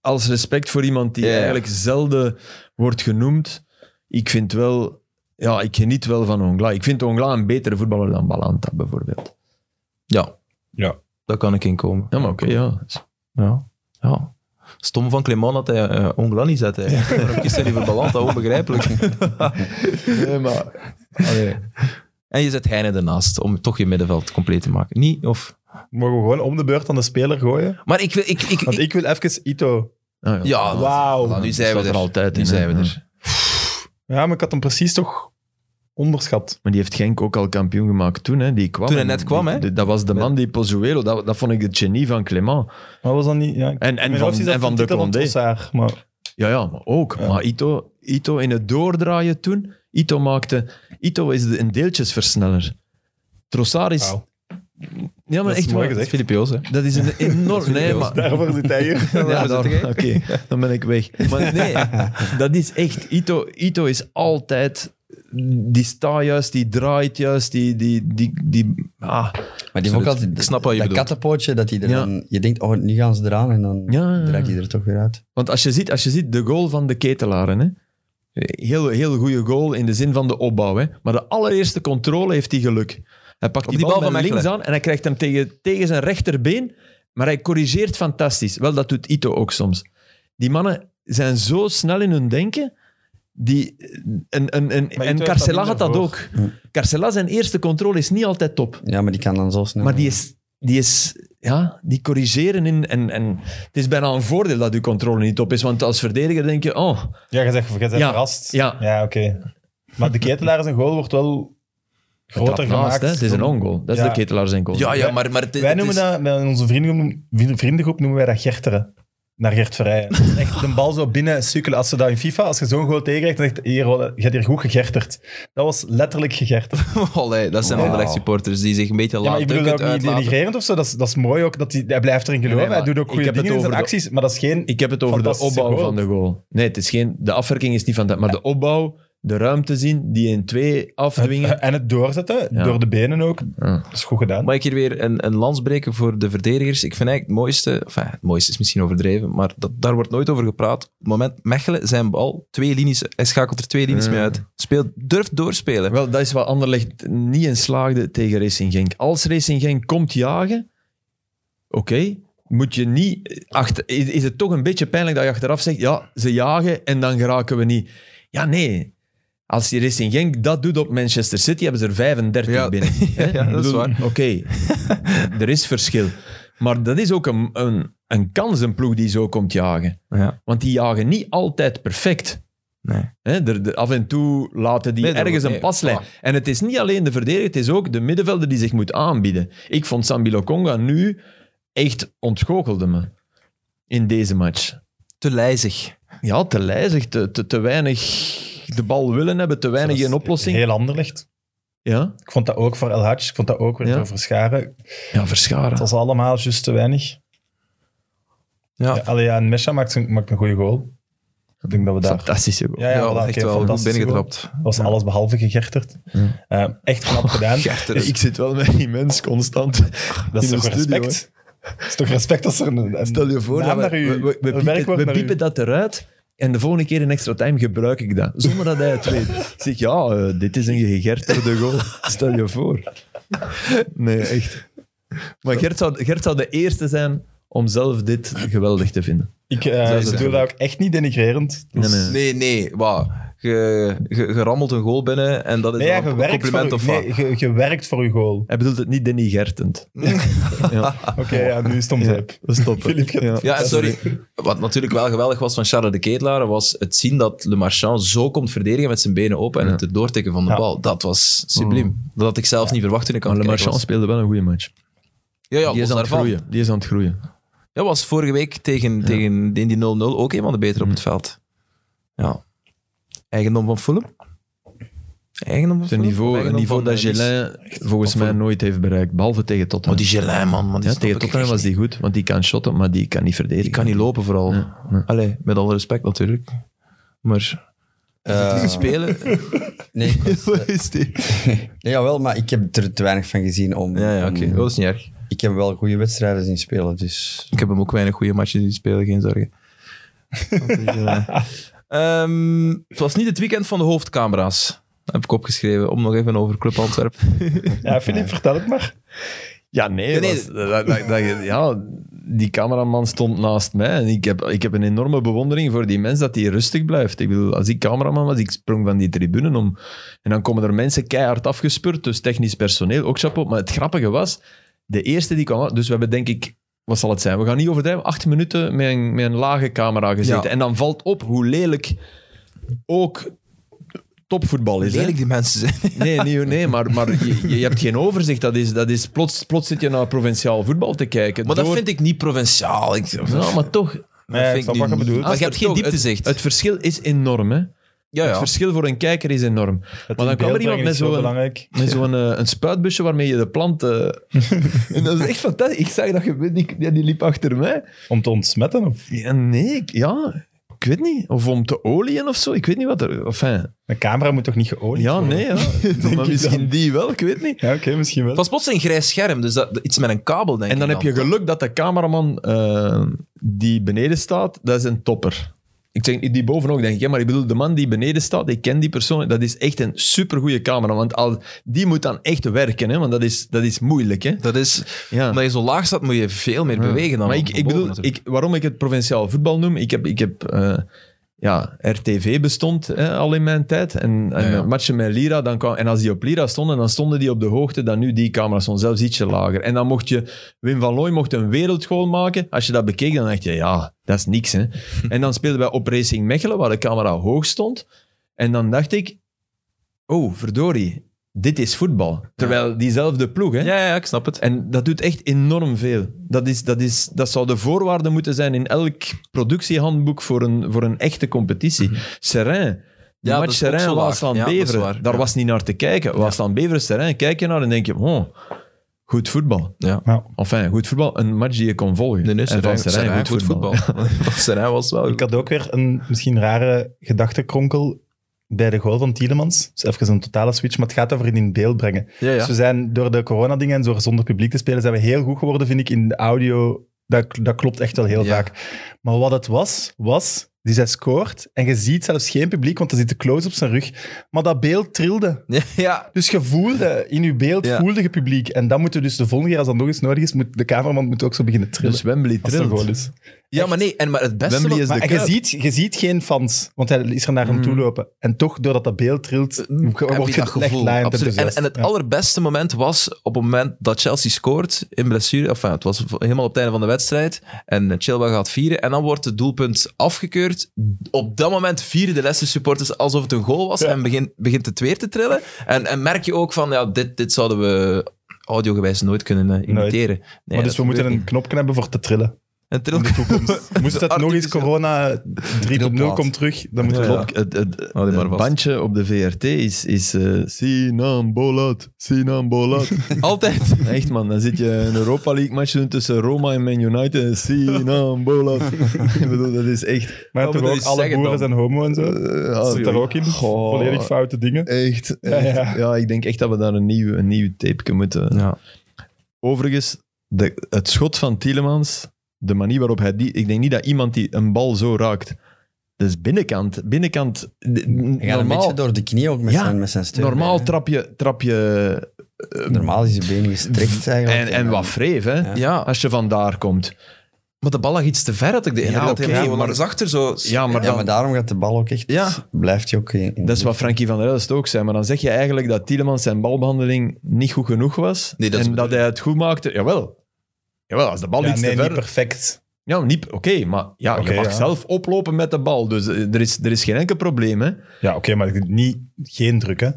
Speaker 4: als respect voor iemand die
Speaker 1: Ja, ja.
Speaker 4: eigenlijk zelden wordt genoemd. Ik vind wel, ja, ik geniet wel van Ongla. Ik vind Ongla een betere voetballer dan Balanta bijvoorbeeld.
Speaker 1: Ja.
Speaker 2: Ja.
Speaker 1: Daar kan ik in komen.
Speaker 4: Ja, maar oké, ja.
Speaker 1: Ja. ja. Stom van Clement dat hij eh Ongla niet zet. Hij. Waarom kiest hij niet voor Balanta? Onbegrijpelijk.
Speaker 4: Nee, maar... allee.
Speaker 1: En je zet Heine ernaast om toch je middenveld compleet te maken. Niet? Of...
Speaker 2: Mogen we gewoon om de beurt aan de speler gooien?
Speaker 1: Maar ik wil... Ik, ik,
Speaker 2: Want
Speaker 1: ik-
Speaker 2: ik wil even Ito.
Speaker 4: Ah,
Speaker 1: Ja,
Speaker 2: Wauw.
Speaker 1: voilà, nu zijn we
Speaker 4: staat
Speaker 1: er.
Speaker 4: er altijd
Speaker 1: nu
Speaker 4: in, hè.
Speaker 1: zijn we er.
Speaker 2: Ja, maar ik had hem precies toch onderschat.
Speaker 4: Maar die heeft Genk ook al kampioen gemaakt toen, hè. Die kwam.
Speaker 1: Toen hij
Speaker 4: En
Speaker 1: net kwam,
Speaker 4: die-
Speaker 1: hè.
Speaker 4: die- Dat was de man die Pozuelo, dat, dat vond ik de genie van Clement.
Speaker 2: Maar was dat niet... Ja, ik-
Speaker 4: En, en
Speaker 2: mijn
Speaker 4: van,
Speaker 2: opties had
Speaker 4: en van
Speaker 2: de
Speaker 4: de
Speaker 2: titel
Speaker 4: Condé.
Speaker 2: Trossard, maar
Speaker 4: Ja, ja, maar ook.
Speaker 2: Ja.
Speaker 4: Maar Ito, Ito in het doordraaien toen, Ito maakte... Ito is de, een deeltjesversneller. Trossard is...
Speaker 2: Wauw.
Speaker 4: Ja, maar
Speaker 2: Dat is
Speaker 4: echt
Speaker 2: mooi
Speaker 4: waar.
Speaker 2: gezegd.
Speaker 1: Filip Joos, hè.
Speaker 4: Dat is een enorm... nee, maar...
Speaker 2: daarvoor zit hij hier.
Speaker 4: Ja,
Speaker 1: Ja,
Speaker 4: dan-
Speaker 1: zit
Speaker 4: Oké,
Speaker 1: jij?
Speaker 4: dan ben ik weg. Maar nee, dat is echt... Ito, Ito is altijd... Die staat juist, die draait juist, die... die, die, die ah,
Speaker 3: Maar die heeft ook
Speaker 1: Absoluut.
Speaker 3: altijd
Speaker 1: Ik snap wat je
Speaker 3: dat
Speaker 1: bedoelt.
Speaker 3: kattenpootje, dat hij er
Speaker 4: Ja.
Speaker 3: dan... Je denkt, oh, nu gaan ze eraan en dan
Speaker 4: Ja, ja, ja.
Speaker 3: draait hij er toch weer uit.
Speaker 4: Want als je ziet, als je ziet de goal van de ketelaren, hè? Heel, heel goede goal in de zin van de opbouw. Hè? Maar de allereerste controle heeft hij geluk. Hij pakt die,
Speaker 1: die
Speaker 4: bal,
Speaker 1: bal van
Speaker 4: met links
Speaker 1: Mechelen.
Speaker 4: aan en hij krijgt hem tegen, tegen zijn rechterbeen. Maar hij corrigeert fantastisch. Wel, dat doet Ito ook soms. Die mannen zijn zo snel in hun denken. Die, en een, een,
Speaker 2: Ito
Speaker 4: en
Speaker 2: heeft
Speaker 4: Carcela
Speaker 2: dat
Speaker 4: had dat
Speaker 2: minder
Speaker 4: ook. Carcela, zijn eerste controle is niet altijd top.
Speaker 3: Ja, maar die kan dan zo snel...
Speaker 4: Maar die is, die is ja, die corrigeren in. En, en het is bijna een voordeel dat uw controle niet op is. Want als verdediger denk je, oh,
Speaker 2: Ja, je zegt, je bent
Speaker 4: Ja,
Speaker 2: verrast.
Speaker 4: ja.
Speaker 2: oké. Maar de ketelaar zijn goal wordt wel groter
Speaker 4: trap
Speaker 2: gemaakt.
Speaker 4: naast, hè. Het is een ongoal. Dat is
Speaker 2: Ja.
Speaker 4: de ketelaar zijn goal.
Speaker 1: Ja, ja, maar... maar het,
Speaker 2: Wij
Speaker 1: het
Speaker 2: noemen
Speaker 1: is-
Speaker 2: dat, met onze vriendengroep, vrienden- vriendengroep noemen wij dat Gerteren. Naar Gert Verrijen. Dat is Echt de bal zo binnen sukkelen. Als ze dat in FIFA, als je zo'n goal tegenkrijgt, dan zegt hier, je hebt hier goed gegerterd. Dat was letterlijk gegerterd.
Speaker 1: Allee, dat zijn
Speaker 3: Wauw.
Speaker 1: Anderlecht supporters die zich een beetje
Speaker 2: Ja, maar
Speaker 1: laten
Speaker 2: ik bedoel dat ook niet
Speaker 1: uitlaten.
Speaker 2: denigrerend of zo. Dat is, dat is mooi ook, dat hij, hij blijft erin geloven.
Speaker 4: Nee, nee,
Speaker 2: hij
Speaker 4: maar
Speaker 2: doet ook
Speaker 4: ik
Speaker 2: goede
Speaker 4: heb het
Speaker 2: dingen in zijn
Speaker 4: over de-
Speaker 2: acties, maar dat is geen...
Speaker 4: Ik heb het over de
Speaker 2: Fantastische
Speaker 4: opbouw
Speaker 2: goal.
Speaker 4: van de goal. Nee, het is geen, de afwerking is niet van dat. Maar de opbouw, de ruimte zien, die in twee afdwingen.
Speaker 2: En het doorzetten,
Speaker 4: Ja.
Speaker 2: door de benen ook.
Speaker 4: Ja.
Speaker 2: Dat is goed gedaan.
Speaker 1: Mag ik hier weer een, een lans breken voor de verdedigers? Ik vind eigenlijk het mooiste, enfin, het mooiste is misschien overdreven, maar dat, daar wordt nooit over gepraat. Op het moment Mechelen zijn bal, twee linies, hij schakelt er twee linies
Speaker 4: Mm.
Speaker 1: mee
Speaker 2: Eh.
Speaker 1: uit. Speelt, durft doorspelen.
Speaker 4: Wel, dat is wat Anderlecht niet in slaagde tegen Racing Genk. Als Racing Genk komt jagen, oké, moet je niet... eh, Achter, is, is het toch een beetje pijnlijk dat je achteraf zegt, ja, ze jagen en dan geraken we niet. Ja, nee. Als je Racing Genk dat doet op Manchester City, hebben ze er 35
Speaker 1: Ja.
Speaker 4: binnen. hè?
Speaker 1: Ja, dat is
Speaker 4: Ik bedoel,
Speaker 1: waar.
Speaker 4: Oké, er is verschil. Maar dat is ook een, een, een kans, een ploeg die zo komt jagen.
Speaker 1: Ja,
Speaker 4: Want die jagen niet altijd perfect.
Speaker 1: nee.
Speaker 4: Hè, er- er- af en toe laten die
Speaker 1: Nee, dat
Speaker 4: ergens
Speaker 1: wordt-
Speaker 4: een
Speaker 1: nee,
Speaker 4: paslijn.
Speaker 1: voilà.
Speaker 4: En het is niet alleen de verdediger, het is ook de middenvelder die zich moet aanbieden. Ik vond Sambi Lokonga nu echt ontgoochelde me in deze match.
Speaker 1: Te lijzig.
Speaker 4: Ja, te lijzig, te, te, te weinig de bal willen hebben, te weinig
Speaker 2: Dat is
Speaker 4: in oplossing.
Speaker 2: Heel ander ligt.
Speaker 4: Ja,
Speaker 2: Ik vond dat ook voor El Hadj, ik vond dat ook weer
Speaker 4: Ja.
Speaker 2: voor Verscharen.
Speaker 4: ja verscharen.
Speaker 2: Het was allemaal juist te weinig.
Speaker 1: Ja.
Speaker 2: Ja, allee, ja, en Mesha maakt, zijn- maakt een goede goal. Ik denk dat we daar...
Speaker 4: Fantastische goal.
Speaker 2: Ja, ja, voilà,
Speaker 1: echt
Speaker 2: oké,
Speaker 1: wel. Goed
Speaker 2: fantastisch
Speaker 1: binnengetrapt.
Speaker 2: goal. was alles behalve gegerterd. Eh, echt knap gedaan.
Speaker 1: Gertens.
Speaker 4: Ik zit wel met die mens constant.
Speaker 2: Dat is
Speaker 4: in
Speaker 2: toch
Speaker 4: de studio,
Speaker 2: respect? Dat is toch respect als er een, een
Speaker 4: Eh, Stel je voor,
Speaker 2: naam
Speaker 4: dat we,
Speaker 2: naar uw-
Speaker 4: we, we- we
Speaker 2: een
Speaker 4: piepen,
Speaker 2: werkwoord
Speaker 4: we
Speaker 2: naar
Speaker 4: piepen
Speaker 2: uw-
Speaker 4: dat eruit en de volgende keer in extra time gebruik ik dat. Zonder dat hij het weet. Ik zeg, ja, eh, dit is een gegerterde goal. Stel je voor. Nee, echt. Maar Gert zou, Gert zou de eerste zijn om zelf dit geweldig te vinden.
Speaker 2: Ik eh,
Speaker 1: Zo is het
Speaker 2: bedoel dat ook echt niet denigrerend. Dus-
Speaker 4: Nee, nee.
Speaker 1: Nee, nee, wauw. Je, je, je rammelt een goal binnen en dat is
Speaker 2: Nee, ja,
Speaker 1: dan
Speaker 2: je
Speaker 1: een
Speaker 2: werkt, voor,
Speaker 1: compliment
Speaker 2: uw-
Speaker 1: of wat?
Speaker 2: nee, je, je werkt voor je goal.
Speaker 4: Hij bedoelt het niet denigertend. Ja,
Speaker 2: Oké, ja, nu is het om zeep.
Speaker 4: we stoppen.
Speaker 2: Filip gaat-
Speaker 1: Ja, en sorry. Wat natuurlijk wel geweldig was van Charles de Ketelaar, was het zien dat Le Marchand zo komt verdedigen met zijn benen open en
Speaker 4: Ja. Mm.
Speaker 1: het doortikken van de
Speaker 2: Ja.
Speaker 1: bal. Dat was subliem. Dat had ik zelf niet verwacht toen ik aan
Speaker 4: Maar
Speaker 1: het
Speaker 4: Le
Speaker 1: kijken
Speaker 4: Marchand
Speaker 1: was.
Speaker 4: speelde wel een goede match.
Speaker 1: Ja, ja,
Speaker 4: Die is
Speaker 1: los
Speaker 4: aan het
Speaker 1: daarvan.
Speaker 4: groeien. Die is aan het groeien.
Speaker 1: Ja, was vorige week tegen, tegen in die 0-0 ook een van de betere op het
Speaker 4: Mm.
Speaker 1: veld. Ja. Eigendom van Fulham? Eigendom van
Speaker 4: Het is een
Speaker 1: Fulham? Of
Speaker 4: niveau, een
Speaker 1: eigendom
Speaker 4: niveau
Speaker 1: van,
Speaker 4: dat
Speaker 1: eh, Nice?
Speaker 4: Gelin volgens
Speaker 1: Of
Speaker 4: mij
Speaker 1: van-
Speaker 4: nooit heeft bereikt. Behalve tegen
Speaker 1: Oh,
Speaker 4: Tottenham.
Speaker 1: die Gelin, man. man die
Speaker 4: Ja,
Speaker 1: snap
Speaker 4: tegen
Speaker 1: ik
Speaker 4: Tottenham
Speaker 1: echt
Speaker 4: was die goed, want die kan shotten, maar die kan niet verdedigen.
Speaker 1: Die kan niet lopen vooral.
Speaker 4: Ja, ja.
Speaker 1: Allee, met alle respect natuurlijk. Maar
Speaker 3: Eh,
Speaker 1: die spelen...
Speaker 3: nee, ik was-
Speaker 1: is die?
Speaker 3: nee, jawel, maar ik heb er te weinig van gezien om...
Speaker 1: Ja, ja oké.
Speaker 3: om-
Speaker 1: Dat is niet erg.
Speaker 3: Ik heb wel goede wedstrijden zien spelen, dus...
Speaker 1: Ik heb hem ook weinig goede matches die spelen, geen zorgen. Dat is, eh, ehm, het was niet het weekend van de hoofdcamera's. Heb ik opgeschreven, om nog even over Club Antwerpen.
Speaker 2: Ja, Filip, vertel het maar.
Speaker 4: Ja, nee.
Speaker 1: Nee,
Speaker 4: was- dat- dat- dat- ja, die cameraman stond naast mij en ik heb, ik heb een enorme bewondering voor die mens dat hij rustig blijft. Ik bedoel, als ik cameraman was, ik sprong van die tribune om. En dan komen er mensen keihard afgespurt, dus technisch personeel, ook chapeau. Maar het grappige was, de eerste die kwam, dus we hebben denk ik, wat zal het zijn? We gaan niet overdrijven, acht minuten met een, met een lage camera gezeten.
Speaker 1: Ja.
Speaker 4: En dan valt op hoe lelijk ook topvoetbal is. hè.
Speaker 1: Lelijk die mensen zijn.
Speaker 4: Nee, nee, nee maar, maar je, je hebt geen overzicht. Dat is, dat is plots, plots zit je naar provinciaal voetbal te kijken.
Speaker 1: Maar dat
Speaker 4: Door-
Speaker 1: vind ik niet provinciaal. Ik,
Speaker 4: Ja, maar toch.
Speaker 2: Nee, ik
Speaker 1: vind
Speaker 2: snap
Speaker 1: ik
Speaker 2: wat je
Speaker 1: nu
Speaker 2: bedoelt.
Speaker 4: Ah,
Speaker 1: niet. Maar je hebt geen
Speaker 4: Toch, het-
Speaker 1: dieptezicht.
Speaker 4: Het verschil is enorm. Hè?
Speaker 1: ja,
Speaker 4: Het
Speaker 1: ja.
Speaker 4: verschil voor een kijker is enorm.
Speaker 2: Het
Speaker 4: maar
Speaker 2: in
Speaker 4: dan kwam er
Speaker 2: beeld
Speaker 4: iemand
Speaker 2: brengen
Speaker 4: met
Speaker 2: is zo
Speaker 4: zo'n
Speaker 2: belangrijk.
Speaker 4: met zo'n eh, een spuitbusje waarmee je de plant... eh, en dat is echt fantastisch. Ik zag dat gebeuren. Die, ja, die liep achter mij.
Speaker 2: Om te ontsmetten? Of
Speaker 4: Ja, nee, ik, ja, ik weet niet. Of om te olieën of zo. Ik weet niet wat er... Enfin,
Speaker 2: een camera moet toch niet geolied
Speaker 4: ja,
Speaker 2: worden?
Speaker 4: nee. Ja.
Speaker 2: ik
Speaker 4: Maar
Speaker 2: dan.
Speaker 4: misschien die wel, ik weet niet.
Speaker 2: Ja, oké, misschien wel.
Speaker 1: Het was plots een grijs scherm, dus dat, iets met een kabel, denk
Speaker 4: En dan
Speaker 1: ik.
Speaker 4: heb je geluk dat de cameraman eh, die beneden staat, dat is een topper. Ik zeg niet die boven ook, denk ik. hè, Maar ik bedoel, de man die beneden staat, ik ken die persoon, dat is echt een supergoeie camera. Want al, die moet dan echt werken, hè, want dat is, dat is moeilijk. Hè.
Speaker 1: Dat is,
Speaker 4: Ja.
Speaker 1: Omdat je zo laag staat, moet je veel meer bewegen dan
Speaker 4: maar
Speaker 1: op-
Speaker 4: ik, ik
Speaker 1: boven
Speaker 4: bedoel,
Speaker 1: natuurlijk.
Speaker 4: ik, waarom ik het provinciaal voetbal noem, ik heb, ik heb eh, ja, RTV bestond hè, al in mijn tijd. En, en eh,
Speaker 1: Ja, ja.
Speaker 4: matchen met Lira, dan kwam, en als die op Lira stonden, dan stonden die op de hoogte dat nu die camera stond, zelfs ietsje lager. En dan mocht je, Wim van Looy mocht een wereldgoal maken. Als je dat bekeek, dan dacht je, ja, dat is niks. Hè. en dan speelden wij op Racing Mechelen, waar de camera hoog stond. En dan dacht ik, oh, verdorie, dit is voetbal. Terwijl diezelfde ploeg, hè.
Speaker 1: Ja, ja, ik snap het.
Speaker 4: En dat doet echt enorm veel. Dat, is, dat, is, dat zou de voorwaarde moeten zijn in elk productiehandboek voor een, voor een echte competitie. Serain. Die
Speaker 1: Mhm. Ja, dat
Speaker 4: match
Speaker 1: is ook zo laag. Ja,
Speaker 4: Serain,
Speaker 1: dat is
Speaker 4: Waasland-Beveren.
Speaker 1: waar,
Speaker 4: Daar
Speaker 1: ja.
Speaker 4: was niet naar te kijken. Waasland-Beveren, Serain. Kijk je naar en denk je, oh, goed voetbal.
Speaker 1: Ja.
Speaker 4: Enfin, goed voetbal. Een match die je kon volgen.
Speaker 1: De neus
Speaker 4: en van Serain,
Speaker 1: Serijn, goed voetbal. Van Serijn was wel
Speaker 2: Ik had ook weer een misschien rare gedachtenkronkel bij de goal van Tielemans. Dus even een totale switch, maar het gaat over het in beeld brengen.
Speaker 1: Ja, ja.
Speaker 2: Dus we zijn door de coronadingen en zo zonder publiek te spelen, zijn we heel goed geworden, vind ik, in de audio. Dat, dat klopt echt wel heel
Speaker 1: Ja.
Speaker 2: vaak. Maar wat het was, was, die zij scoort en je ziet zelfs geen publiek, want er zit de close op zijn rug. Maar dat beeld trilde.
Speaker 1: Ja, ja.
Speaker 2: Dus je voelde, in je beeld
Speaker 1: Ja.
Speaker 2: voelde je publiek. En dan moeten we dus de volgende keer, als dat nog eens nodig is, moet de cameraman moet ook zo beginnen trillen.
Speaker 4: Dus Wembley
Speaker 2: als dat goal
Speaker 4: trilt.
Speaker 2: is.
Speaker 1: ja, maar nee. En, maar het beste...
Speaker 4: Wembley
Speaker 1: wat-
Speaker 4: is de
Speaker 2: Maar je
Speaker 4: Kuip.
Speaker 2: ziet, je ziet geen fans, want hij is er naar hem toe lopen. En toch, doordat dat beeld trilt, wordt
Speaker 1: Eh, mm, heb je
Speaker 2: je
Speaker 1: dat
Speaker 2: echt
Speaker 1: gevoel.
Speaker 2: laaiend
Speaker 1: Absoluut. En,
Speaker 2: enthousiast.
Speaker 1: en het
Speaker 2: Ja.
Speaker 1: allerbeste moment was op het moment dat Chelsea scoort in blessure. Enfin, het was v- helemaal op het einde van de wedstrijd. En eh, Chilwell gaat vieren. En dan wordt het doelpunt afgekeurd. Op dat moment vieren de Leicester supporters alsof het een goal was. En begin, begint het weer te trillen. En, en merk je ook van, ja, dit, dit zouden we audiogewijs nooit kunnen eh,
Speaker 2: Nooit.
Speaker 1: imiteren. Nee,
Speaker 2: maar dus
Speaker 1: dat
Speaker 2: we moeten
Speaker 1: gebeurt
Speaker 2: een knop hebben voor te trillen.
Speaker 1: niet. Een tril...
Speaker 2: Moest dat nog eens corona 3.0 komt terug, dan moet
Speaker 4: Ja,
Speaker 2: het
Speaker 4: ja.
Speaker 2: op.
Speaker 4: Het, het,
Speaker 1: Hou die maar
Speaker 4: het
Speaker 1: vast.
Speaker 4: bandje op de VRT is, is eh Sinambolat, Sinambolat.
Speaker 1: Altijd.
Speaker 4: Echt man, dan zit je een Europa League match te doen tussen Roma en Man United. Sinambolat. Ik bedoel, dat is echt...
Speaker 2: Maar
Speaker 1: Oh,
Speaker 2: toch
Speaker 1: maar
Speaker 2: ook
Speaker 1: dat is
Speaker 2: alle
Speaker 1: zeggen
Speaker 2: boeren
Speaker 1: dan.
Speaker 2: zijn homo en zo.
Speaker 4: eh,
Speaker 2: Dat
Speaker 4: ah,
Speaker 2: zit daar ook in.
Speaker 4: Goh.
Speaker 2: Volledig foute dingen.
Speaker 4: Echt.
Speaker 2: Ja,
Speaker 4: echt.
Speaker 2: ja.
Speaker 4: Ja, ik denk echt dat we daar een nieuw, een nieuw tape moeten...
Speaker 1: Ja.
Speaker 4: Overigens, de, het schot van Tielemans, de manier waarop hij die... Ik denk niet dat iemand die een bal zo raakt... Dus binnenkant, binnenkant... de-
Speaker 3: Hij gaat een beetje door de knie ook met
Speaker 4: Ja,
Speaker 3: zijn, met zijn steun. Eh,
Speaker 4: Normaal trap je, trap je
Speaker 3: Normaal is je been gestrekt eigenlijk.
Speaker 4: en, en wat vreef, hè?
Speaker 3: Ja.
Speaker 1: ja,
Speaker 4: Als je vandaar komt.
Speaker 1: maar de bal lag iets te ver, had ik de indruk. dat hij
Speaker 4: oké,
Speaker 1: hem zo
Speaker 4: maar-
Speaker 1: maar eens achter zo...
Speaker 4: Ja, maar,
Speaker 3: Ja,
Speaker 4: dan,
Speaker 3: maar daarom gaat de bal ook echt...
Speaker 4: Ja.
Speaker 3: Blijft hij ook in... in-
Speaker 4: dat is wat Frankie van der Elst ook zei. Maar dan zeg je eigenlijk dat Tielemans zijn balbehandeling niet goed genoeg was.
Speaker 1: Nee, dat is
Speaker 4: en dat hij het goed maakte. Jawel. Jawel, als de bal
Speaker 2: Ja,
Speaker 4: iets
Speaker 2: nee,
Speaker 4: te ver...
Speaker 2: niet perfect.
Speaker 4: ja, niet... Oké, maar ja,
Speaker 2: Oké,
Speaker 4: je mag
Speaker 2: ja.
Speaker 4: zelf oplopen met de bal. Dus eh, er is, er is geen enkel probleem, hè?
Speaker 2: Ja, oké, maar niet, geen druk, hè.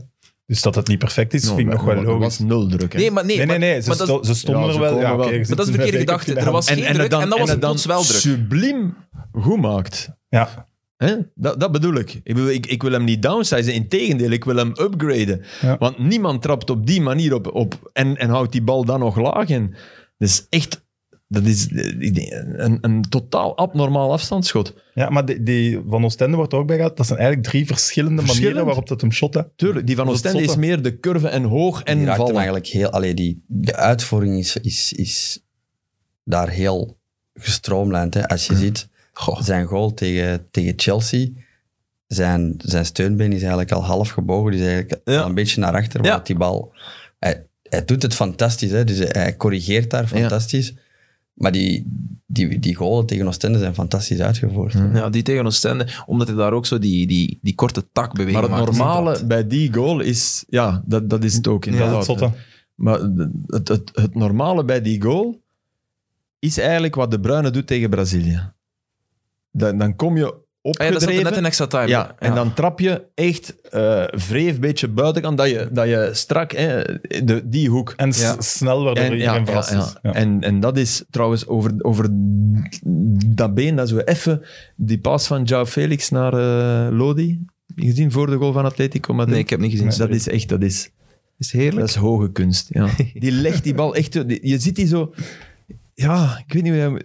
Speaker 2: Dus dat het niet perfect is, vind ik nog wel
Speaker 4: Er
Speaker 2: logisch.
Speaker 4: was nul druk, hè?
Speaker 1: Nee, maar nee.
Speaker 2: Nee, nee,
Speaker 1: maar-
Speaker 2: nee, ze,
Speaker 1: maar dat-
Speaker 2: sto- ze stonden
Speaker 4: Ja, ze
Speaker 2: er wel.
Speaker 4: komen
Speaker 2: Ja,
Speaker 4: wel.
Speaker 2: oké,
Speaker 4: Maar
Speaker 2: je zit
Speaker 1: dat is
Speaker 2: met
Speaker 1: verkeerde
Speaker 2: vijf
Speaker 1: gedachte.
Speaker 2: in de
Speaker 1: Er was-
Speaker 2: hand.
Speaker 1: geen druk en dan was
Speaker 4: het
Speaker 1: het plots wel druk.
Speaker 4: subliem goed maakt.
Speaker 2: Ja,
Speaker 4: Hè? Dat, dat bedoel ik. Ik, bedoel, ik. ik wil hem niet downsizen, integendeel, ik wil hem upgraden.
Speaker 2: Ja.
Speaker 4: Want niemand trapt op die manier op, op en, en houdt die bal dan nog laag in. Dus echt, dat is eh, ik denk, een, een totaal abnormaal afstandsschot.
Speaker 2: ja maar die, die van Oostende wordt er ook bij gehad. Dat zijn eigenlijk drie verschillende manieren
Speaker 4: Verschillend?
Speaker 2: waarop dat hem shotte.
Speaker 4: Tuurlijk, die van
Speaker 2: Dat is
Speaker 4: Oostende is
Speaker 2: zotte.
Speaker 4: meer de curve en hoog
Speaker 3: die
Speaker 4: en
Speaker 3: raakt hem
Speaker 4: vallen.
Speaker 3: eigenlijk heel... Allee, die, de uitvoering is, is, is daar heel gestroomlijnd. Hè. Als je
Speaker 4: Hmm.
Speaker 3: ziet, zijn goal tegen, tegen Chelsea... Zijn, zijn steunbeen is eigenlijk al half gebogen. Die is eigenlijk
Speaker 1: Ja.
Speaker 3: al een beetje naar achter.
Speaker 1: Ja.
Speaker 3: want die bal... Hij, hij doet het fantastisch. Hè. Dus hij, hij corrigeert daar fantastisch. Maar die, die, die goalen tegen Oostende zijn fantastisch uitgevoerd.
Speaker 4: Hmm.
Speaker 3: hè.
Speaker 1: Ja, die tegen Oostende, omdat hij daar ook zo die, die, die korte tak
Speaker 4: Maar
Speaker 1: beweegt.
Speaker 4: het normale bij die goal is, ja, dat, dat is het ook.
Speaker 2: Dat is het
Speaker 4: inderdaad.
Speaker 2: zotte.
Speaker 4: Maar het, het, het normale bij die goal is eigenlijk wat De Bruyne doet tegen Brazilië. Dan, dan kom je
Speaker 1: Ja, dat
Speaker 4: opgedreven.
Speaker 1: is net een extra time.
Speaker 4: ja, en dan trap je echt eh vreef, beetje buitenkant, dat je, dat je strak hè, de, die hoek.
Speaker 2: En s-
Speaker 1: Ja.
Speaker 2: snel waardoor
Speaker 4: En, ja,
Speaker 2: iedereen
Speaker 4: ja,
Speaker 2: verrast is.
Speaker 4: ja.
Speaker 2: Ja.
Speaker 4: En, en dat is trouwens over, over dat been, dat zo even die pas van João Felix naar eh, Lodi, gezien voor de goal van Atletico Madrid.
Speaker 1: Nee, ik heb niet gezien.
Speaker 4: dat is echt, dat is...
Speaker 1: is heerlijk.
Speaker 4: Dat is hoge kunst, ja. Die legt die bal echt... die- je ziet die zo... Ja, ik weet niet hoe je... hem-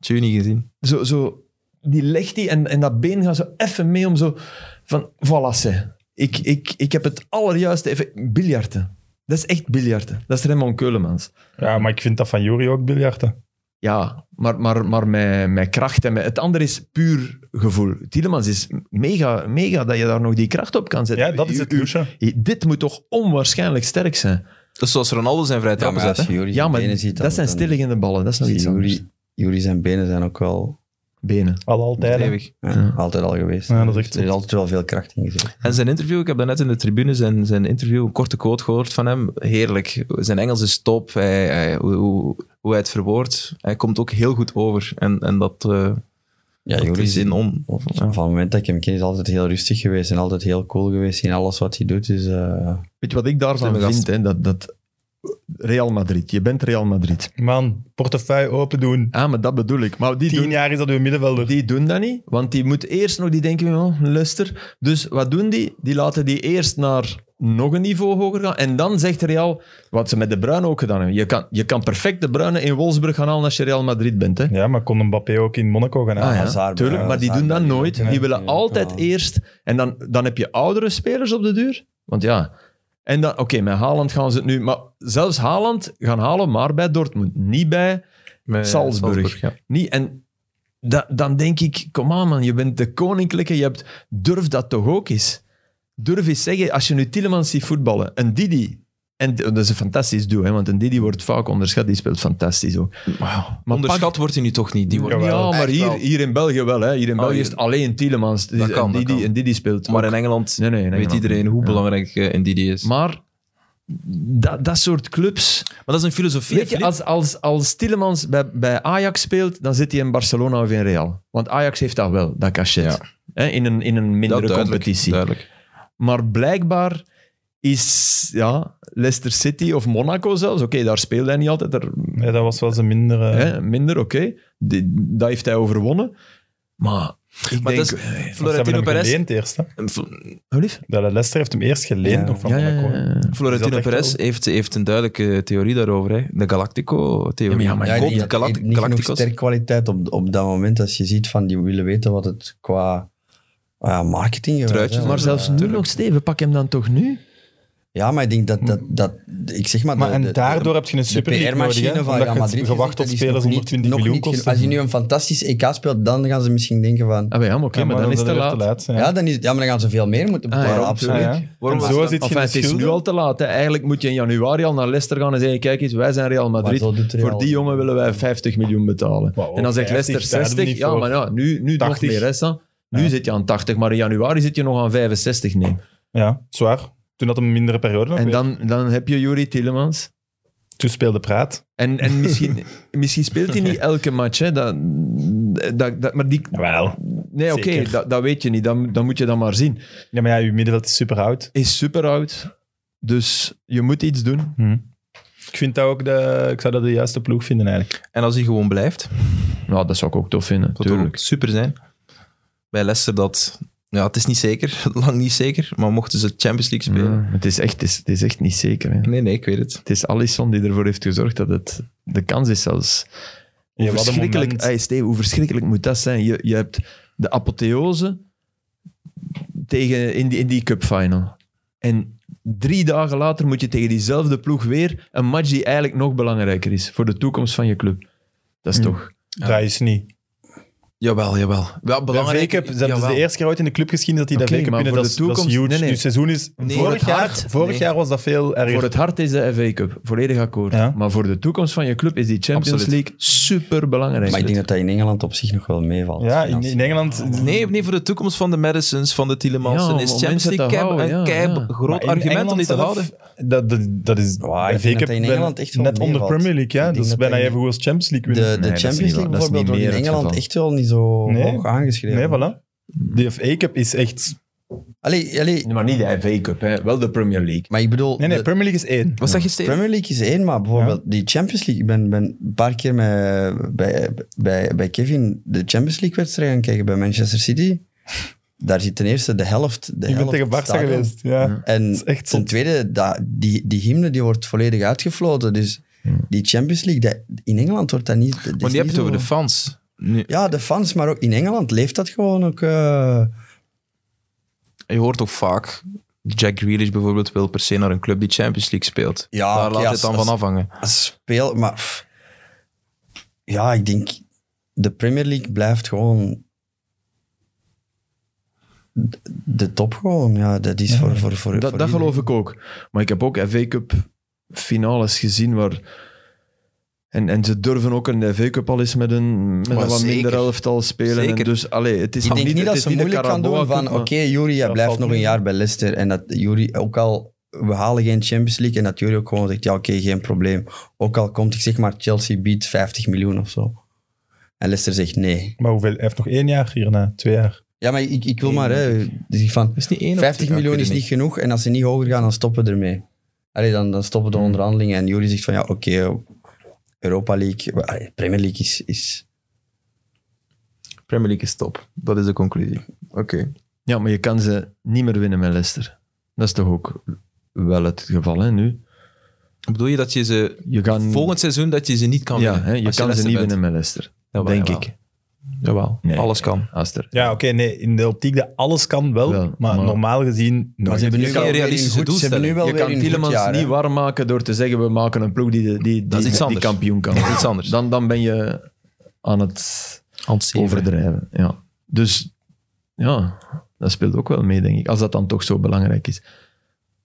Speaker 1: Tune niet gezien.
Speaker 4: Zo, zo, die legt die en, en dat been gaat zo even mee om zo... Van, voilà, ze. Ik, ik, ik heb het allerjuiste... Even, biljarten. Dat is echt biljarten. Dat is Raymond Keulemans.
Speaker 2: Ja, maar ik vind dat van Jury ook biljarten.
Speaker 4: Ja, maar, maar, maar met, met kracht. En met, het andere is puur gevoel. Tielemans is mega, mega dat je daar nog die kracht op kan zetten.
Speaker 2: Ja, dat is het
Speaker 4: U- u-
Speaker 2: douche.
Speaker 4: Dit moet toch onwaarschijnlijk sterk zijn?
Speaker 1: Dat is zoals Ronaldo zijn vrije
Speaker 3: Ja,
Speaker 1: trappen
Speaker 3: maar als
Speaker 1: zet. hè.
Speaker 3: je Jury
Speaker 4: Ja,
Speaker 3: zijn
Speaker 4: maar
Speaker 3: benen ziet... dan-
Speaker 4: dat zijn
Speaker 3: dan-
Speaker 4: stilliggende ballen. Dat is nog iets anders.
Speaker 3: Jury, Jury zijn benen zijn ook wel
Speaker 4: Benen.
Speaker 2: Al altijd. hè.
Speaker 1: Eeuwig.
Speaker 3: ja,
Speaker 4: Ja.
Speaker 3: altijd al geweest.
Speaker 2: Ja, dat is echt
Speaker 3: er is
Speaker 2: goed.
Speaker 3: altijd wel veel kracht in gezeten.
Speaker 1: En zijn interview, ik heb daarnet in de tribune zijn, zijn interview, een korte quote gehoord van hem. Heerlijk. Zijn Engels is top. Hij, hij- hoe, hoe, hoe hij het verwoordt. Hij komt ook heel goed over. En, en dat, eh
Speaker 3: Ja,
Speaker 1: dat
Speaker 3: Jury
Speaker 1: is
Speaker 3: is
Speaker 1: zin om.
Speaker 3: Van het moment dat ik hem ken, is altijd heel rustig geweest en altijd heel cool geweest in alles wat hij doet. Dus, eh,
Speaker 4: Weet je wat ik daarvan
Speaker 1: Slimme gast.
Speaker 4: vind? Hè? Dat, dat Real Madrid. Je bent Real Madrid.
Speaker 2: Man, portefeuille open doen.
Speaker 4: Ah, maar dat bedoel ik. Maar die,
Speaker 2: Tien
Speaker 4: doen,
Speaker 2: jaar is dat uw middenvelder.
Speaker 4: die doen dat niet. Want die moet eerst nog... Die denken, oh, luister. Dus wat doen die? Die laten die eerst naar nog een niveau hoger gaan. En dan zegt Real, wat ze met de Bruyne ook gedaan hebben. Je kan, je kan perfect de Bruyne in Wolfsburg gaan halen als je Real Madrid bent. Hè?
Speaker 2: Ja, maar kon Mbappé ook in Monaco gaan halen?
Speaker 4: Ah, ja,
Speaker 3: Hazard,
Speaker 4: tuurlijk,
Speaker 3: ja,
Speaker 4: maar die
Speaker 3: Hazard,
Speaker 4: doen dat
Speaker 3: die
Speaker 4: nooit.
Speaker 3: doen dat
Speaker 4: Die willen
Speaker 3: niet,
Speaker 4: altijd
Speaker 3: ja.
Speaker 4: eerst. En dan, dan heb je oudere spelers op de duur. Want ja, en dan, oké, met Haaland gaan ze het nu. Maar zelfs Haaland gaan halen, maar bij Dortmund. Niet bij.
Speaker 1: Met
Speaker 4: Salzburg.
Speaker 1: ja.
Speaker 4: Niet, en da- dan denk ik, kom aan man, je bent de koninklijke. Je hebt, durf dat toch ook eens. Durf eens zeggen, als je nu Tillemans ziet voetballen, een Didi. En dat is een fantastisch duo, hè, want een Didi wordt vaak onderschat. Die speelt fantastisch ook.
Speaker 1: Maar
Speaker 4: Maar
Speaker 1: Onderschat
Speaker 4: pak-
Speaker 1: wordt hij nu toch niet. Die wordt
Speaker 2: Jawel.
Speaker 4: Ja, maar
Speaker 1: Echt
Speaker 4: hier,
Speaker 1: wel.
Speaker 4: hier in België wel. Hè. Hier in
Speaker 1: Oh,
Speaker 4: België
Speaker 1: hier.
Speaker 4: is het alleen Tielemans.
Speaker 1: Dat kan,
Speaker 4: en,
Speaker 1: dat
Speaker 4: Didi,
Speaker 1: kan.
Speaker 4: en Didi speelt
Speaker 1: maar
Speaker 4: ook.
Speaker 1: in Engeland
Speaker 4: Nee, nee, in
Speaker 1: weet
Speaker 4: Engeland.
Speaker 1: iedereen hoe
Speaker 4: Ja.
Speaker 1: belangrijk eh, Ndidi is. Maar,
Speaker 4: Maar dat, dat soort clubs...
Speaker 1: dat is een filosofie.
Speaker 4: Weet je,
Speaker 1: Filip.
Speaker 4: als, als, als Tielemans bij, bij Ajax speelt, dan zit hij in Barcelona of in Real. Want Ajax heeft dat wel, dat cachet.
Speaker 1: Ja.
Speaker 4: Hè, in, een, in een mindere
Speaker 1: duidelijk,
Speaker 4: competitie.
Speaker 1: Duidelijk.
Speaker 4: Maar blijkbaar is ja, Leicester City of Monaco zelfs. Oké, daar speelde hij niet altijd. Daar,
Speaker 2: Ja, dat was wel zijn mindere...
Speaker 4: hè, minder, oké. Die- Dat heeft hij overwonnen. Maar ik
Speaker 1: Maar
Speaker 4: denk...
Speaker 1: dat is-
Speaker 4: eh,
Speaker 2: Want ze hebben
Speaker 1: Florentino
Speaker 2: hem
Speaker 1: Perez.
Speaker 2: geleend eerst. Hè?
Speaker 4: hoe lief?
Speaker 2: Dat Leicester heeft hem eerst geleend
Speaker 3: Ja.
Speaker 2: nog van
Speaker 4: Ja, ja,
Speaker 2: Monaco.
Speaker 4: ja, ja.
Speaker 2: Is
Speaker 1: Florentino
Speaker 2: dat echt
Speaker 1: Perez heeft, heeft een duidelijke theorie daarover. Hè? De Galactico-theorie.
Speaker 4: Ja, maar
Speaker 3: Ja,
Speaker 1: Hij
Speaker 3: ik
Speaker 1: koopt
Speaker 3: denk dat
Speaker 1: Galact-
Speaker 3: niet genoeg
Speaker 1: Galacticos.
Speaker 3: sterkwaliteit op, op dat moment. Als je ziet van die willen weten wat het qua ah ja, marketing geweest,
Speaker 1: Truitjes,
Speaker 3: hè.
Speaker 4: Maar zelfs nu nog, Steven, pak hem dan toch nu?
Speaker 3: Ja, maar ik denk dat dat. dat ik zeg maar,
Speaker 2: Maar
Speaker 3: de-
Speaker 2: en
Speaker 3: de-
Speaker 2: daardoor heb je een
Speaker 3: de
Speaker 2: super
Speaker 3: PR-machine van Real Madrid.
Speaker 2: gewacht op
Speaker 3: gezet, dat is nog
Speaker 2: spelers onder
Speaker 3: niet-
Speaker 2: 20
Speaker 3: nog
Speaker 2: miljoen
Speaker 3: niet genoeg.
Speaker 2: kosten.
Speaker 3: Als je nu een fantastisch EK speelt, dan gaan ze misschien denken van.
Speaker 4: Ah, maar ja, maar oké,
Speaker 2: Ja,
Speaker 4: maar, dan, is het te
Speaker 2: weer
Speaker 4: laat.
Speaker 2: ja.
Speaker 3: Ja, dan, is, ja maar dan gaan ze veel meer moeten
Speaker 4: Ah, ja,
Speaker 3: betalen.
Speaker 4: natuurlijk.
Speaker 3: absoluut.
Speaker 2: Ja, ja.
Speaker 1: Waarom
Speaker 2: en
Speaker 1: was
Speaker 2: zo
Speaker 1: dat-
Speaker 2: zit je
Speaker 4: Enfin,
Speaker 2: in de
Speaker 4: het is nu
Speaker 2: schulden.
Speaker 4: al te laat. hè. Eigenlijk moet je in januari al naar Leicester gaan en zeggen, kijk eens, wij zijn Real Madrid.
Speaker 3: Maar zo doet Real.
Speaker 4: Voor die jongen willen wij 50 miljoen betalen.
Speaker 2: Wow,
Speaker 4: en dan zegt
Speaker 2: 50,
Speaker 4: Leicester
Speaker 2: daar hebben we
Speaker 4: 60.
Speaker 2: niet
Speaker 4: Ja,
Speaker 2: voor.
Speaker 4: maar ja, nu, nu nog
Speaker 2: 80.
Speaker 4: meer. Hè, Sam? nu
Speaker 2: Ja.
Speaker 4: zit je aan 80, maar in januari zit je nog aan 65. Nee.
Speaker 2: Ja, zwaar. Toen had hij een mindere periode nog
Speaker 4: En
Speaker 2: weer.
Speaker 4: dan, dan heb je Juri Tillemans.
Speaker 2: Toen speelde Praat.
Speaker 4: En, en misschien, misschien speelt hij niet elke match. Hè. Dat, dat, dat- maar die,
Speaker 2: Wel.
Speaker 4: nee, oké,
Speaker 2: Zeker.
Speaker 4: dat, dat weet je niet. Dan, dan moet je dat maar zien.
Speaker 2: Ja, maar ja, je middenveld is super oud.
Speaker 4: Is super oud, dus je moet iets doen.
Speaker 2: Ik vind dat ook de... Ik zou dat de juiste ploeg vinden eigenlijk.
Speaker 1: En als hij gewoon blijft,
Speaker 4: Nou, dat zou ik ook tof vinden.
Speaker 1: zou het ook
Speaker 4: Tuurlijk.
Speaker 1: super zijn. Bij Leicester dat... Ja, het is niet zeker. Lang niet zeker. Maar mochten ze Champions League spelen...
Speaker 4: Ja, het, is echt, het, is, het is echt niet zeker. Hè.
Speaker 1: Nee, nee, ik weet het.
Speaker 4: Het is Alisson die ervoor heeft gezorgd dat het de kans is zelfs. Hoe,
Speaker 2: Ja, wat een
Speaker 4: verschrikkelijk,
Speaker 2: moment.
Speaker 4: Hey, Steve, hoe verschrikkelijk moet dat zijn? Je, je hebt de apotheose tegen, in, die, in die cupfinal. En drie dagen later moet je tegen diezelfde ploeg weer een match die eigenlijk nog belangrijker is voor de toekomst van je club. Dat is toch...
Speaker 2: Dat is niet.
Speaker 1: Mm. Jawel, jawel. Ja,
Speaker 2: De
Speaker 1: belangrijk.
Speaker 2: V-Cup, dat is
Speaker 1: jawel.
Speaker 2: de eerste keer ooit in de clubgeschiedenis dat die
Speaker 4: Oké,
Speaker 2: dat V-Cup
Speaker 4: maar
Speaker 2: winnen.
Speaker 4: voor
Speaker 2: Dat,
Speaker 4: de
Speaker 2: is- dat is
Speaker 4: toekomst-
Speaker 2: huge.
Speaker 4: nee, nee.
Speaker 2: Dus het seizoen is...
Speaker 1: Nee, voor
Speaker 2: vorig
Speaker 1: het
Speaker 2: jaar,
Speaker 1: hart,
Speaker 2: vorig
Speaker 1: nee.
Speaker 2: jaar was dat veel erger.
Speaker 4: Voor het hart is de FA Cup, volledig akkoord.
Speaker 2: Ja.
Speaker 4: Maar voor de toekomst van je club is die Champions
Speaker 1: Absoluut.
Speaker 4: League super belangrijk.
Speaker 3: Maar ik denk dat dat in Engeland op zich nog wel meevalt.
Speaker 2: Ja, in,
Speaker 3: Financieel.
Speaker 2: in Engeland...
Speaker 1: Nee, nee, voor de toekomst van de Madisons, van de Tielemans.
Speaker 4: Ja, om-
Speaker 1: is
Speaker 4: om
Speaker 1: Champions
Speaker 4: mensen te
Speaker 1: League kei-
Speaker 4: houden, ja,
Speaker 1: een kei
Speaker 4: ja.
Speaker 1: groot
Speaker 2: Maar in
Speaker 1: argument om die te
Speaker 2: Engeland
Speaker 1: houden.
Speaker 2: zelf, Dat, dat, dat is
Speaker 3: Ja, ik
Speaker 2: bij
Speaker 3: vind
Speaker 2: V-Cup
Speaker 3: dat dat in
Speaker 2: wel
Speaker 3: Engeland echt wel
Speaker 2: net onder
Speaker 3: meevalt.
Speaker 2: Premier League.
Speaker 3: Ik
Speaker 2: Ja?
Speaker 3: denk
Speaker 2: Dat is
Speaker 3: dat
Speaker 2: bijna
Speaker 3: dat in-
Speaker 2: even goed als Champions League
Speaker 3: De,
Speaker 2: winnen.
Speaker 3: de
Speaker 4: Nee, dat is
Speaker 3: Champions
Speaker 4: niet
Speaker 3: League
Speaker 4: waar. Dat is
Speaker 3: bijvoorbeeld
Speaker 4: niet
Speaker 3: wordt in
Speaker 4: meer het
Speaker 3: Engeland
Speaker 4: geval.
Speaker 3: echt wel niet zo
Speaker 2: Nee.
Speaker 3: hoog aangeschreven.
Speaker 2: Nee, voilà. Die A-Cup is echt...
Speaker 3: Allee, allee,
Speaker 4: Maar niet de FA Cup, hè. wel de Premier League.
Speaker 3: maar ik bedoel,
Speaker 2: Nee, nee,
Speaker 3: de
Speaker 2: Premier League is één.
Speaker 1: Wat zeg je, Steven?
Speaker 3: Premier League is één, maar bijvoorbeeld die Champions League. Ik ben, ben een paar keer met, bij, bij, bij Kevin de Champions League-wedstrijd gaan kijken bij Manchester City. Daar zit ten eerste de helft. De
Speaker 2: Ik ben
Speaker 3: helft
Speaker 2: tegen Barca
Speaker 3: stadion.
Speaker 2: geweest. Ja.
Speaker 3: En
Speaker 2: is echt
Speaker 3: ten
Speaker 2: zot.
Speaker 3: tweede, dat, die, die hymne die wordt volledig uitgefloten. Dus die Champions League, dat, in Engeland wordt dat niet... dat is
Speaker 1: Want je
Speaker 3: niet
Speaker 1: hebt het over
Speaker 3: zo-
Speaker 1: de fans. Nu,
Speaker 3: Ja, de fans, maar ook in Engeland leeft dat gewoon ook... eh,
Speaker 1: je hoort toch vaak... Jack Grealish bijvoorbeeld wil per se naar een club die Champions League speelt.
Speaker 3: Ah, Ja,
Speaker 1: Daar
Speaker 3: oké,
Speaker 1: laat
Speaker 3: als-
Speaker 1: het dan
Speaker 3: als-
Speaker 1: van afhangen.
Speaker 3: als speel, maar pff. ja, ik denk de Premier League blijft gewoon de- de top gewoon. Ja, dat is voor voor voor.
Speaker 4: Dat,
Speaker 3: voor
Speaker 4: dat
Speaker 3: iedereen.
Speaker 4: geloof ik ook. Maar ik heb ook FA Cup finales gezien waar... En, en ze durven ook een FA Cup al eens met een, met een
Speaker 1: Maar
Speaker 4: wat
Speaker 1: zeker.
Speaker 4: minder elftal spelen. En
Speaker 1: Zeker.
Speaker 4: dus allee, het is
Speaker 3: Ik denk niet,
Speaker 4: het
Speaker 3: dat
Speaker 4: is
Speaker 3: ze
Speaker 4: niet de
Speaker 3: moeilijk gaan doen
Speaker 4: Carabao
Speaker 3: van
Speaker 4: Cup,
Speaker 3: oké,
Speaker 4: maar-
Speaker 3: Jury, jij
Speaker 2: Dat
Speaker 3: blijft
Speaker 2: valt
Speaker 3: nog een
Speaker 2: mee.
Speaker 3: jaar bij Leicester en dat Jury ook al we halen geen Champions League en dat Jury ook gewoon zegt ja oké, geen probleem. Ook al komt ik zeg maar Chelsea biedt 50 miljoen of zo. En Leicester zegt nee.
Speaker 2: Maar hoeveel? Hij heeft nog één jaar hierna, twee jaar.
Speaker 3: Ja, maar ik, ik wil maar hè, dus van
Speaker 1: Dat is niet één of
Speaker 3: 50
Speaker 1: twee- ja, ik
Speaker 3: miljoen
Speaker 1: weet
Speaker 3: is
Speaker 1: het
Speaker 3: niet genoeg en als ze niet hoger gaan, dan stoppen we ermee. Allee, dan, dan stoppen
Speaker 1: Hmm.
Speaker 3: de onderhandelingen en Jury zegt van ja, oké, Europa League, maar, allee, Premier League is, is...
Speaker 1: Premier League is top. Dat is de conclusie. Oké.
Speaker 4: Ja, maar je kan ze niet meer winnen met Leicester. Dat is toch ook wel het geval hè, nu?
Speaker 1: Bedoel je dat je ze
Speaker 4: Je kan,
Speaker 1: volgend seizoen dat je ze niet kan
Speaker 4: ja,
Speaker 1: winnen?
Speaker 4: hè,
Speaker 1: Als
Speaker 4: je kan ze
Speaker 1: Leicester
Speaker 4: niet
Speaker 1: bent.
Speaker 4: winnen met Leicester.
Speaker 1: Jawel,
Speaker 4: denk
Speaker 1: jawel.
Speaker 4: ik.
Speaker 1: Jawel,
Speaker 4: Nee.
Speaker 1: alles kan.
Speaker 4: Aster.
Speaker 2: Ja, oké, nee. In de optiek dat alles kan wel,
Speaker 4: Wel,
Speaker 2: maar,
Speaker 4: maar-
Speaker 2: normaal gezien... nooit.
Speaker 1: hebben nu wel weer een goed-
Speaker 3: Ze hebben nu wel
Speaker 4: Je
Speaker 3: weer
Speaker 4: kan
Speaker 3: een goed
Speaker 4: Tielemans
Speaker 3: jaar. hè.
Speaker 4: niet warm maken door te zeggen we maken een ploeg die, die, die,
Speaker 1: Dat is
Speaker 4: die-
Speaker 1: iets
Speaker 4: die
Speaker 1: anders.
Speaker 4: kampioen kan.
Speaker 1: Dat is iets anders.
Speaker 4: Dan, dan ben je aan het
Speaker 1: Hans Sever.
Speaker 4: overdrijven. Ja. Dus ja, dat speelt ook wel mee, denk ik. Als dat dan toch zo belangrijk is.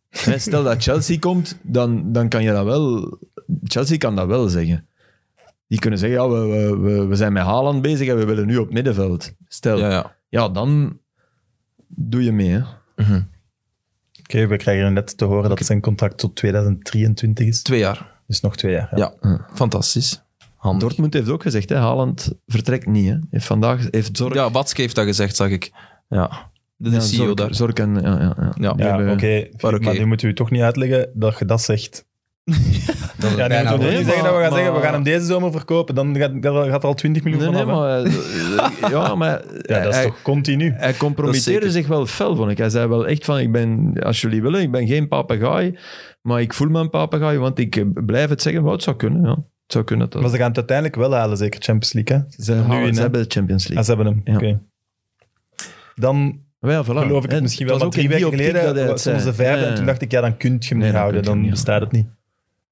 Speaker 4: Hè, Stel dat Chelsea komt, dan, dan kan je dat wel... Chelsea kan dat wel zeggen. Die kunnen zeggen, ja, we, we, we, we zijn met Haaland bezig en we willen nu op middenveld. Stel,
Speaker 1: Ja,
Speaker 4: ja,
Speaker 1: ja.
Speaker 4: dan doe je mee. Hè.
Speaker 1: Mhm.
Speaker 2: Oké, we krijgen net te horen dat zijn contract tot 2023 is.
Speaker 1: Twee jaar.
Speaker 2: Dus nog twee jaar. Ja.
Speaker 1: Ja, fantastisch. Handig.
Speaker 4: Dortmund heeft ook gezegd, hè, Haaland vertrekt niet. Hè. Heeft vandaag heeft zorg
Speaker 1: Ja, Batske heeft dat gezegd, zag ik. Ja. de CEO
Speaker 4: Zorc-
Speaker 1: daar.
Speaker 4: Zorc en... Ja, ja, ja.
Speaker 1: Ja.
Speaker 4: Die
Speaker 2: Ja, oké.
Speaker 4: hebben-
Speaker 2: Filip, Maar,
Speaker 1: oké.
Speaker 2: nu moet u toch niet uitleggen dat je dat zegt.
Speaker 3: Dat is
Speaker 2: Ja, nu
Speaker 3: bijna
Speaker 2: moeten we
Speaker 4: nee,
Speaker 2: niet
Speaker 4: maar-
Speaker 2: zeggen dat we gaan zeggen, we
Speaker 4: maar-
Speaker 2: gaan hem deze zomer verkopen. Dan gaat, gaat gaat er al 20 miljoen
Speaker 4: Nee, nee,
Speaker 2: vanaf, hè.
Speaker 4: maar... eh, ja, maar...
Speaker 2: Ja, dat is
Speaker 4: hij-
Speaker 2: toch continu.
Speaker 4: Hij
Speaker 1: Dat is zeker.
Speaker 4: compromitteerde zich wel fel, vond ik. Hij zei wel echt van, ik ben, als jullie willen, ik ben geen papegaai, maar ik voel me een papegaai, want ik eh, blijf het zeggen, maar het zou kunnen, ja. Het zou kunnen dat...
Speaker 2: Maar ze gaan het uiteindelijk wel halen, zeker Champions League. Hè?
Speaker 4: ze halen-
Speaker 2: nu in,
Speaker 4: ze
Speaker 2: hè?
Speaker 4: hebben de Champions
Speaker 2: Ah,
Speaker 4: League.
Speaker 2: ze hebben hem.
Speaker 4: Ja.
Speaker 2: Oké. Dan
Speaker 4: Maar ja, voilà.
Speaker 2: geloof ik het
Speaker 4: Ah, En
Speaker 2: misschien
Speaker 4: het
Speaker 2: wel,
Speaker 4: was
Speaker 2: want
Speaker 4: ook
Speaker 2: drie
Speaker 4: in die
Speaker 2: weken
Speaker 4: optiek dat hij
Speaker 2: geleden
Speaker 4: het
Speaker 2: was
Speaker 4: zei.
Speaker 2: onze vijfde.
Speaker 4: Ja,
Speaker 2: En
Speaker 4: ja.
Speaker 2: toen dacht ik, ja, dan kun je hem
Speaker 4: Nee,
Speaker 2: niet
Speaker 4: dan
Speaker 2: houden.
Speaker 4: kun je hem
Speaker 2: Dan
Speaker 4: niet
Speaker 2: bestaat het niet.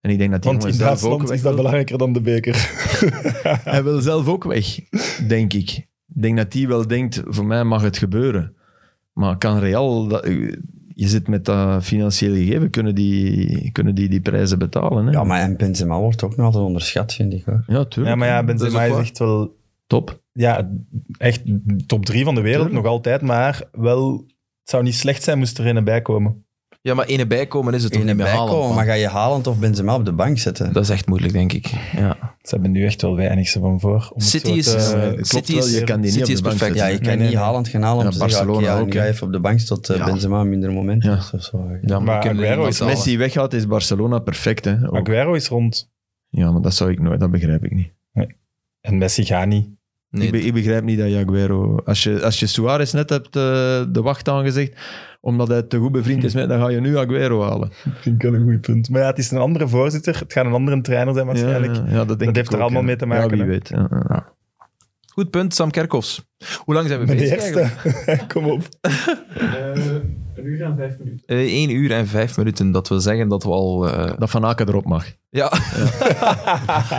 Speaker 4: En ik denk dat die
Speaker 2: Want in
Speaker 4: jongen zelf ook
Speaker 2: Duitsland
Speaker 4: weg
Speaker 2: is dat
Speaker 4: wil.
Speaker 2: belangrijker dan de beker.
Speaker 4: Hij wil zelf ook weg, denk ik. Ik denk dat hij wel denkt, voor mij mag het gebeuren. Maar kan Real... dat- je zit met dat financiële gegeven, kunnen die kunnen die, die prijzen betalen? Hè?
Speaker 3: Ja, maar en Benzema wordt ook nog altijd onderschat, vind ik hoor.
Speaker 4: Ja, tuurlijk.
Speaker 2: Ja, maar ja, Benzema
Speaker 1: ook
Speaker 2: is
Speaker 1: waar.
Speaker 2: echt wel
Speaker 4: Top.
Speaker 2: ja, echt top drie van de wereld
Speaker 4: Tuurlijk.
Speaker 2: nog altijd, maar wel, het zou niet slecht zijn moest er een bij komen.
Speaker 1: Ja, maar ene bijkomen is het toch
Speaker 3: In
Speaker 1: niet
Speaker 3: een
Speaker 1: meer halen.
Speaker 3: bijkomen, maar
Speaker 1: man.
Speaker 3: ga je Haaland of Benzema op de bank zetten?
Speaker 1: Dat is echt moeilijk, denk ik. Ja.
Speaker 2: Ze hebben nu echt wel weinig ze van voor. om het
Speaker 1: City
Speaker 2: zo
Speaker 1: is-
Speaker 2: te-
Speaker 1: eh,
Speaker 2: klopt
Speaker 1: City
Speaker 2: wel,
Speaker 1: is-
Speaker 2: je-
Speaker 4: Je kan die
Speaker 1: City
Speaker 4: niet op
Speaker 1: is
Speaker 4: de bank
Speaker 1: perfect.
Speaker 3: Ja,
Speaker 4: zetten.
Speaker 3: je
Speaker 2: Nee,
Speaker 3: kan
Speaker 2: nee,
Speaker 3: niet
Speaker 2: nee.
Speaker 3: Haaland gaan halen om
Speaker 4: Ja,
Speaker 3: te zeggen, oké,
Speaker 4: Barcelona
Speaker 3: ja, nu
Speaker 4: ook,
Speaker 3: ga
Speaker 4: hè.
Speaker 3: je even op de bank tot eh,
Speaker 1: Ja.
Speaker 3: Benzema minder momenten.
Speaker 4: Ja.
Speaker 3: of zo, zo.
Speaker 1: Ja,
Speaker 2: Maar
Speaker 1: we kunnen
Speaker 2: Aguero
Speaker 1: niemand
Speaker 2: is
Speaker 1: halen.
Speaker 4: Messi weggaat, is Barcelona perfect. Hè? Ook.
Speaker 2: Aguero is rond
Speaker 4: Ja, maar dat zou ik nooit, dat begrijp ik niet.
Speaker 2: en Messi gaat niet.
Speaker 1: Nee,
Speaker 4: ik, be- ik begrijp niet dat je Aguero... Als je, als je Suarez net hebt eh, de wacht aangezegd, omdat hij te goed bevriend is met, dan ga je nu Aguero halen.
Speaker 2: Vind ik wel een goed punt. Maar ja, het is een andere voorzitter. Het gaat een andere trainer zijn waarschijnlijk.
Speaker 4: Ja, ja, dat denk
Speaker 2: Dat
Speaker 4: ik
Speaker 2: heeft er
Speaker 4: ook,
Speaker 2: allemaal
Speaker 4: ja.
Speaker 2: mee te maken,
Speaker 4: Ja, wie
Speaker 2: hè.
Speaker 4: weet. Ja, ja.
Speaker 1: Goed punt, Sam Kerkhoffs. Hoe lang zijn we
Speaker 2: Mijn
Speaker 1: bezig
Speaker 2: eerste. Kom op.
Speaker 1: eigenlijk? 1 Eh, uur en 5 minuten. Dat wil zeggen dat we al... eh,
Speaker 4: Dat Van Aken erop mag.
Speaker 1: ja,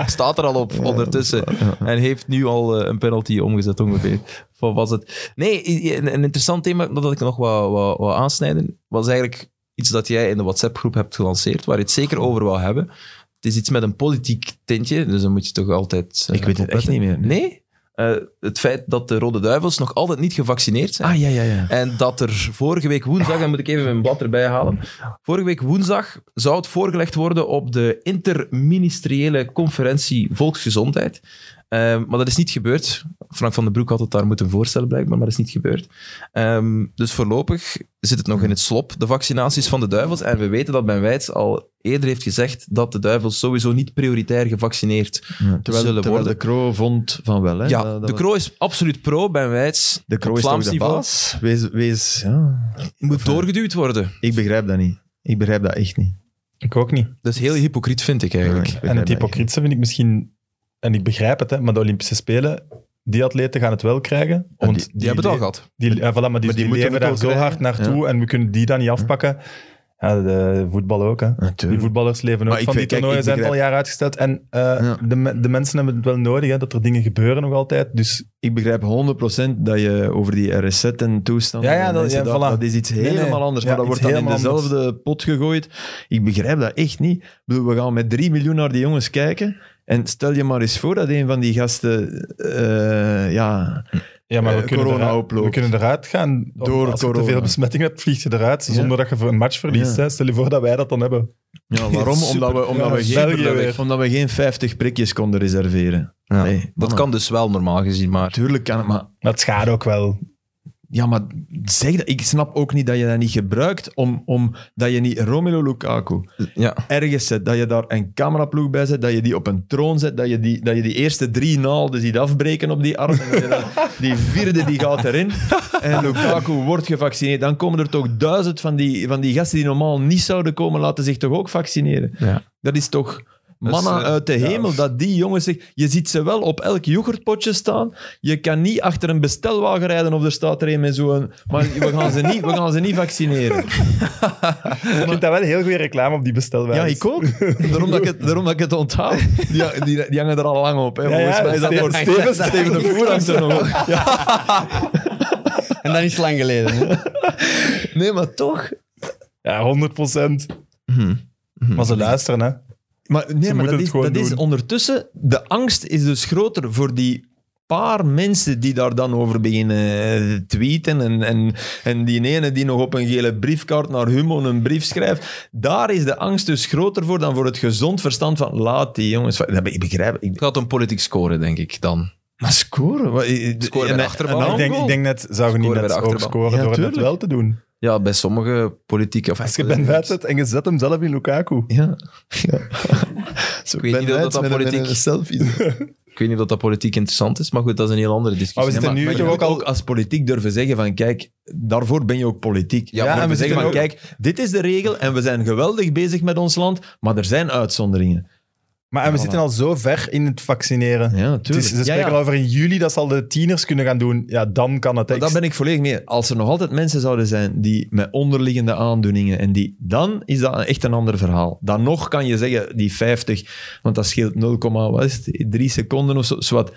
Speaker 1: staat er al op ondertussen. En heeft nu al eh, een penalty omgezet ongeveer. Van was het... Nee, i- i- een, een interessant thema dat ik nog wat, wat, wat aansnijden, was eigenlijk iets dat jij in de WhatsApp-groep hebt gelanceerd, waar je het zeker over wou hebben. Het is iets met een politiek tintje, dus dan moet je toch altijd... eh,
Speaker 4: Ik weet het echt
Speaker 1: opletten.
Speaker 4: niet meer.
Speaker 1: Nee? Eh, het feit dat de Rode Duivels nog altijd niet gevaccineerd zijn.
Speaker 4: Ah, ja, ja, ja.
Speaker 1: En dat er vorige week woensdag, dan moet ik even mijn blad erbij halen. Vorige week woensdag zou het voorgelegd worden op de interministeriële conferentie Volksgezondheid. Ehm, maar dat is niet gebeurd. Frank van den Broek had het daar moeten voorstellen, blijkbaar, maar dat is niet gebeurd. Ehm, dus voorlopig zit het nog in het slop, de vaccinaties van de duivels. En we weten dat Ben Wijts al eerder heeft gezegd dat de duivels sowieso niet prioritair gevaccineerd
Speaker 4: Terwijl,
Speaker 1: zullen
Speaker 4: terwijl
Speaker 1: worden.
Speaker 4: de Kroo vond van wel. Hè?
Speaker 1: Ja,
Speaker 4: Dat- dat
Speaker 1: de
Speaker 4: was-
Speaker 1: Kroo is absoluut pro, Ben Wijts.
Speaker 4: de Kroo
Speaker 1: op
Speaker 4: is toch
Speaker 1: Vlaams
Speaker 4: de
Speaker 1: niveau
Speaker 4: baas? Wees, wees, ja.
Speaker 1: Moet doorgeduwd worden.
Speaker 4: Ik begrijp dat niet. Ik begrijp dat echt niet.
Speaker 2: Ik ook niet.
Speaker 1: Dat is heel hypocriet, vind ik eigenlijk.
Speaker 4: Ja, ik begrijp
Speaker 2: En het
Speaker 4: dat echt niet.
Speaker 2: hypocrietse vind ik misschien, en ik begrijp het, hè, maar de Olympische Spelen, die atleten gaan het wel krijgen. Want
Speaker 4: die-
Speaker 1: Die, hebben het al gehad.
Speaker 2: Die, ja, voilà, maar die,
Speaker 4: die
Speaker 2: die
Speaker 4: moeten
Speaker 2: leven
Speaker 4: het
Speaker 2: daar
Speaker 4: ook
Speaker 2: zo
Speaker 4: krijgen.
Speaker 2: hard naartoe en we kunnen die dan niet afpakken. Ja, de voetbal ook. Hè. Die
Speaker 4: Natuurlijk.
Speaker 2: voetballers leven ook
Speaker 4: Maar ik
Speaker 2: van die
Speaker 4: weet- kijk,
Speaker 2: toernooien,
Speaker 4: ik
Speaker 2: zijn het al
Speaker 4: begrijp-
Speaker 2: jaren uitgesteld. En eh,
Speaker 4: Ja.
Speaker 2: de, me- de mensen hebben het wel nodig, hè, dat er dingen gebeuren nog altijd. Dus
Speaker 4: Ik begrijp 100% dat je over die RSZ en toestanden...
Speaker 2: Ja, ja,
Speaker 4: en
Speaker 2: dat- ja,
Speaker 4: mensen, dat,
Speaker 2: voilà.
Speaker 4: dat is iets
Speaker 2: Nee, nee.
Speaker 4: helemaal anders.
Speaker 2: Ja,
Speaker 4: maar dat
Speaker 2: iets
Speaker 4: wordt dan in
Speaker 2: helemaal
Speaker 4: dezelfde pot gegooid. Ik begrijp dat echt niet. Ik bedoel, we gaan met 3 miljoen naar die jongens kijken. En stel je maar eens voor dat een van die gasten... eh, ja,
Speaker 2: ja, maar we,
Speaker 4: maar we Eh, kunnen
Speaker 2: kunnen
Speaker 4: corona eruit-
Speaker 2: eruit,
Speaker 4: oploopt.
Speaker 2: we kunnen eruit gaan.
Speaker 4: Door
Speaker 2: Als je te
Speaker 4: corona.
Speaker 2: veel besmettingen hebt, vlieg je eruit
Speaker 4: Ja.
Speaker 2: zonder dat je voor een match verliest.
Speaker 4: Ja.
Speaker 2: Hè. Stel je voor dat wij dat dan hebben.
Speaker 4: ja waarom?
Speaker 2: Super.
Speaker 4: Omdat we, omdat,
Speaker 2: Ja,
Speaker 4: we geen,
Speaker 2: België weer.
Speaker 4: omdat we geen 50 prikjes konden reserveren.
Speaker 1: Ja.
Speaker 4: Nee,
Speaker 1: dat
Speaker 4: mannen.
Speaker 1: kan dus wel normaal gezien, maar
Speaker 4: Tuurlijk kan het, maar
Speaker 2: Maar het schaadt ook wel.
Speaker 4: Ja, maar zeg dat. Ik snap ook niet dat je dat niet gebruikt om, om dat je niet Romelu Lukaku
Speaker 1: ja.
Speaker 4: ergens zet, dat je daar een cameraploeg bij zet, dat je die op een troon zet, dat je die, dat je die eerste drie naalden ziet afbreken op die arm, en dat je dan- die vierde die gaat erin en Lukaku wordt gevaccineerd. Dan komen er toch duizend van die, van die gasten die normaal niet zouden komen, laten zich toch ook vaccineren.
Speaker 1: Ja.
Speaker 4: Dat is toch... Manna
Speaker 1: eh,
Speaker 4: uit de
Speaker 2: ja.
Speaker 4: hemel, dat die jongens zich... Je ziet ze wel op elk yoghurtpotje staan. Je kan niet achter een bestelwagen rijden of er staat er een met zo'n... Maar we gaan ze niet, we gaan ze niet vaccineren.
Speaker 2: Ik vind dat wel heel goede reclame op die bestelwijze.
Speaker 4: Ja, ik ook. Daarom dat ik het, daarom dat ik het onthoud. Die, die, die hangen er al lang op. Hè.
Speaker 2: Ja,
Speaker 4: Volgens
Speaker 2: ja,
Speaker 4: mij is dat
Speaker 2: Steven-
Speaker 4: voor
Speaker 2: Steven-
Speaker 4: Steven de Voer hangt er nog op. Ja.
Speaker 3: En dat is lang geleden. hè.
Speaker 4: Nee, maar toch.
Speaker 2: Ja, 100
Speaker 1: Mhm.
Speaker 2: Maar ze luisteren, hè.
Speaker 4: Maar, nee,
Speaker 2: moeten
Speaker 4: maar dat,
Speaker 2: het
Speaker 4: is,
Speaker 2: gewoon
Speaker 4: dat is
Speaker 2: doen.
Speaker 4: ondertussen... De angst is dus groter voor die paar mensen die daar dan over beginnen eh, tweeten en, en, en die ene die nog op een gele briefkaart naar Humo een brief schrijft, daar is de angst dus groter voor dan voor het gezond verstand van laat die jongens... Dat be- Ik begrijp... Ik,
Speaker 1: Het gaat om politiek scoren, denk ik dan.
Speaker 4: Maar scoren? Wat,
Speaker 1: Scoren bij de achterbal.
Speaker 2: ik, denk, ik denk net, zou je niet
Speaker 1: Scoren bij
Speaker 2: net
Speaker 1: de
Speaker 2: ook
Speaker 1: achterbal.
Speaker 2: scoren
Speaker 4: Ja,
Speaker 2: door het
Speaker 4: tuurlijk.
Speaker 2: net wel te doen?
Speaker 1: Ja, bij sommige politieke... Of
Speaker 2: Als je Ben White zet en je zet hem zelf in Lukaku.
Speaker 4: Ja. ja. Zo,
Speaker 1: Ik weet niet of dat dat
Speaker 4: met een- met
Speaker 1: politiek-
Speaker 4: een selfie.
Speaker 1: Ik weet niet of dat politiek interessant is, maar goed, dat is een heel andere discussie.
Speaker 2: Maar we zitten
Speaker 1: Nee,
Speaker 2: nu
Speaker 4: Maar je
Speaker 2: toch
Speaker 4: moet
Speaker 2: ook
Speaker 4: ook,
Speaker 2: al...
Speaker 4: als politiek durven zeggen van kijk, daarvoor ben je ook politiek.
Speaker 1: Ja,
Speaker 4: Ja,
Speaker 1: maar
Speaker 4: en
Speaker 2: we
Speaker 4: we zeggen van
Speaker 2: zitten
Speaker 4: kijk, dit is de regel en we zijn geweldig bezig met ons land, maar er zijn uitzonderingen.
Speaker 2: Maar en we
Speaker 4: Voilà.
Speaker 2: zitten al zo ver in het vaccineren. Het
Speaker 4: Ja,
Speaker 2: is,
Speaker 4: natuurlijk.
Speaker 2: ze spreken al over in juli dat ze al de tieners kunnen gaan doen. Ja, dan kan het.
Speaker 4: Maar
Speaker 2: echt.
Speaker 4: daar ben ik volledig mee. Als er nog altijd mensen zouden zijn die met onderliggende aandoeningen en die, dan is dat echt een ander verhaal. Dan nog kan je zeggen die 50, want dat scheelt 0, wat is het, 3 seconden of zo. Zwart.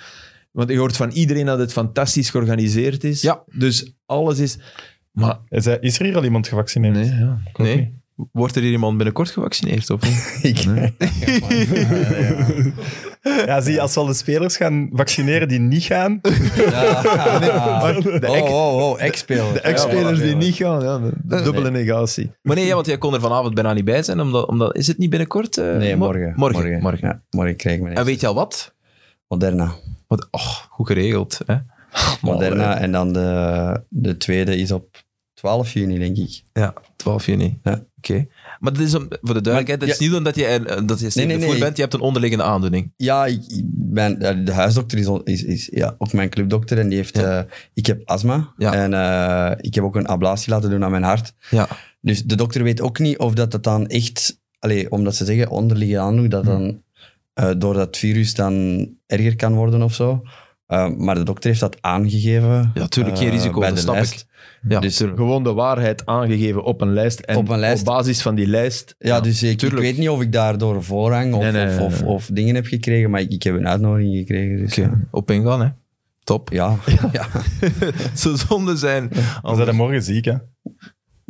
Speaker 4: Want je hoort van iedereen dat het fantastisch georganiseerd is.
Speaker 1: Ja.
Speaker 4: Dus alles is. Maar
Speaker 2: Is er- Is er hier al iemand gevaccineerd?
Speaker 4: nee, ja.
Speaker 1: nee. Wordt er hier iemand binnenkort gevaccineerd? Of niet?
Speaker 3: Ik-
Speaker 2: Ja, zie, als we al de spelers gaan vaccineren die niet gaan,
Speaker 1: Ah.
Speaker 3: Ja.
Speaker 4: De
Speaker 3: Oh, oh, oh, ex-spelers.
Speaker 4: De ex-spelers
Speaker 3: Ja,
Speaker 4: die
Speaker 3: voilà.
Speaker 4: niet gaan, ja, de, de dubbele negatie.
Speaker 1: Maar nee, ja, want jij kon er vanavond bijna niet bij zijn. Omdat, omdat, is het niet binnenkort? eh,
Speaker 3: Nee,
Speaker 1: mo-
Speaker 3: morgen.
Speaker 1: Morgen. morgen.
Speaker 3: Ja, morgen krijg ik mijn
Speaker 1: En Ah,
Speaker 3: eerste.
Speaker 1: weet je al wat?
Speaker 3: Moderna.
Speaker 1: Wat och, goed geregeld. Hè?
Speaker 3: Moderna. En dan de, de tweede is op 12 juni, denk ik.
Speaker 1: Ja, 12 juni.
Speaker 3: Ja.
Speaker 1: Oké. Maar dat is om, voor de duidelijkheid, dat is niet omdat je, er- dat je nee,
Speaker 3: nee, nee.
Speaker 1: bent, je hebt een onderliggende aandoening.
Speaker 3: Ja, ik, ik ben, ja, de huisdokter is, on- is, is ja, ook mijn clubdokter. En die heeft... eh, ik heb astma.
Speaker 1: Ja.
Speaker 3: En eh, ik heb ook een ablatie laten doen aan mijn hart.
Speaker 1: Ja.
Speaker 3: Dus de dokter weet ook niet of dat, dat dan echt... Allee, omdat ze zeggen, onderliggende aandoening, dat dan eh, door dat virus dan erger kan worden of zo. Eh, maar de dokter heeft dat aangegeven.
Speaker 1: Ja, tuurlijk, geen
Speaker 3: eh,
Speaker 1: risico,
Speaker 3: bij
Speaker 1: dat
Speaker 3: de
Speaker 1: snap
Speaker 3: lijst.
Speaker 1: ik. Ja,
Speaker 3: Dus-
Speaker 1: tuurlijk.
Speaker 4: Gewoon de waarheid aangegeven op een lijst. En
Speaker 3: Op
Speaker 4: op,
Speaker 3: een lijst.
Speaker 4: basis van die lijst.
Speaker 3: Ja, dus ik, ik
Speaker 1: tuurlijk.
Speaker 3: weet niet of ik daardoor voorrang of,
Speaker 4: Nee, nee,
Speaker 3: of,
Speaker 4: nee,
Speaker 3: of,
Speaker 4: nee.
Speaker 3: of dingen heb gekregen, maar ik, ik heb een uitnodiging gekregen. Dus
Speaker 1: Oké, op ingaan, hè. Top.
Speaker 3: ja. Ja. ja.
Speaker 1: Zo zonde zijn.
Speaker 2: dan zijn ze morgen ziek. Hè?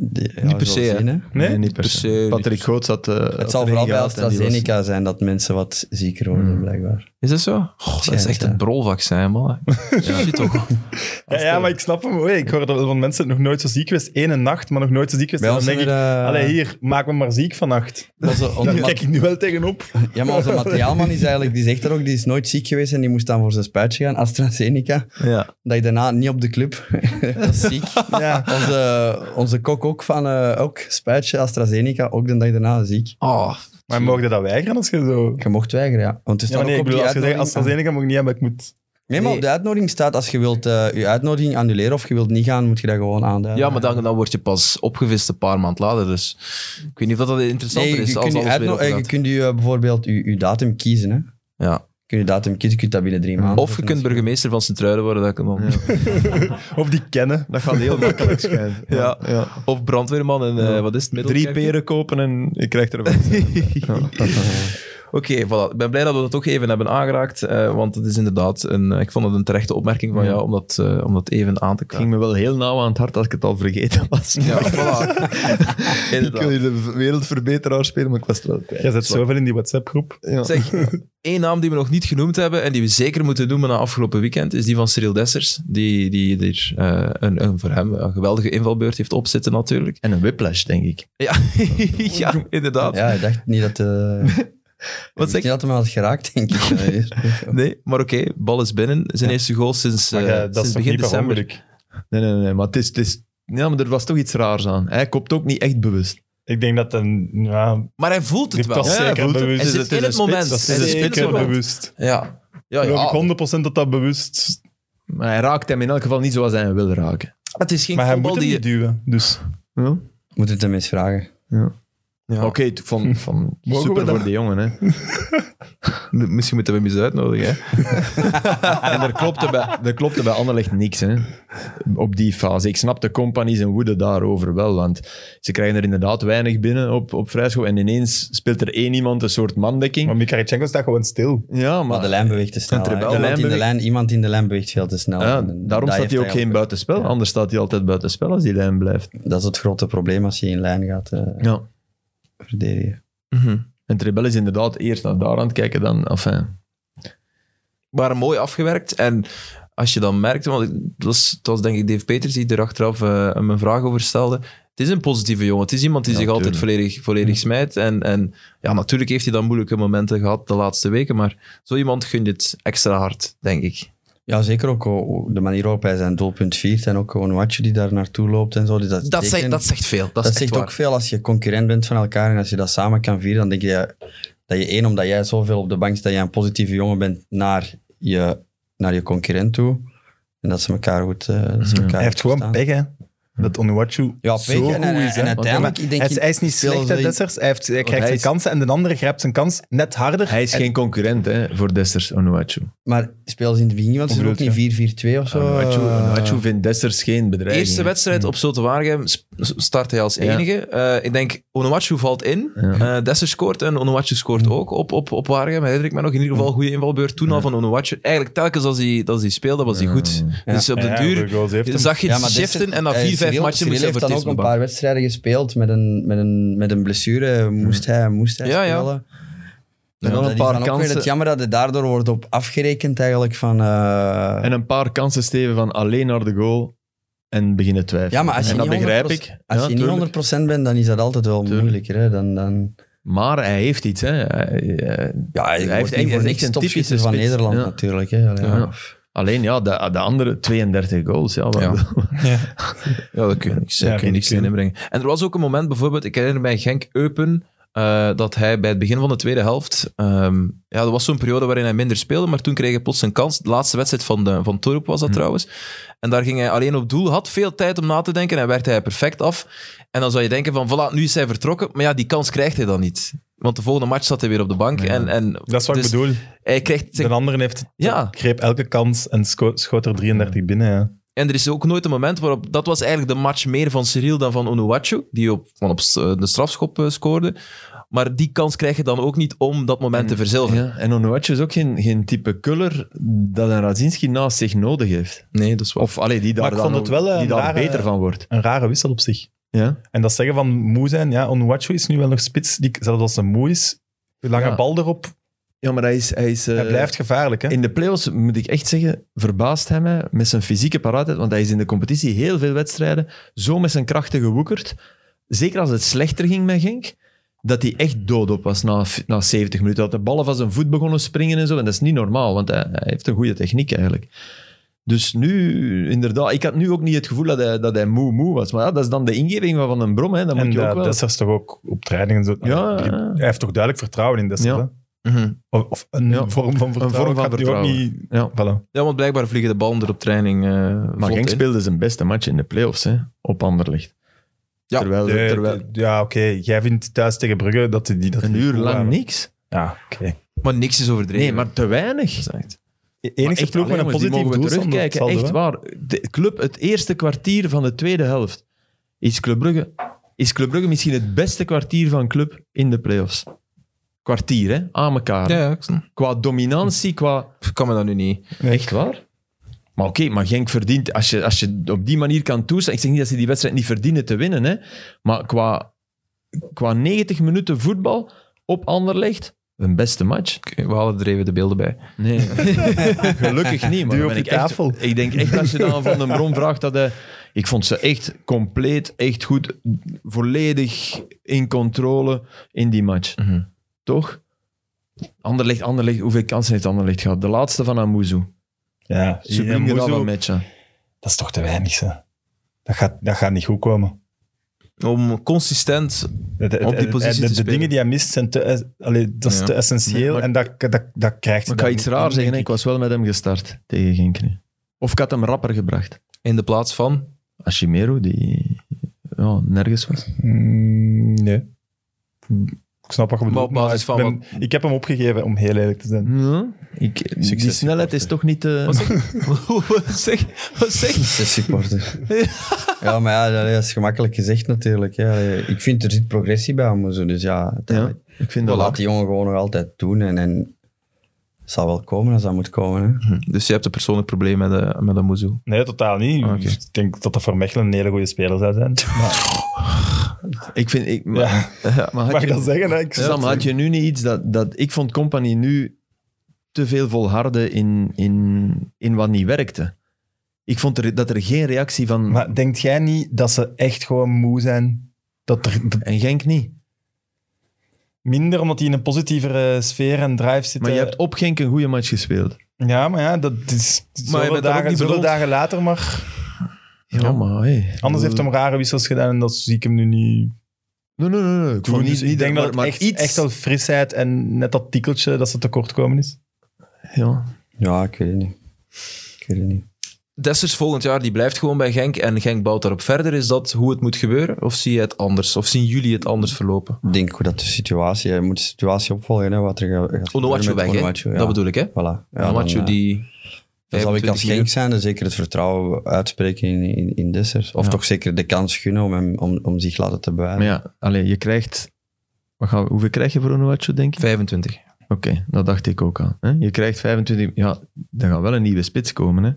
Speaker 3: De- ja,
Speaker 1: Niet per
Speaker 3: we
Speaker 1: se,
Speaker 3: zullen
Speaker 1: hè?
Speaker 3: zien,
Speaker 2: Nee?
Speaker 4: niet
Speaker 1: per se.
Speaker 4: Patrick Goots had... eh, had
Speaker 3: Het zal
Speaker 4: erin
Speaker 3: vooral bij
Speaker 4: gehaald en die was-
Speaker 3: AstraZeneca zijn dat mensen wat zieker worden, blijkbaar.
Speaker 1: Is dat zo? Goh, dat is
Speaker 3: Schijnt,
Speaker 1: echt
Speaker 3: ja.
Speaker 1: het brolvaccin, man. Ja. Shit, toch.
Speaker 2: Ja, ja, maar ik snap hem. Oei, ik hoor dat van mensen nog nooit zo ziek geweest. Ene nacht, maar nog nooit zo ziek geweest.
Speaker 3: Bij
Speaker 2: En dan
Speaker 3: ons
Speaker 2: denk
Speaker 3: zijn
Speaker 2: ik,
Speaker 3: er, eh,
Speaker 2: allee, hier, maak me maar ziek vannacht.
Speaker 3: onze, onze
Speaker 2: Daar
Speaker 3: ma-
Speaker 2: kijk ik nu wel tegenop.
Speaker 3: ja, maar onze materiaalman is eigenlijk, die zegt er ook, die is nooit ziek geweest en die moest dan voor zijn spuitje gaan, AstraZeneca.
Speaker 1: Ja.
Speaker 3: Dat ik daarna niet op de club. dat is ziek.
Speaker 2: Ja.
Speaker 3: Onze, onze kok ook van, eh, ook spuitje, AstraZeneca, ook de dag daarna ziek.
Speaker 1: Oh,
Speaker 2: Maar mogen je dat weigeren als je zo...
Speaker 3: Je mocht weigeren, ja. Want het
Speaker 2: Ja, maar
Speaker 3: staat
Speaker 2: nee, ik
Speaker 3: ook op
Speaker 2: bedoel,
Speaker 3: die
Speaker 2: als je zegt
Speaker 3: uitnodiging-
Speaker 2: AstraZeneca mag ik niet hebben, ik moet...
Speaker 3: Nee, maar op de uitnodiging staat, als je wilt eh, je uitnodiging annuleren of je wilt niet gaan, moet je dat gewoon aanduiden.
Speaker 1: ja, maar dan, dan word je pas opgevist een paar maanden later. Dus ik weet niet of dat
Speaker 3: Nee,
Speaker 1: interessanter
Speaker 3: je,
Speaker 1: is als
Speaker 3: kunt je,
Speaker 1: alles weer
Speaker 3: uitno- eh, je
Speaker 1: opengaat.
Speaker 3: kunt je, eh, bijvoorbeeld je, je datum kiezen. Hè? Je
Speaker 1: Ja.
Speaker 3: kunt je datum kiezen, je kunt dat binnen drie maanden.
Speaker 1: Of je
Speaker 3: doen.
Speaker 1: kunt burgemeester van Sint-Truiden worden. Dat kan dan.
Speaker 2: Of die kennen.
Speaker 4: Dat gaat heel makkelijk schijnen.
Speaker 1: Ja. Of brandweerman en eh,
Speaker 4: Ja.
Speaker 1: wat is het?
Speaker 4: Drie
Speaker 1: Middelkerk?
Speaker 4: peren kopen en je krijgt er wel.
Speaker 1: Oké, voilà. Ik ben blij dat we dat ook even hebben aangeraakt. eh, want het is inderdaad een, eh, ik vond het een terechte opmerking van
Speaker 4: Ja.
Speaker 1: jou om dat, eh, om dat even aan te
Speaker 4: Het ging
Speaker 1: kaarten.
Speaker 4: me wel heel nauw aan het hart als ik het al vergeten was.
Speaker 1: Ja, voilà.
Speaker 4: ik wil
Speaker 1: Inderdaad.
Speaker 4: hier de wereldverbeteraar spelen, maar ik was het wel
Speaker 2: Je
Speaker 4: kwijt.
Speaker 2: zit zoveel in die WhatsApp-groep.
Speaker 4: Ja.
Speaker 1: Zeg, één naam die we nog niet genoemd hebben en die we zeker moeten noemen na afgelopen weekend, is die van Cyril Dessers. Die, die er eh, een, een voor hem een geweldige invalbeurt heeft opzitten natuurlijk.
Speaker 4: En een whiplash, denk ik.
Speaker 1: Ja, ja inderdaad.
Speaker 3: Ja, ik dacht niet dat... eh
Speaker 1: Wat
Speaker 3: Wat
Speaker 1: zeg
Speaker 3: zeg
Speaker 1: je?
Speaker 3: je? had hem al geraakt, denk ik. eh,
Speaker 1: Nee, maar oké, bal is binnen. Zijn eerste goal sinds, eh,
Speaker 2: Maar eh, dat
Speaker 1: sinds
Speaker 2: is toch
Speaker 1: begin
Speaker 2: niet per
Speaker 1: december.
Speaker 2: ongeluk?
Speaker 4: Nee, nee, nee. Maar, het is, het is... Ja, maar er was toch iets raars aan. Hij kopt ook niet echt bewust.
Speaker 2: Ik denk dat een... Ja,
Speaker 1: Maar hij voelt het
Speaker 2: dit
Speaker 1: wel.
Speaker 2: was
Speaker 4: Ja, hij
Speaker 2: zeker
Speaker 4: voelt het.
Speaker 1: Hij
Speaker 2: bewust.
Speaker 1: zit
Speaker 4: het is
Speaker 1: in
Speaker 4: een
Speaker 1: het
Speaker 4: spits,
Speaker 1: moment.
Speaker 2: Dat
Speaker 4: dat is
Speaker 1: Hij
Speaker 4: een
Speaker 2: is
Speaker 1: zit in het
Speaker 2: zeker
Speaker 1: moment.
Speaker 2: bewust.
Speaker 1: Ja. Ja, ja.
Speaker 2: Geloof ik 100% dat dat bewust...
Speaker 4: Maar hij raakt hem in elk geval niet zoals hij hem wil raken.
Speaker 1: Het is geen
Speaker 2: Maar hij
Speaker 1: voetbal
Speaker 2: moet hem
Speaker 1: die...
Speaker 2: niet duwen, dus...
Speaker 4: Ja?
Speaker 3: Moet het hem eens vragen.
Speaker 1: Ja.
Speaker 4: Oké, het- van, van
Speaker 2: Mogen we
Speaker 4: super
Speaker 2: dat?
Speaker 4: voor de jongen. Hè.
Speaker 1: M- Misschien moeten we hem eens uitnodigen. Hè?
Speaker 4: En Ah, er klopte, bij, er klopte bij Anderlecht niks hè, op die fase. Ik snap de companies en woede daarover wel, want ze krijgen er inderdaad weinig binnen op, op vrijschop. En ineens speelt er één iemand een soort mandekking.
Speaker 2: Maar Mikaritschenko staat gewoon stil.
Speaker 3: Maar
Speaker 4: Ja,
Speaker 3: de
Speaker 4: maar
Speaker 3: lijn beweegt te snel.
Speaker 4: En
Speaker 3: hè.
Speaker 4: Trebel, de
Speaker 3: Iemand,
Speaker 4: lijn
Speaker 3: in de
Speaker 4: beweegt-
Speaker 3: lijn, iemand in de lijn beweegt veel te snel.
Speaker 4: ja,
Speaker 3: En
Speaker 4: daarom
Speaker 3: dat
Speaker 4: staat hij
Speaker 3: heeft
Speaker 4: ook geen
Speaker 3: ook.
Speaker 4: buitenspel.
Speaker 3: Ja.
Speaker 4: Anders staat hij altijd buitenspel als die lijn blijft.
Speaker 3: Dat is het grote probleem als je in lijn gaat eh,
Speaker 4: Ja.
Speaker 3: verdedigen.
Speaker 1: Mhm.
Speaker 4: En Trebel is inderdaad eerst naar daar aan het kijken dan... Enfin,
Speaker 1: waren mooi afgewerkt. En als je dan merkte, want ik- het was, het was denk ik Dave Peters die er achteraf eh, hem een vraag over stelde. Het is een positieve jongen. Het is iemand die
Speaker 4: Ja,
Speaker 1: zich altijd volledig, volledig smijt. En, en ja, natuurlijk heeft hij dan moeilijke momenten gehad de laatste weken. Maar zo iemand gunt het extra hard, denk ik.
Speaker 3: Ja, zeker ook o- de manier waarop hij zijn doelpunt viert en ook Onuatje die daar naartoe loopt en zo. Dus dat
Speaker 1: Dat, zegt,
Speaker 3: tekenen-
Speaker 1: dat zegt veel. Dat,
Speaker 3: dat
Speaker 1: is echt
Speaker 3: zegt
Speaker 1: waar.
Speaker 3: ook veel als je concurrent bent van elkaar en als je dat samen kan vieren, dan denk je dat je één, omdat jij zoveel op de bank zit, dat jij een positieve jongen bent naar je, naar je concurrent toe. En dat ze elkaar goed... eh, dat
Speaker 1: Mhm.
Speaker 3: ze elkaar
Speaker 2: Hij heeft gewoon
Speaker 3: verstaan.
Speaker 2: pech, hè. Dat Onuachu
Speaker 3: Ja, pech,
Speaker 2: zo
Speaker 3: en-
Speaker 2: goed
Speaker 3: en-
Speaker 2: is, hè.
Speaker 3: en uiteindelijk,
Speaker 2: hij,
Speaker 3: ik denk
Speaker 2: hij is, hij is niet
Speaker 3: veel
Speaker 2: slecht, hè,
Speaker 3: zijn-
Speaker 2: Dessers. Hij, heeft, hij krijgt
Speaker 4: hij
Speaker 2: zijn
Speaker 4: is-
Speaker 2: kansen en de andere grijpt zijn kans net harder.
Speaker 4: Hij is
Speaker 2: En-
Speaker 4: geen concurrent hè, voor Desters Onuachu.
Speaker 3: Maar speel ze in het begin, want ze doen ook
Speaker 2: bedoelt,
Speaker 3: niet 4-4-2 of zo. eh,
Speaker 4: Onuachu, Onuachu vindt Desters geen bedreiging.
Speaker 1: Eerste wedstrijd op Zulte Waregem sp- start hij als
Speaker 4: Mm. Ja.
Speaker 1: enige. Eh, ik denk, Onuachu valt in. Eh
Speaker 4: Ja. Mm.
Speaker 1: Dessers scoort en Onuachu scoort ook op, op, op Waregem. Herinner ik me nog. In ieder geval goede invalbeurt toen al van Onuachu. Eigenlijk telkens als hij, als hij speelde, was hij goed.
Speaker 3: Ja.
Speaker 1: Dus op de
Speaker 2: Ja,
Speaker 1: duur
Speaker 2: hoeveel goals heeft hij?
Speaker 1: zag je het
Speaker 3: dit is
Speaker 1: shiften
Speaker 3: het-
Speaker 1: en na
Speaker 3: eh,
Speaker 1: vier, vijf
Speaker 3: Cyril-
Speaker 1: matchen
Speaker 3: Cyril
Speaker 1: moest hij
Speaker 3: heeft
Speaker 1: voor het
Speaker 3: dan
Speaker 1: eerst
Speaker 3: ook
Speaker 1: op
Speaker 3: een
Speaker 1: de bank.
Speaker 3: paar wedstrijden gespeeld met een, met een, met een blessure. Moest
Speaker 4: Hmm.
Speaker 3: hij, moest hij
Speaker 1: Ja, ja.
Speaker 3: spelen.
Speaker 4: En dan
Speaker 3: Dat
Speaker 4: een
Speaker 3: is
Speaker 4: paar
Speaker 3: dan ook weer
Speaker 4: kansen.
Speaker 3: het jammer dat het daardoor wordt op afgerekend eigenlijk van... eh,
Speaker 4: En een paar kansen steven van alleen naar de goal en beginnen twijfelen.
Speaker 3: Ja, maar als je
Speaker 4: en dat
Speaker 3: niet
Speaker 4: begrijp
Speaker 3: 100%
Speaker 4: ik.
Speaker 3: Als
Speaker 4: Ja,
Speaker 3: je
Speaker 4: tuurlijk.
Speaker 3: niet 100% bent, dan is dat altijd wel
Speaker 4: Tuurlijk.
Speaker 3: moeilijker. Hè? Dan, dan...
Speaker 4: Maar hij heeft iets. Hè. Hij, eh,
Speaker 3: Ja,
Speaker 4: hij heeft echt- hij is echt een typische
Speaker 3: van
Speaker 4: spits.
Speaker 3: Nederland
Speaker 4: Ja.
Speaker 3: natuurlijk. Hè? Allee,
Speaker 4: Ja.
Speaker 3: ja.
Speaker 4: Alleen ja, de, de andere 32 goals. Ja, wat-
Speaker 1: Ja.
Speaker 2: Ja.
Speaker 1: Ja, dat kun je niks,
Speaker 2: Ja,
Speaker 1: daar kun je
Speaker 2: vind
Speaker 1: niks
Speaker 2: ik
Speaker 1: in inbrengen. En er was ook een moment, bijvoorbeeld, ik herinner mij Genk Eupen, eh, dat hij bij het begin van de tweede helft, ehm, ja, er was zo'n periode waarin hij minder speelde, maar toen kreeg hij plots een kans. De laatste wedstrijd van, de, van Torop was dat
Speaker 2: Mhm.
Speaker 1: trouwens. En daar ging hij alleen op doel, had veel tijd om na te denken en werkte hij perfect af. En dan zou je denken van, voilà, nu is hij vertrokken, maar ja, die kans krijgt hij dan niet. Want de volgende match zat hij weer op de bank. En, en
Speaker 2: Dat is wat
Speaker 1: dus
Speaker 2: ik bedoel.
Speaker 1: Hij krijgt
Speaker 2: De
Speaker 1: zijn
Speaker 2: andere heeft
Speaker 1: Ja.
Speaker 2: greep elke kans en sco- schoot er 33 binnen. Ja.
Speaker 1: En er is ook nooit een moment waarop... Dat was eigenlijk de match meer van Cyril dan van Onuwachu, die op, van op s- eh, de strafschop eh, scoorde. Maar die kans krijg je dan ook niet om dat moment te verzilveren.
Speaker 4: ja. En Onuachu is ook geen, geen type kuller dat een Radzinski naast zich nodig heeft.
Speaker 1: Nee, dat is waar.
Speaker 4: Of allee, die daar,
Speaker 2: Maar ik
Speaker 4: dan
Speaker 2: vond
Speaker 4: ook-
Speaker 2: het wel, eh,
Speaker 4: die daar
Speaker 2: een rare-
Speaker 4: beter van wordt.
Speaker 2: Een rare wissel op zich.
Speaker 4: Ja.
Speaker 2: En dat zeggen van moe zijn, ja, Onwachu is nu wel nog spits. Die, zelfs als ze moe is, de lange
Speaker 4: Ja.
Speaker 2: bal erop,
Speaker 4: ja, maar hij is... Hij, is, eh,
Speaker 2: hij blijft gevaarlijk. Hè?
Speaker 4: In de playoffs moet ik echt zeggen, verbaast hij mij met zijn fysieke paraatheid. Want hij is in de competitie heel veel wedstrijden zo met zijn krachten gewoekerd. Zeker als het slechter ging met Genk, dat hij echt dood op was na, na 70 minuten. Dat de ballen van zijn voet begonnen springen en zo. En dat is niet normaal, want hij, hij heeft een goede techniek eigenlijk. Dus nu, inderdaad, ik had nu ook niet het gevoel dat hij, dat hij moe moe was. Maar ja, dat is dan de ingeving van Van een Brom. Hè. Dan moet
Speaker 2: en
Speaker 4: je ook
Speaker 2: dat
Speaker 4: wel...
Speaker 2: Dessers toch ook op training en zo.
Speaker 4: Ja.
Speaker 2: Die- Hij heeft toch duidelijk vertrouwen in Dessers.
Speaker 4: Ja.
Speaker 2: hè?
Speaker 1: Mhm.
Speaker 2: Of, of een
Speaker 4: Ja.
Speaker 2: vorm van vertrouwen.
Speaker 4: vorm van
Speaker 2: Ik had die ook
Speaker 4: vertrouwen.
Speaker 2: niet-
Speaker 4: Ja.
Speaker 2: Voilà.
Speaker 1: Ja, want blijkbaar vliegen de ballen er op training eh
Speaker 4: Maar
Speaker 1: vlot
Speaker 4: Genk
Speaker 1: in.
Speaker 4: speelde zijn beste match in de playoffs hè, op Anderlecht.
Speaker 1: Ja.
Speaker 4: terwijl,
Speaker 2: De-
Speaker 4: terwijl
Speaker 2: de- ja, oké. Jij vindt thuis tegen Brugge dat die dat
Speaker 4: een
Speaker 2: die
Speaker 4: uur
Speaker 2: goed
Speaker 4: lang
Speaker 2: waren.
Speaker 4: niks.
Speaker 2: Ja, oké.
Speaker 1: Maar niks is overdreven.
Speaker 4: Nee, maar te weinig.
Speaker 2: De
Speaker 4: Maar
Speaker 2: E- enige
Speaker 4: echt,
Speaker 2: ploeg met een
Speaker 4: alleen, jongens, die
Speaker 2: positief
Speaker 4: mogen we
Speaker 2: doel.
Speaker 4: terugkijken. Echt waar. De club, het eerste kwartier van de tweede helft is Club Brugge, is club Brugge misschien het beste kwartier van club in de playoffs. Kwartier, hè? Aan elkaar.
Speaker 1: Ja, ja, ik snap.
Speaker 4: Qua dominantie, qua...
Speaker 1: Ik kan me dat nu niet.
Speaker 4: Echt waar? Maar oké, maar Genk verdient... Als je, als je op die manier kan toestaan... Ik zeg niet dat ze die wedstrijd niet verdienen te winnen, hè. Maar qua, qua 90 minuten voetbal op Anderlecht, een beste match.
Speaker 1: Oké, we halen er even de beelden bij.
Speaker 4: Nee, gelukkig niet. Maar
Speaker 2: Duw
Speaker 4: dan
Speaker 2: op
Speaker 4: ben
Speaker 2: je
Speaker 4: ik, echt,
Speaker 2: tafel.
Speaker 4: ik denk echt als je dan aan Van den Brom vraagt, dat hij, ik vond ze echt compleet, echt goed, volledig in controle in die match.
Speaker 1: Mhm.
Speaker 4: Toch? Anderlecht, Anderlecht, hoeveel kansen heeft Anderlecht gehad? De laatste van Amuzu.
Speaker 2: Ja,
Speaker 4: Sublime
Speaker 2: Muzo,
Speaker 4: van match. hè.
Speaker 2: Dat is toch te weinig, hè. Dat gaat, dat gaat niet goed komen.
Speaker 1: Om consistent...
Speaker 2: De, de-
Speaker 1: Op die
Speaker 2: de-
Speaker 1: positie
Speaker 2: de-
Speaker 1: te
Speaker 2: de
Speaker 1: spelen.
Speaker 2: dingen die hij mist zijn te, es- allee, dat is
Speaker 1: Ja.
Speaker 2: te essentieel
Speaker 4: maar-
Speaker 2: en dat, dat, dat krijgt hij
Speaker 4: Maar ik ga
Speaker 2: dan
Speaker 4: iets
Speaker 2: niet
Speaker 4: raar
Speaker 2: in,
Speaker 4: zeggen, hè.
Speaker 2: denk
Speaker 4: ik was wel met hem gestart tegen Genk. nu. Of ik had hem rapper gebracht.
Speaker 1: In de plaats van...
Speaker 4: Ashimero, die ja, nergens was.
Speaker 2: ik. Mm, nee. Ik snap wat je bedoelt,
Speaker 1: op basis
Speaker 2: ik,
Speaker 1: van
Speaker 2: ik heb hem opgegeven, om heel eerlijk te zijn.
Speaker 4: Ja, ik, die
Speaker 3: Succes,
Speaker 4: snelheid is toch niet... eh, te.
Speaker 1: wat zeg Wat zeg je?
Speaker 3: De supporter. ja, maar ja, dat is gemakkelijk gezegd natuurlijk. Ja. Ik vind, er zit progressie bij Amuzu. Dus ja,
Speaker 4: Ja,
Speaker 3: uiteindelijk-
Speaker 4: ik vind dat
Speaker 3: laat die jongen gewoon nog altijd doen. En, en het zal wel komen als dat moet komen. Hè.
Speaker 1: Hm, Dus je hebt een persoonlijk probleem met, eh met Amuzu.
Speaker 2: Nee, totaal niet. Dus
Speaker 1: Oké.
Speaker 2: Ik denk dat dat voor Mechelen een hele goede speler zou zijn. Ah, Maar,
Speaker 4: Ik vind, ik, maar,
Speaker 2: ja,
Speaker 4: ja, maar had
Speaker 2: mag ik
Speaker 4: je,
Speaker 2: dat zeggen? Hè? Ik
Speaker 4: Sam, had je nu niet iets dat, dat... Ik vond Company nu te veel volharden in, in, in wat niet werkte. Ik vond er, dat er geen reactie van...
Speaker 2: Maar denkt jij niet dat ze echt gewoon moe zijn? Dat er dat-
Speaker 4: en Genk niet.
Speaker 2: minder omdat die in een positievere sfeer en drive zitten. eh,
Speaker 4: Maar je hebt op Genk een goede match gespeeld.
Speaker 2: Ja, maar ja, dat is
Speaker 1: Maar je bent
Speaker 2: zoveel,
Speaker 1: daar ook
Speaker 2: dagen,
Speaker 1: niet
Speaker 2: zoveel
Speaker 1: bedoeld.
Speaker 2: dagen later maar.
Speaker 4: Ja, maar hey.
Speaker 2: Anders heeft hem rare wissels gedaan en dat zie ik hem nu niet.
Speaker 4: Nee, nee, nee. nee. Ik, vond
Speaker 2: doen.
Speaker 4: niet,
Speaker 2: Dus
Speaker 4: niet
Speaker 2: ik denk
Speaker 4: maar-
Speaker 2: dat het
Speaker 4: maar
Speaker 2: echt,
Speaker 4: iets...
Speaker 2: echt wel frisheid en net dat tikkeltje dat ze tekortkomen is.
Speaker 4: Ja.
Speaker 3: Ja, ik weet het niet. Ik weet het niet.
Speaker 1: Dessers volgend jaar, die blijft gewoon bij Genk en Genk bouwt daarop verder. Is dat hoe het moet gebeuren? Of zie je het anders? Of zien jullie het anders verlopen?
Speaker 3: Ik denk hoe dat de situatie... Je moet de situatie opvolgen, hè, wat er gaat gebeuren
Speaker 1: Onoachu
Speaker 3: met
Speaker 1: weg, hè?
Speaker 3: Onoachu, ja.
Speaker 1: Dat bedoel ik, hè?
Speaker 3: Voilà. Ja,
Speaker 1: Onoachu
Speaker 3: dan, eh,
Speaker 1: die...
Speaker 3: Dan zal ik
Speaker 1: 25
Speaker 3: als Genk
Speaker 1: miljoen-
Speaker 3: zijn en zeker het vertrouwen uitspreken in, in, in Dessers. Of
Speaker 1: Ja.
Speaker 3: toch zeker de kans gunnen om, hem, om, om zich laten te bewijzen.
Speaker 4: Maar ja, allee, je krijgt... Wat gaan we, hoeveel krijg je voor Onuachu, denk je?
Speaker 1: 25.
Speaker 4: Oké, dat dacht ik ook aan. Hè? Je krijgt 25... Ja, dan gaat wel een nieuwe spits komen, hè?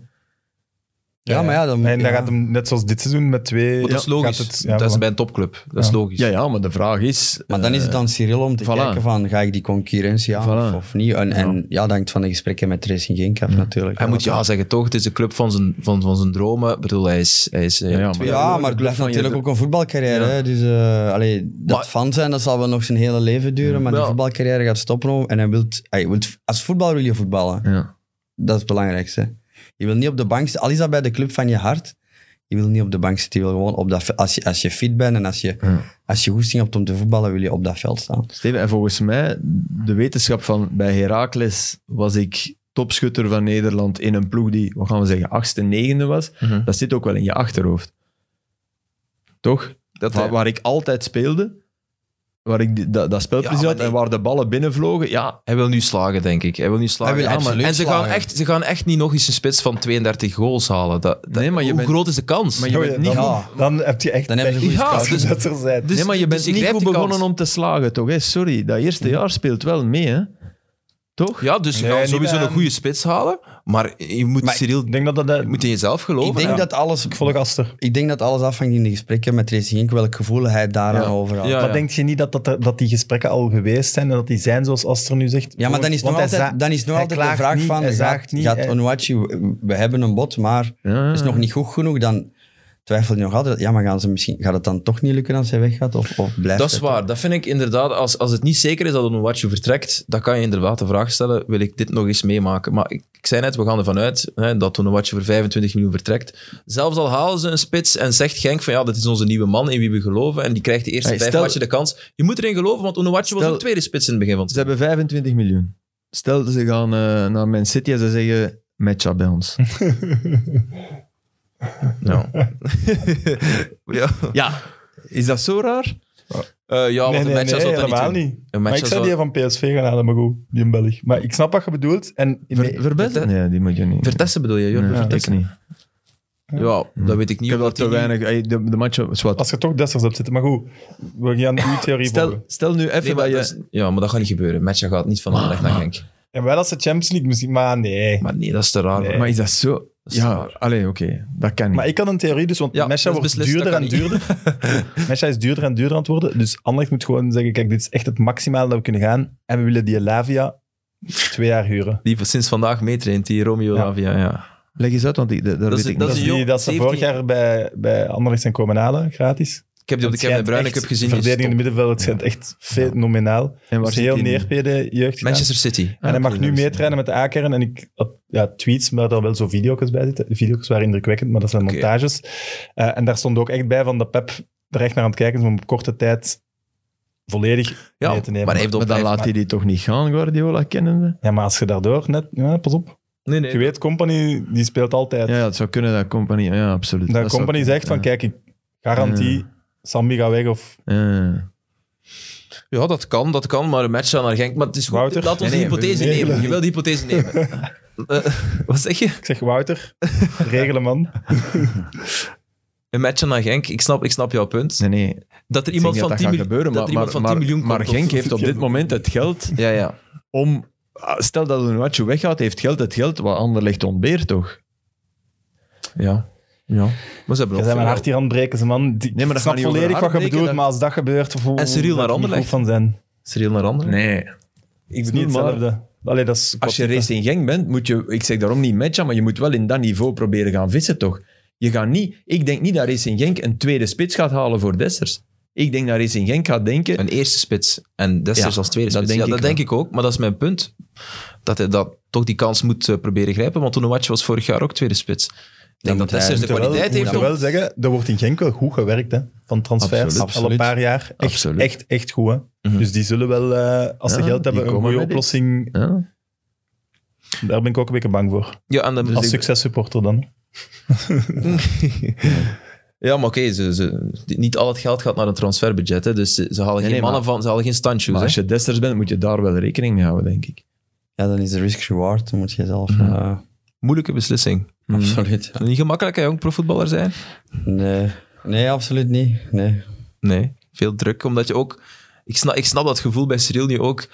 Speaker 3: Ja, maar ja, dan
Speaker 2: En dan
Speaker 3: ja.
Speaker 2: gaat hem, net zoals dit seizoen, met twee...
Speaker 1: Want dat is
Speaker 2: ja,
Speaker 1: logisch.
Speaker 2: gaat het- ja,
Speaker 1: dat is
Speaker 2: voilà.
Speaker 1: bij een topclub. Dat is
Speaker 2: Ja.
Speaker 1: logisch.
Speaker 4: Ja, ja, maar de vraag is...
Speaker 3: Maar dan is het aan Cyril om te
Speaker 4: voilà.
Speaker 3: kijken van, ga ik die concurrentie aan
Speaker 4: Voilà.
Speaker 3: of, of niet? En, en ja, dat hangt van de gesprekken met Racing Genk af natuurlijk.
Speaker 1: Hij moet ja zeggen, toch? Het is de club van zijn, van, van zijn dromen. Ik bedoel, hij is... Hij is eh,
Speaker 4: Ja, ja,
Speaker 1: twee-
Speaker 4: maar-
Speaker 3: Ja, maar het blijft
Speaker 4: van je
Speaker 3: natuurlijk
Speaker 4: dro-
Speaker 3: ook een voetbalcarrière.
Speaker 4: Ja.
Speaker 3: Hè? Dus eh, allee, dat
Speaker 1: Maar-
Speaker 3: fan zijn, dat zal wel nog zijn hele leven duren. Maar
Speaker 1: Ja.
Speaker 3: die voetbalcarrière gaat stoppen. En hij wilt, hij wilt, als voetballer wil je voetballen.
Speaker 4: Ja.
Speaker 3: Dat is het belangrijkste. Je wil niet op de bank zitten. Al is dat bij de club van je hart. Je wil niet op de bank zitten. Je wil gewoon op dat, als, je, als je fit bent en als je,
Speaker 4: Ja.
Speaker 3: als je goesting hebt om te voetballen, wil je op dat veld staan.
Speaker 4: Steven, en volgens mij, de wetenschap van bij Heracles was ik topschutter van Nederland in een ploeg die, wat gaan we zeggen, achtste, negende was.
Speaker 1: Mhm.
Speaker 4: Dat zit ook wel in je achterhoofd. Toch?
Speaker 1: Dat,
Speaker 4: Waar,
Speaker 1: eh,
Speaker 4: waar ik altijd speelde, waar ik die- dat, dat
Speaker 1: Ja,
Speaker 4: spelplezier
Speaker 1: maar
Speaker 4: had en
Speaker 1: die-
Speaker 4: waar de ballen binnenvlogen, ja,
Speaker 1: Hij wil nu slagen, denk ik. Hij wil nu slagen.
Speaker 3: Hij wil
Speaker 1: Ja, maar-
Speaker 3: absoluut
Speaker 1: en ze gaan,
Speaker 3: slagen.
Speaker 1: echt, ze gaan echt niet nog eens een spits van 32 goals halen. Dat, dat-
Speaker 4: Nee, maar je
Speaker 1: hoe
Speaker 4: bent-
Speaker 1: groot is de kans?
Speaker 4: maar je
Speaker 2: Oh,
Speaker 4: bent
Speaker 2: ja,
Speaker 4: niet
Speaker 2: dan,
Speaker 4: goed.
Speaker 3: Ja.
Speaker 2: dan heb je echt
Speaker 3: Dan hebben ze
Speaker 2: pech
Speaker 3: een goede
Speaker 1: Ja,
Speaker 2: als
Speaker 3: scout.
Speaker 2: je
Speaker 1: dus-
Speaker 2: dat er zijn.
Speaker 1: dus-
Speaker 4: nee, maar je bent
Speaker 1: ik
Speaker 4: niet
Speaker 1: grijp
Speaker 4: goed
Speaker 1: die
Speaker 4: begonnen
Speaker 1: kans.
Speaker 4: om te slagen, toch? Hè? Sorry, dat eerste jaar speelt wel mee, hè? Toch?
Speaker 1: Ja, dus je
Speaker 2: Nee,
Speaker 1: gaat
Speaker 2: niet
Speaker 1: sowieso
Speaker 2: aan-
Speaker 1: een goede spits halen. Maar je moet,
Speaker 3: Maar-
Speaker 1: Cyril,
Speaker 2: ik denk dat eh, dat...
Speaker 1: je moet in jezelf geloven.
Speaker 3: Ik denk,
Speaker 1: hè.
Speaker 3: dat alles,
Speaker 2: Ik volg Aster.
Speaker 3: ik denk dat alles afhangt in de gesprekken met Racing Genk, welk gevoel hij daaraan
Speaker 4: Ja.
Speaker 3: over had.
Speaker 1: Ja,
Speaker 2: maar
Speaker 1: ja.
Speaker 2: denk je niet dat, dat, er- dat die gesprekken al geweest zijn en dat die zijn zoals Aster nu zegt?
Speaker 3: Ja, maar dan is
Speaker 2: Want
Speaker 3: nog
Speaker 2: hij za-
Speaker 3: altijd, dan is nog
Speaker 2: hij
Speaker 3: altijd de
Speaker 2: klaagt
Speaker 3: vraag
Speaker 2: niet,
Speaker 3: van,
Speaker 2: hij
Speaker 3: gaat,
Speaker 2: zaagt niet,
Speaker 3: gaat
Speaker 2: hij-
Speaker 3: Onuachu, we hebben een bot, maar
Speaker 4: Ja.
Speaker 3: is nog niet goed genoeg, dan twijfel je nog altijd. Ja, maar gaan ze misschien, gaat het dan toch niet lukken als hij weggaat? Of, of blijft
Speaker 1: Dat is
Speaker 3: het
Speaker 1: waar. Dat vind ik inderdaad, als, als het niet zeker is dat een watje vertrekt, dan kan je inderdaad de vraag stellen, wil ik dit nog eens meemaken? Maar ik, ik zei net, we gaan ervan uit hè, dat een watje voor 25 miljoen vertrekt. Zelfs al halen ze een spits en zegt Genk van ja, dat is onze nieuwe man in wie we geloven en die krijgt de eerste
Speaker 4: Hey,
Speaker 1: vijf
Speaker 4: stel-
Speaker 1: matchen de kans. Je moet erin geloven, want Onuwatje was
Speaker 4: Stel-
Speaker 1: een tweede spits in het begin van het
Speaker 4: Ze hebben 25 miljoen. Stel, ze gaan eh, naar Man City en ze zeggen matcha bij ons.
Speaker 1: seizoen. ja.
Speaker 4: ja. Is dat zo raar?
Speaker 1: Eh, ja, want
Speaker 2: Nee,
Speaker 1: een
Speaker 2: nee,
Speaker 1: match
Speaker 2: nee,
Speaker 1: zou dat
Speaker 2: helemaal
Speaker 1: niet doen.
Speaker 2: niet.
Speaker 1: Een
Speaker 2: Maar
Speaker 1: match
Speaker 2: ik zou die
Speaker 1: zou...
Speaker 2: van PSV gaan halen, maar goed, die in België. Maar ik snap wat je bedoelt. En in
Speaker 4: Ver, verbetten? Nee, die moet je niet.
Speaker 1: Vertessen bedoel je, Jorgen?
Speaker 4: Nee,
Speaker 1: Vertessen?
Speaker 4: ik niet.
Speaker 1: Ja, dat weet ik niet.
Speaker 4: Ik heb wel
Speaker 1: omdat
Speaker 4: te
Speaker 1: die-
Speaker 4: weinig. ey, De, de matchen, is wat.
Speaker 2: als je toch Dessers hebt zitten, maar goed, we gaan uw theorie
Speaker 4: Stel,
Speaker 2: volgen.
Speaker 4: stel nu even
Speaker 1: Nee, maar
Speaker 4: dat je...
Speaker 1: dat is- Ja, maar dat gaat niet gebeuren. Matcha gaat niet van Anderlecht naar Genk.
Speaker 2: En wel als de Champions League misschien, maar nee.
Speaker 1: Maar nee, dat is te raar.
Speaker 2: Nee.
Speaker 1: man.
Speaker 4: Maar is dat zo?
Speaker 1: is
Speaker 4: ja,
Speaker 1: waar.
Speaker 4: allee, oké. Dat kan niet.
Speaker 2: Maar ik had een theorie, dus want
Speaker 1: Ja,
Speaker 2: Mesha
Speaker 1: dat is
Speaker 2: wordt
Speaker 1: beslist,
Speaker 2: duurder
Speaker 1: dat
Speaker 2: en
Speaker 1: kan
Speaker 2: duurder. Mesha is duurder en duurder aan het worden. Dus Anderlecht moet gewoon zeggen, kijk, dit is echt het maximale dat we kunnen gaan. En we willen die Lavia twee jaar huren.
Speaker 1: Die sinds vandaag meetraint, die Romeo
Speaker 2: Ja.
Speaker 1: Lavia. Ja.
Speaker 4: Leg eens uit, want ik, dat, dat
Speaker 1: Dat is-
Speaker 4: weet ik
Speaker 1: dat
Speaker 2: Dat,
Speaker 1: is
Speaker 2: is
Speaker 1: een
Speaker 2: die
Speaker 1: jong-
Speaker 2: dat ze
Speaker 1: 17
Speaker 2: vorig jaar bij, bij Anderlecht zijn komen halen, gratis.
Speaker 1: Ik heb die op de
Speaker 2: Het
Speaker 1: Kevin De
Speaker 2: schijnt
Speaker 1: Bruyne
Speaker 2: echt-
Speaker 1: Cup gezien. die is
Speaker 2: Verdediging in het
Speaker 1: top.
Speaker 2: middenveld, het schijnt echt fenomenaal.
Speaker 4: niet. En waar
Speaker 2: Dus
Speaker 4: zit
Speaker 2: heel
Speaker 4: die nu?
Speaker 2: neerpede jeugd. gedaan.
Speaker 1: Manchester City.
Speaker 4: Ah,
Speaker 2: En hij mag
Speaker 4: oké,
Speaker 2: nu
Speaker 4: dat is-
Speaker 2: meetrainen met de A-kern. En ik had ja, tweets, maar daar wel zo video's bij zitten. De video's waren indrukwekkend, maar dat zijn
Speaker 1: Oké.
Speaker 2: montages. Eh, en daar stond ook echt bij van dat Pep er echt naar aan het kijken is om op korte tijd volledig
Speaker 1: Ja,
Speaker 2: mee te nemen.
Speaker 1: maar hij heeft op
Speaker 4: Maar dan
Speaker 1: hij-
Speaker 4: laat hij die toch niet gaan, Guardiola kennende?
Speaker 2: Ja, maar als je daardoor net... Ja, pas op.
Speaker 1: Nee,
Speaker 2: Je
Speaker 1: nee.
Speaker 2: weet, Company die speelt altijd.
Speaker 4: Ja, ja, het zou kunnen dat Company... Ja, absoluut.
Speaker 2: dat
Speaker 4: Dat zou
Speaker 2: Company
Speaker 4: kunnen,
Speaker 2: zegt van,
Speaker 4: ja.
Speaker 2: kijk, ik garantie,
Speaker 4: Ja.
Speaker 2: Sambi gaat weg of...
Speaker 4: Ja.
Speaker 1: Ja, dat kan, dat kan. Maar een match aan naar Genk. Maar het is goed.
Speaker 2: Wouter?
Speaker 1: Laat ons
Speaker 4: Nee,
Speaker 1: die
Speaker 4: nee,
Speaker 1: hypothese
Speaker 2: nee,
Speaker 1: nemen.
Speaker 2: nee.
Speaker 1: Je wil die hypothese nemen. Eh, wat zeg je?
Speaker 2: Ik zeg, Wouter, regelen man.
Speaker 1: Een match aan naar Genk. Ik snap, ik snap jouw punt.
Speaker 4: Nee, nee.
Speaker 1: Dat er
Speaker 4: Ik
Speaker 1: iemand
Speaker 4: zeg
Speaker 1: van
Speaker 4: niet
Speaker 1: 10 miljoen
Speaker 4: dat dat gaat gebeuren,
Speaker 1: dat
Speaker 4: maar,
Speaker 1: er iemand
Speaker 4: maar,
Speaker 1: van
Speaker 4: maar-
Speaker 1: 10 miljoen
Speaker 4: maar
Speaker 1: komt
Speaker 4: Genk
Speaker 1: of-
Speaker 4: heeft op dit moment het geld
Speaker 1: Ja, ja.
Speaker 4: om... ah, Stel dat Onuachu weggaat, heeft geld het geld wat Anderlecht ontbeert, toch?
Speaker 1: ja.
Speaker 4: Ja.
Speaker 1: Maar ze hebben
Speaker 2: Je
Speaker 1: ook
Speaker 2: zijn mijn
Speaker 1: veel-
Speaker 2: hart hier aan het breken, ze man. Die-
Speaker 4: Nee, maar dat
Speaker 2: ik snap
Speaker 4: gaat niet over
Speaker 2: volledig wat
Speaker 4: hart
Speaker 2: je
Speaker 4: breken,
Speaker 2: bedoelt,
Speaker 4: dat-
Speaker 2: maar als dat gebeurt... hoe-
Speaker 1: En Cyril
Speaker 2: hoe-
Speaker 1: naar
Speaker 2: zou ik niet
Speaker 1: Anderlecht.
Speaker 2: goed van zijn.
Speaker 1: Cyril naar anderen.
Speaker 4: Nee.
Speaker 2: Ik bedoel
Speaker 4: niet, maar-
Speaker 2: hetzelfde. Allee, dat is
Speaker 4: Als je Racing Genk bent, moet je... Ik zeg daarom niet matchen, maar je moet wel in dat niveau proberen gaan vissen, toch? Je gaat niet... Ik denk niet dat Racing Genk een tweede spits gaat halen voor Dessers. Ik denk dat Racing Genk gaat denken...
Speaker 1: Een eerste spits en Desters
Speaker 4: Ja,
Speaker 1: als tweede
Speaker 4: dat
Speaker 1: spits.
Speaker 4: denk
Speaker 1: ja,
Speaker 4: ik
Speaker 1: dat
Speaker 4: wel.
Speaker 1: denk ik ook, maar dat is mijn punt. Dat hij dat, toch die kans moet eh, proberen grijpen, want Onuwatje was vorig jaar ook tweede spits. Ik denk dat
Speaker 3: moet hij-
Speaker 1: Desters de
Speaker 2: moet wel-
Speaker 1: kwaliteit
Speaker 2: moet
Speaker 1: heeft om...
Speaker 2: wel zeggen, er wordt in Genk wel goed gewerkt hè, van transfers.
Speaker 4: Absoluut.
Speaker 2: Al een paar jaar. Echt,
Speaker 4: Absoluut.
Speaker 2: echt, echt goed. Hè.
Speaker 1: Mhm.
Speaker 2: Dus die zullen wel, eh, als ze
Speaker 4: Ja,
Speaker 2: geld
Speaker 4: die
Speaker 2: hebben, een
Speaker 4: komen
Speaker 2: goede
Speaker 4: met iets.
Speaker 2: oplossing.
Speaker 4: Ja.
Speaker 2: Daar ben ik ook een beetje bang voor.
Speaker 1: Ja, en dan-
Speaker 4: Dus
Speaker 2: Als successupporter dan.
Speaker 1: ja, maar oké, ze, ze, niet al het geld gaat naar een transferbudget, hè, dus ze, ze halen geen
Speaker 4: nee,
Speaker 1: mannen van, ze halen geen standshoes.
Speaker 4: Maar
Speaker 1: hè.
Speaker 4: als je Desters bent, moet je daar wel rekening mee houden, denk ik.
Speaker 3: Ja, dan is de risk-reward, dan moet je zelf... eh,
Speaker 1: Moeilijke beslissing.
Speaker 4: Mm.
Speaker 2: Mhm.
Speaker 3: Absoluut.
Speaker 1: Niet gemakkelijk, hè, jong profvoetballer zijn.
Speaker 3: Nee. nee, absoluut niet. Nee.
Speaker 1: Nee, veel druk. Omdat je ook... Ik snap, ik snap dat gevoel bij Cyril nu ook.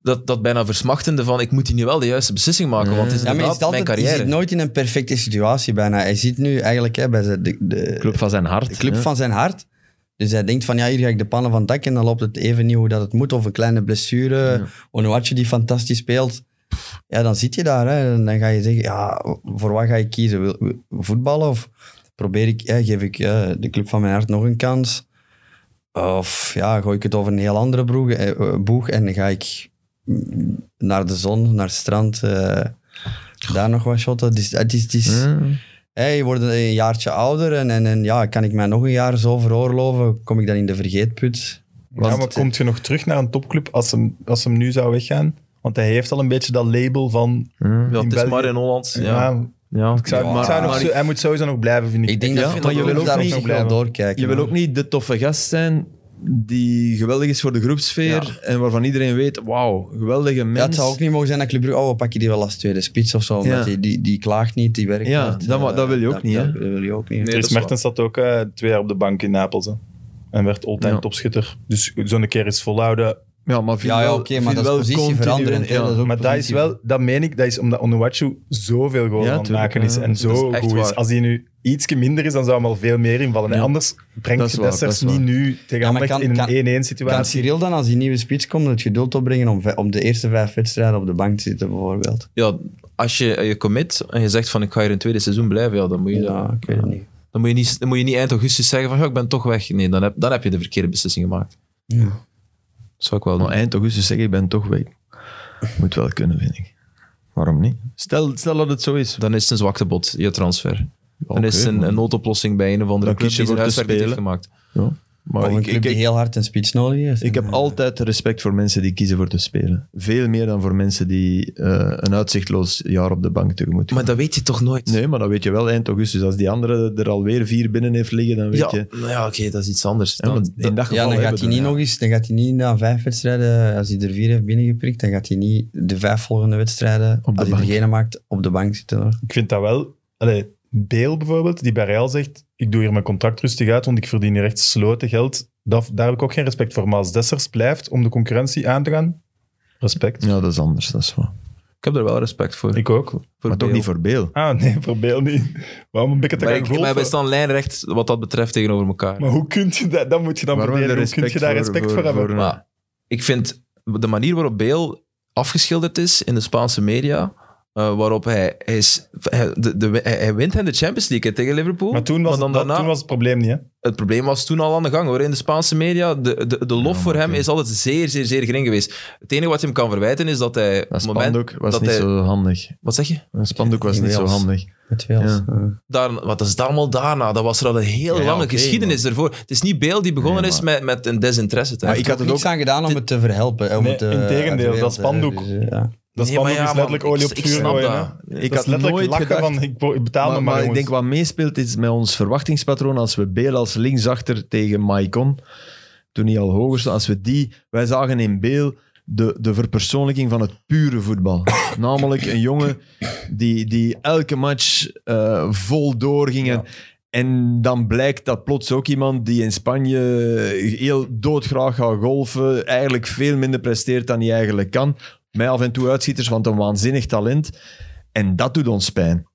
Speaker 1: Dat, dat bijna versmachtende van, ik moet hier nu wel de juiste beslissing maken, want het is
Speaker 3: Ja, maar je,
Speaker 1: inderdaad
Speaker 3: zit altijd,
Speaker 1: mijn
Speaker 3: je
Speaker 1: carrière.
Speaker 3: zit nooit in een perfecte situatie bijna. Hij zit nu eigenlijk hè, bij de, de, de-
Speaker 4: Club van zijn hart.
Speaker 3: de club
Speaker 4: hè.
Speaker 3: van zijn hart. Dus hij denkt van, ja, hier ga ik de pannen van het dak en dan loopt het even niet hoe dat het moet. Of een kleine blessure, Onuatje die fantastisch speelt. Ja, dan zit je daar hè, en dan ga je zeggen, ja, voor wat ga ik kiezen? Wil- wil- Voetballen of probeer ik, hè, geef ik hè, de club van mijn hart nog een kans? Of ja, gooi ik het over een heel andere broeg, eh, eh, boeg en ga ik mm, naar de zon, naar het strand, eh, daar nog wat shotten. Het is, het is, het is,
Speaker 4: Mm.
Speaker 3: Hé, je wordt een jaartje ouder en, en, en ja, kan ik mij nog een jaar zo veroorloven? Kom ik dan in de vergeetput?
Speaker 2: Ja, maar komt je nog terug naar een topclub als hem, als hem nu zou weggaan? Want hij heeft al een beetje dat label van...
Speaker 4: Mm.
Speaker 1: Ja, het is
Speaker 2: België-
Speaker 1: maar in Holland. Ja.
Speaker 2: Ja,
Speaker 1: Ja.
Speaker 2: ik zou,
Speaker 3: Ja,
Speaker 2: ik zou nog
Speaker 3: maar
Speaker 2: zo- hij moet sowieso nog blijven, vind ik.
Speaker 3: Ik denk
Speaker 4: Ja,
Speaker 3: dat
Speaker 4: maar je
Speaker 3: je
Speaker 4: wil ook
Speaker 3: daar
Speaker 4: niet-
Speaker 3: nog wel doorkijken.
Speaker 4: Je wil
Speaker 3: hoor.
Speaker 4: ook niet de toffe gast zijn die geweldig is voor de groepsfeer en waarvan iedereen weet, wauw, geweldige
Speaker 3: Ja, het
Speaker 4: mens.
Speaker 3: zou ook niet mogen zijn dat Club Brugge, oh, we pakken die wel als tweede spits of zo. Omdat
Speaker 4: Ja.
Speaker 3: die, die, die klaagt niet, die werkt
Speaker 4: Ja,
Speaker 3: hard,
Speaker 4: dat wa-
Speaker 3: eh,
Speaker 4: dat wil je ook niet, hè?
Speaker 3: Dat wil je ook niet.
Speaker 1: Nee, dat
Speaker 2: Dries
Speaker 1: is waar.
Speaker 2: Mertens zat ook eh, twee jaar op de bank in Napels. hè. En werd all-time
Speaker 4: Ja.
Speaker 2: topschutter. Dus zo'n keer is volhouden.
Speaker 4: Ja, maar viel
Speaker 3: Ja, ja
Speaker 4: wel-
Speaker 3: oké, maar dat
Speaker 4: viel
Speaker 3: is
Speaker 4: wel
Speaker 3: positie
Speaker 4: continu-
Speaker 3: veranderen.
Speaker 4: ja.
Speaker 2: Maar dat is wel, dat meen ik, dat is omdat Onuachu zoveel goals
Speaker 4: Ja,
Speaker 2: aan het
Speaker 4: tuurlijk,
Speaker 2: maken is.
Speaker 4: ja.
Speaker 2: En
Speaker 1: Dat
Speaker 2: zo
Speaker 1: is echt
Speaker 2: goed
Speaker 1: waar.
Speaker 2: is. Als hij nu ietsje minder is, dan zou hem al veel meer invallen. En
Speaker 4: Ja.
Speaker 2: anders
Speaker 4: Dat
Speaker 2: brengt
Speaker 4: is
Speaker 2: je
Speaker 4: waar,
Speaker 2: Dessers
Speaker 4: dat is
Speaker 2: niet
Speaker 4: waar.
Speaker 2: nu tegen
Speaker 3: Ja, maar
Speaker 2: Anderlecht
Speaker 3: kan- kan-
Speaker 2: in een 1-1
Speaker 3: Kan
Speaker 2: situatie.
Speaker 3: Cyril dan als die nieuwe spits komt het geduld opbrengen om, ve- om de eerste vijf wedstrijden op de bank te zitten, bijvoorbeeld?
Speaker 1: ja, als je eh, je commit en je zegt van ik ga hier een tweede seizoen blijven, ja, dan, moet je,
Speaker 3: Ja, ik weet het niet.
Speaker 1: dan, moet je niet, dan moet je niet eind augustus zeggen van ja, ik ben toch weg. Nee, dan heb, dan heb je de verkeerde beslissing gemaakt.
Speaker 3: Ja.
Speaker 1: Dat zou ik wel doen.
Speaker 4: Maar eind augustus zeg ik, ik ben toch weg. Moet wel kunnen, vind ik. Waarom niet? Stel, stel dat het zo is.
Speaker 1: Dan is het een zwakte bot, je transfer. Dan
Speaker 4: Oké,
Speaker 1: is het een,
Speaker 4: maar-
Speaker 1: een noodoplossing bij een of andere
Speaker 4: Dan
Speaker 1: club
Speaker 4: kies je
Speaker 1: die zijn
Speaker 4: voor te
Speaker 1: huiswerk niet heeft
Speaker 4: spelen.
Speaker 1: gemaakt.
Speaker 4: Ja.
Speaker 3: Of
Speaker 4: Maar
Speaker 3: een
Speaker 4: ik,
Speaker 3: club
Speaker 4: ik,
Speaker 3: die
Speaker 4: ik,
Speaker 3: heel hard een spits nodig heeft.
Speaker 4: ik heb
Speaker 3: En, eh,
Speaker 4: altijd respect voor mensen die kiezen voor te spelen. Veel meer dan voor mensen die eh, een uitzichtloos jaar op de bank tegemoet gaan.
Speaker 1: Maar dat weet je toch nooit?
Speaker 4: Nee, maar dat weet je wel eind augustus. Als die andere er alweer vier binnen heeft liggen, dan weet
Speaker 1: Ja,
Speaker 4: je...
Speaker 1: nou ja oké, dat is iets anders.
Speaker 4: Ja,
Speaker 1: Dan-
Speaker 4: want in dat
Speaker 3: Ja,
Speaker 4: geval
Speaker 3: dan gaat
Speaker 4: hebben
Speaker 3: hij
Speaker 4: we
Speaker 3: niet
Speaker 4: dat,
Speaker 3: nog eens, dan gaat hij niet na vijf wedstrijden, als hij er vier heeft binnengeprikt, dan gaat hij niet de vijf volgende wedstrijden,
Speaker 4: Op de
Speaker 3: als hij
Speaker 4: bank.
Speaker 3: degene maakt, op de bank zitten. hoor.
Speaker 2: Ik vind dat wel... Allee, Beel bijvoorbeeld, die bij Real zegt, ik doe hier mijn contract rustig uit, want ik verdien hier echt sloten geld. Dat, daar heb ik ook geen respect voor. Maar als Dessers blijft om de concurrentie aan te gaan, respect.
Speaker 4: Ja, dat is anders, dat is waar.
Speaker 1: Ik heb er wel respect voor.
Speaker 2: Ik ook.
Speaker 1: voor
Speaker 4: maar toch
Speaker 1: Bale.
Speaker 4: niet voor Beel.
Speaker 2: Ah, nee, voor Beel niet. Waarom een beetje te
Speaker 1: Maar,
Speaker 2: gaan
Speaker 1: ik, maar wij
Speaker 2: golven?
Speaker 1: staan lijnrecht wat dat betreft tegenover elkaar.
Speaker 2: Maar hoe kun je dat... Dan moet je dan
Speaker 4: Waarom
Speaker 2: verdedigen.
Speaker 4: heb
Speaker 2: Hoe
Speaker 4: je
Speaker 2: kun je daar
Speaker 4: respect
Speaker 2: respect
Speaker 4: voor-
Speaker 2: voor, hebben?
Speaker 4: voor-
Speaker 1: Maar ik vind de manier waarop Bale afgeschilderd is in de Spaanse media, eh, waarop hij, hij, is, hij, de, de, hij, hij wint hen de Champions League hè, tegen Liverpool.
Speaker 2: Maar toen was,
Speaker 1: dan
Speaker 2: het,
Speaker 1: daarna,
Speaker 2: toen was het probleem niet, hè?
Speaker 1: het probleem was toen al aan de gang hoor. In de Spaanse media, de, de, de lof
Speaker 4: Ja,
Speaker 1: voor
Speaker 4: maar
Speaker 1: hem
Speaker 4: oké.
Speaker 1: is altijd zeer, zeer, zeer gering geweest. Het enige wat je hem kan verwijten is dat hij...
Speaker 4: Dat
Speaker 1: het moment,
Speaker 4: spandoek was
Speaker 1: dat
Speaker 4: niet
Speaker 1: hij-
Speaker 4: zo handig.
Speaker 1: Wat zeg je?
Speaker 4: Een spandoek was niet zo
Speaker 3: Inmiddels.
Speaker 4: handig.
Speaker 3: Met eh. Wales.
Speaker 4: Ja.
Speaker 3: Ja.
Speaker 1: Daar, wat is dat allemaal daarna? Dat was er al een heel
Speaker 4: Ja, ja,
Speaker 1: lange
Speaker 4: oké,
Speaker 1: geschiedenis ervoor. Het is niet Bale die begonnen
Speaker 4: Nee,
Speaker 1: is
Speaker 4: maar-
Speaker 1: met, met een desinteresse. te
Speaker 4: Maar
Speaker 1: hebben.
Speaker 4: ik had
Speaker 3: Ik
Speaker 4: het
Speaker 3: heb
Speaker 4: ook...
Speaker 3: niks aan gedaan om het te verhelpen. hè, Om
Speaker 2: Nee,
Speaker 3: het, eh,
Speaker 2: integendeel,
Speaker 3: uit de
Speaker 2: dat
Speaker 3: wereld, hè.
Speaker 2: spandoek.
Speaker 3: Dus, eh, ja.
Speaker 2: Dat
Speaker 1: Nee,
Speaker 2: spandoek
Speaker 1: maar ja,
Speaker 2: is dus letterlijk
Speaker 1: man,
Speaker 2: olie
Speaker 1: ik-
Speaker 2: op
Speaker 1: ik
Speaker 2: vuur
Speaker 1: snap
Speaker 2: gooien, hè.
Speaker 1: dat.
Speaker 2: Dat is
Speaker 4: Ik had
Speaker 2: letterlijk
Speaker 4: nooit
Speaker 2: lachen
Speaker 4: gedacht-
Speaker 2: van, ik bo- ik betaal
Speaker 4: maar,
Speaker 2: me
Speaker 4: maar
Speaker 2: maar,
Speaker 4: ik denk
Speaker 2: jongens.
Speaker 4: wat meespeelt is met ons verwachtingspatroon. Als we Beel als linksachter tegen Maicon, toen hij al hoger stond, als we die... Wij zagen in Beel de, de verpersoonlijking van het pure voetbal. Namelijk een jongen die, die elke match eh, vol doorging. En, en dan blijkt dat plots ook iemand die in Spanje heel doodgraag gaat golfen, eigenlijk veel minder presteert dan hij eigenlijk kan. Mij af en toe uitschieters, want een waanzinnig talent. En dat doet ons pijn.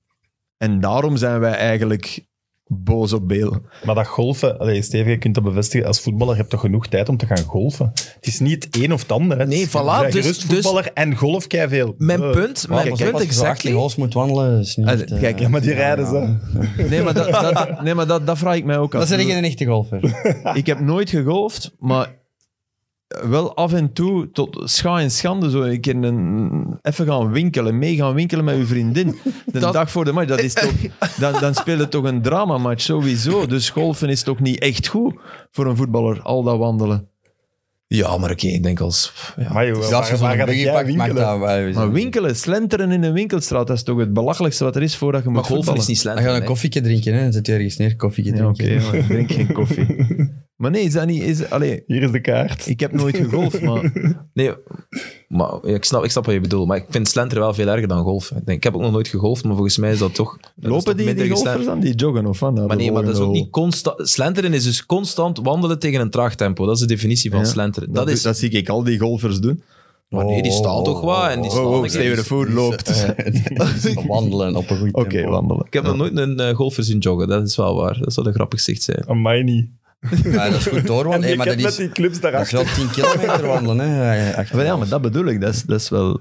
Speaker 4: En daarom zijn wij eigenlijk boos op Beel.
Speaker 2: Maar dat golfen, allee, Steven, je kunt dat bevestigen. Als voetballer heb je toch genoeg tijd om te gaan golfen? Het is niet het een of het ander. Hè.
Speaker 1: Nee,
Speaker 2: Het is-
Speaker 1: voilà,
Speaker 2: je bent
Speaker 1: dus-
Speaker 2: gerust
Speaker 1: dus-
Speaker 2: voetballer en golf veel. Eh,
Speaker 1: Mijn punt, mijn
Speaker 3: Kijk,
Speaker 1: punt
Speaker 3: als je zo 18
Speaker 1: exactly.
Speaker 3: holes moet wandelen, is niet...
Speaker 4: Ah,
Speaker 3: eh,
Speaker 4: kijk,
Speaker 2: Ja, maar die rijden ze.
Speaker 4: Nee, maar, dat, dat, nee, maar dat, dat vraag ik mij ook af.
Speaker 3: Dat is geen echte golfer.
Speaker 4: Ik heb nooit gegolfd, maar wel af en toe tot scha en schande zo een keer een, even gaan winkelen, mee gaan winkelen met uw vriendin. De
Speaker 1: Dat-
Speaker 4: dag voor de match, dat is toch, dan, dan speel je toch een dramamatch sowieso. Dus golfen is toch niet echt goed voor een voetballer, al dat wandelen.
Speaker 1: Ja, maar oké, ik denk als... Ja.
Speaker 2: Maar joh,
Speaker 3: Dus
Speaker 2: waar,
Speaker 3: als je
Speaker 2: waar
Speaker 3: zo'n
Speaker 2: gaat
Speaker 3: buggy
Speaker 2: jij
Speaker 3: pakt, maakt
Speaker 2: winkelen?
Speaker 3: dat wel...
Speaker 4: Maar winkelen, slenteren in een winkelstraat, dat is toch het belachelijkste wat er is voordat je
Speaker 1: Maar
Speaker 4: moet
Speaker 1: golfen
Speaker 4: voetballen.
Speaker 1: is niet
Speaker 3: Dan gaan
Speaker 1: slender.
Speaker 3: we een koffietje drinken, hè. Dan zit je ergens neer, koffietje
Speaker 4: Ja, oké,
Speaker 3: drinken.
Speaker 4: maar ik drink geen koffie. Maar nee, is dat niet... Is, allee,
Speaker 2: Hier is de kaart.
Speaker 4: ik heb nooit gegolfd, maar...
Speaker 1: Nee, maar ja, ik, snap, ik snap wat je bedoelt. Maar ik vind slenteren wel veel erger dan golf. Ik, denk, ik heb ook nog nooit gegolfd, maar volgens mij is dat toch... dat is toch
Speaker 4: Lopen die,
Speaker 1: minder
Speaker 4: die
Speaker 1: geslenterd.
Speaker 4: golfers dan? Die joggen of wat? Nou,
Speaker 1: Maar nee, maar dat is ook niet constant... Slenteren is dus constant wandelen tegen een traag tempo. Dat is de definitie van
Speaker 4: Ja,
Speaker 1: slenteren. Dat, is...
Speaker 4: zie ik al die golfers doen.
Speaker 1: Maar nee, die
Speaker 4: Oh.
Speaker 1: staan toch wel en die staan een keer.
Speaker 4: Steven de Voer
Speaker 3: Dus,
Speaker 4: loopt.
Speaker 3: Eh, wandelen op een goed
Speaker 4: Oké,
Speaker 3: tempo.
Speaker 4: wandelen.
Speaker 1: Ik heb nog nooit een eh, golfer zien joggen, dat is wel waar. Dat zou een grappig zicht zijn.
Speaker 2: Amai niet.
Speaker 3: Maar dat is goed
Speaker 2: En
Speaker 3: doorwandelen. Hey,
Speaker 2: ik
Speaker 3: maar
Speaker 2: heb
Speaker 3: dat
Speaker 2: met
Speaker 3: is,
Speaker 2: die clubs
Speaker 3: dat is
Speaker 2: daarachter.
Speaker 3: wel 10 kilometer wandelen, hè. achter
Speaker 4: Maar ja,
Speaker 3: alles.
Speaker 4: maar dat bedoel ik. Dat is, dat is wel...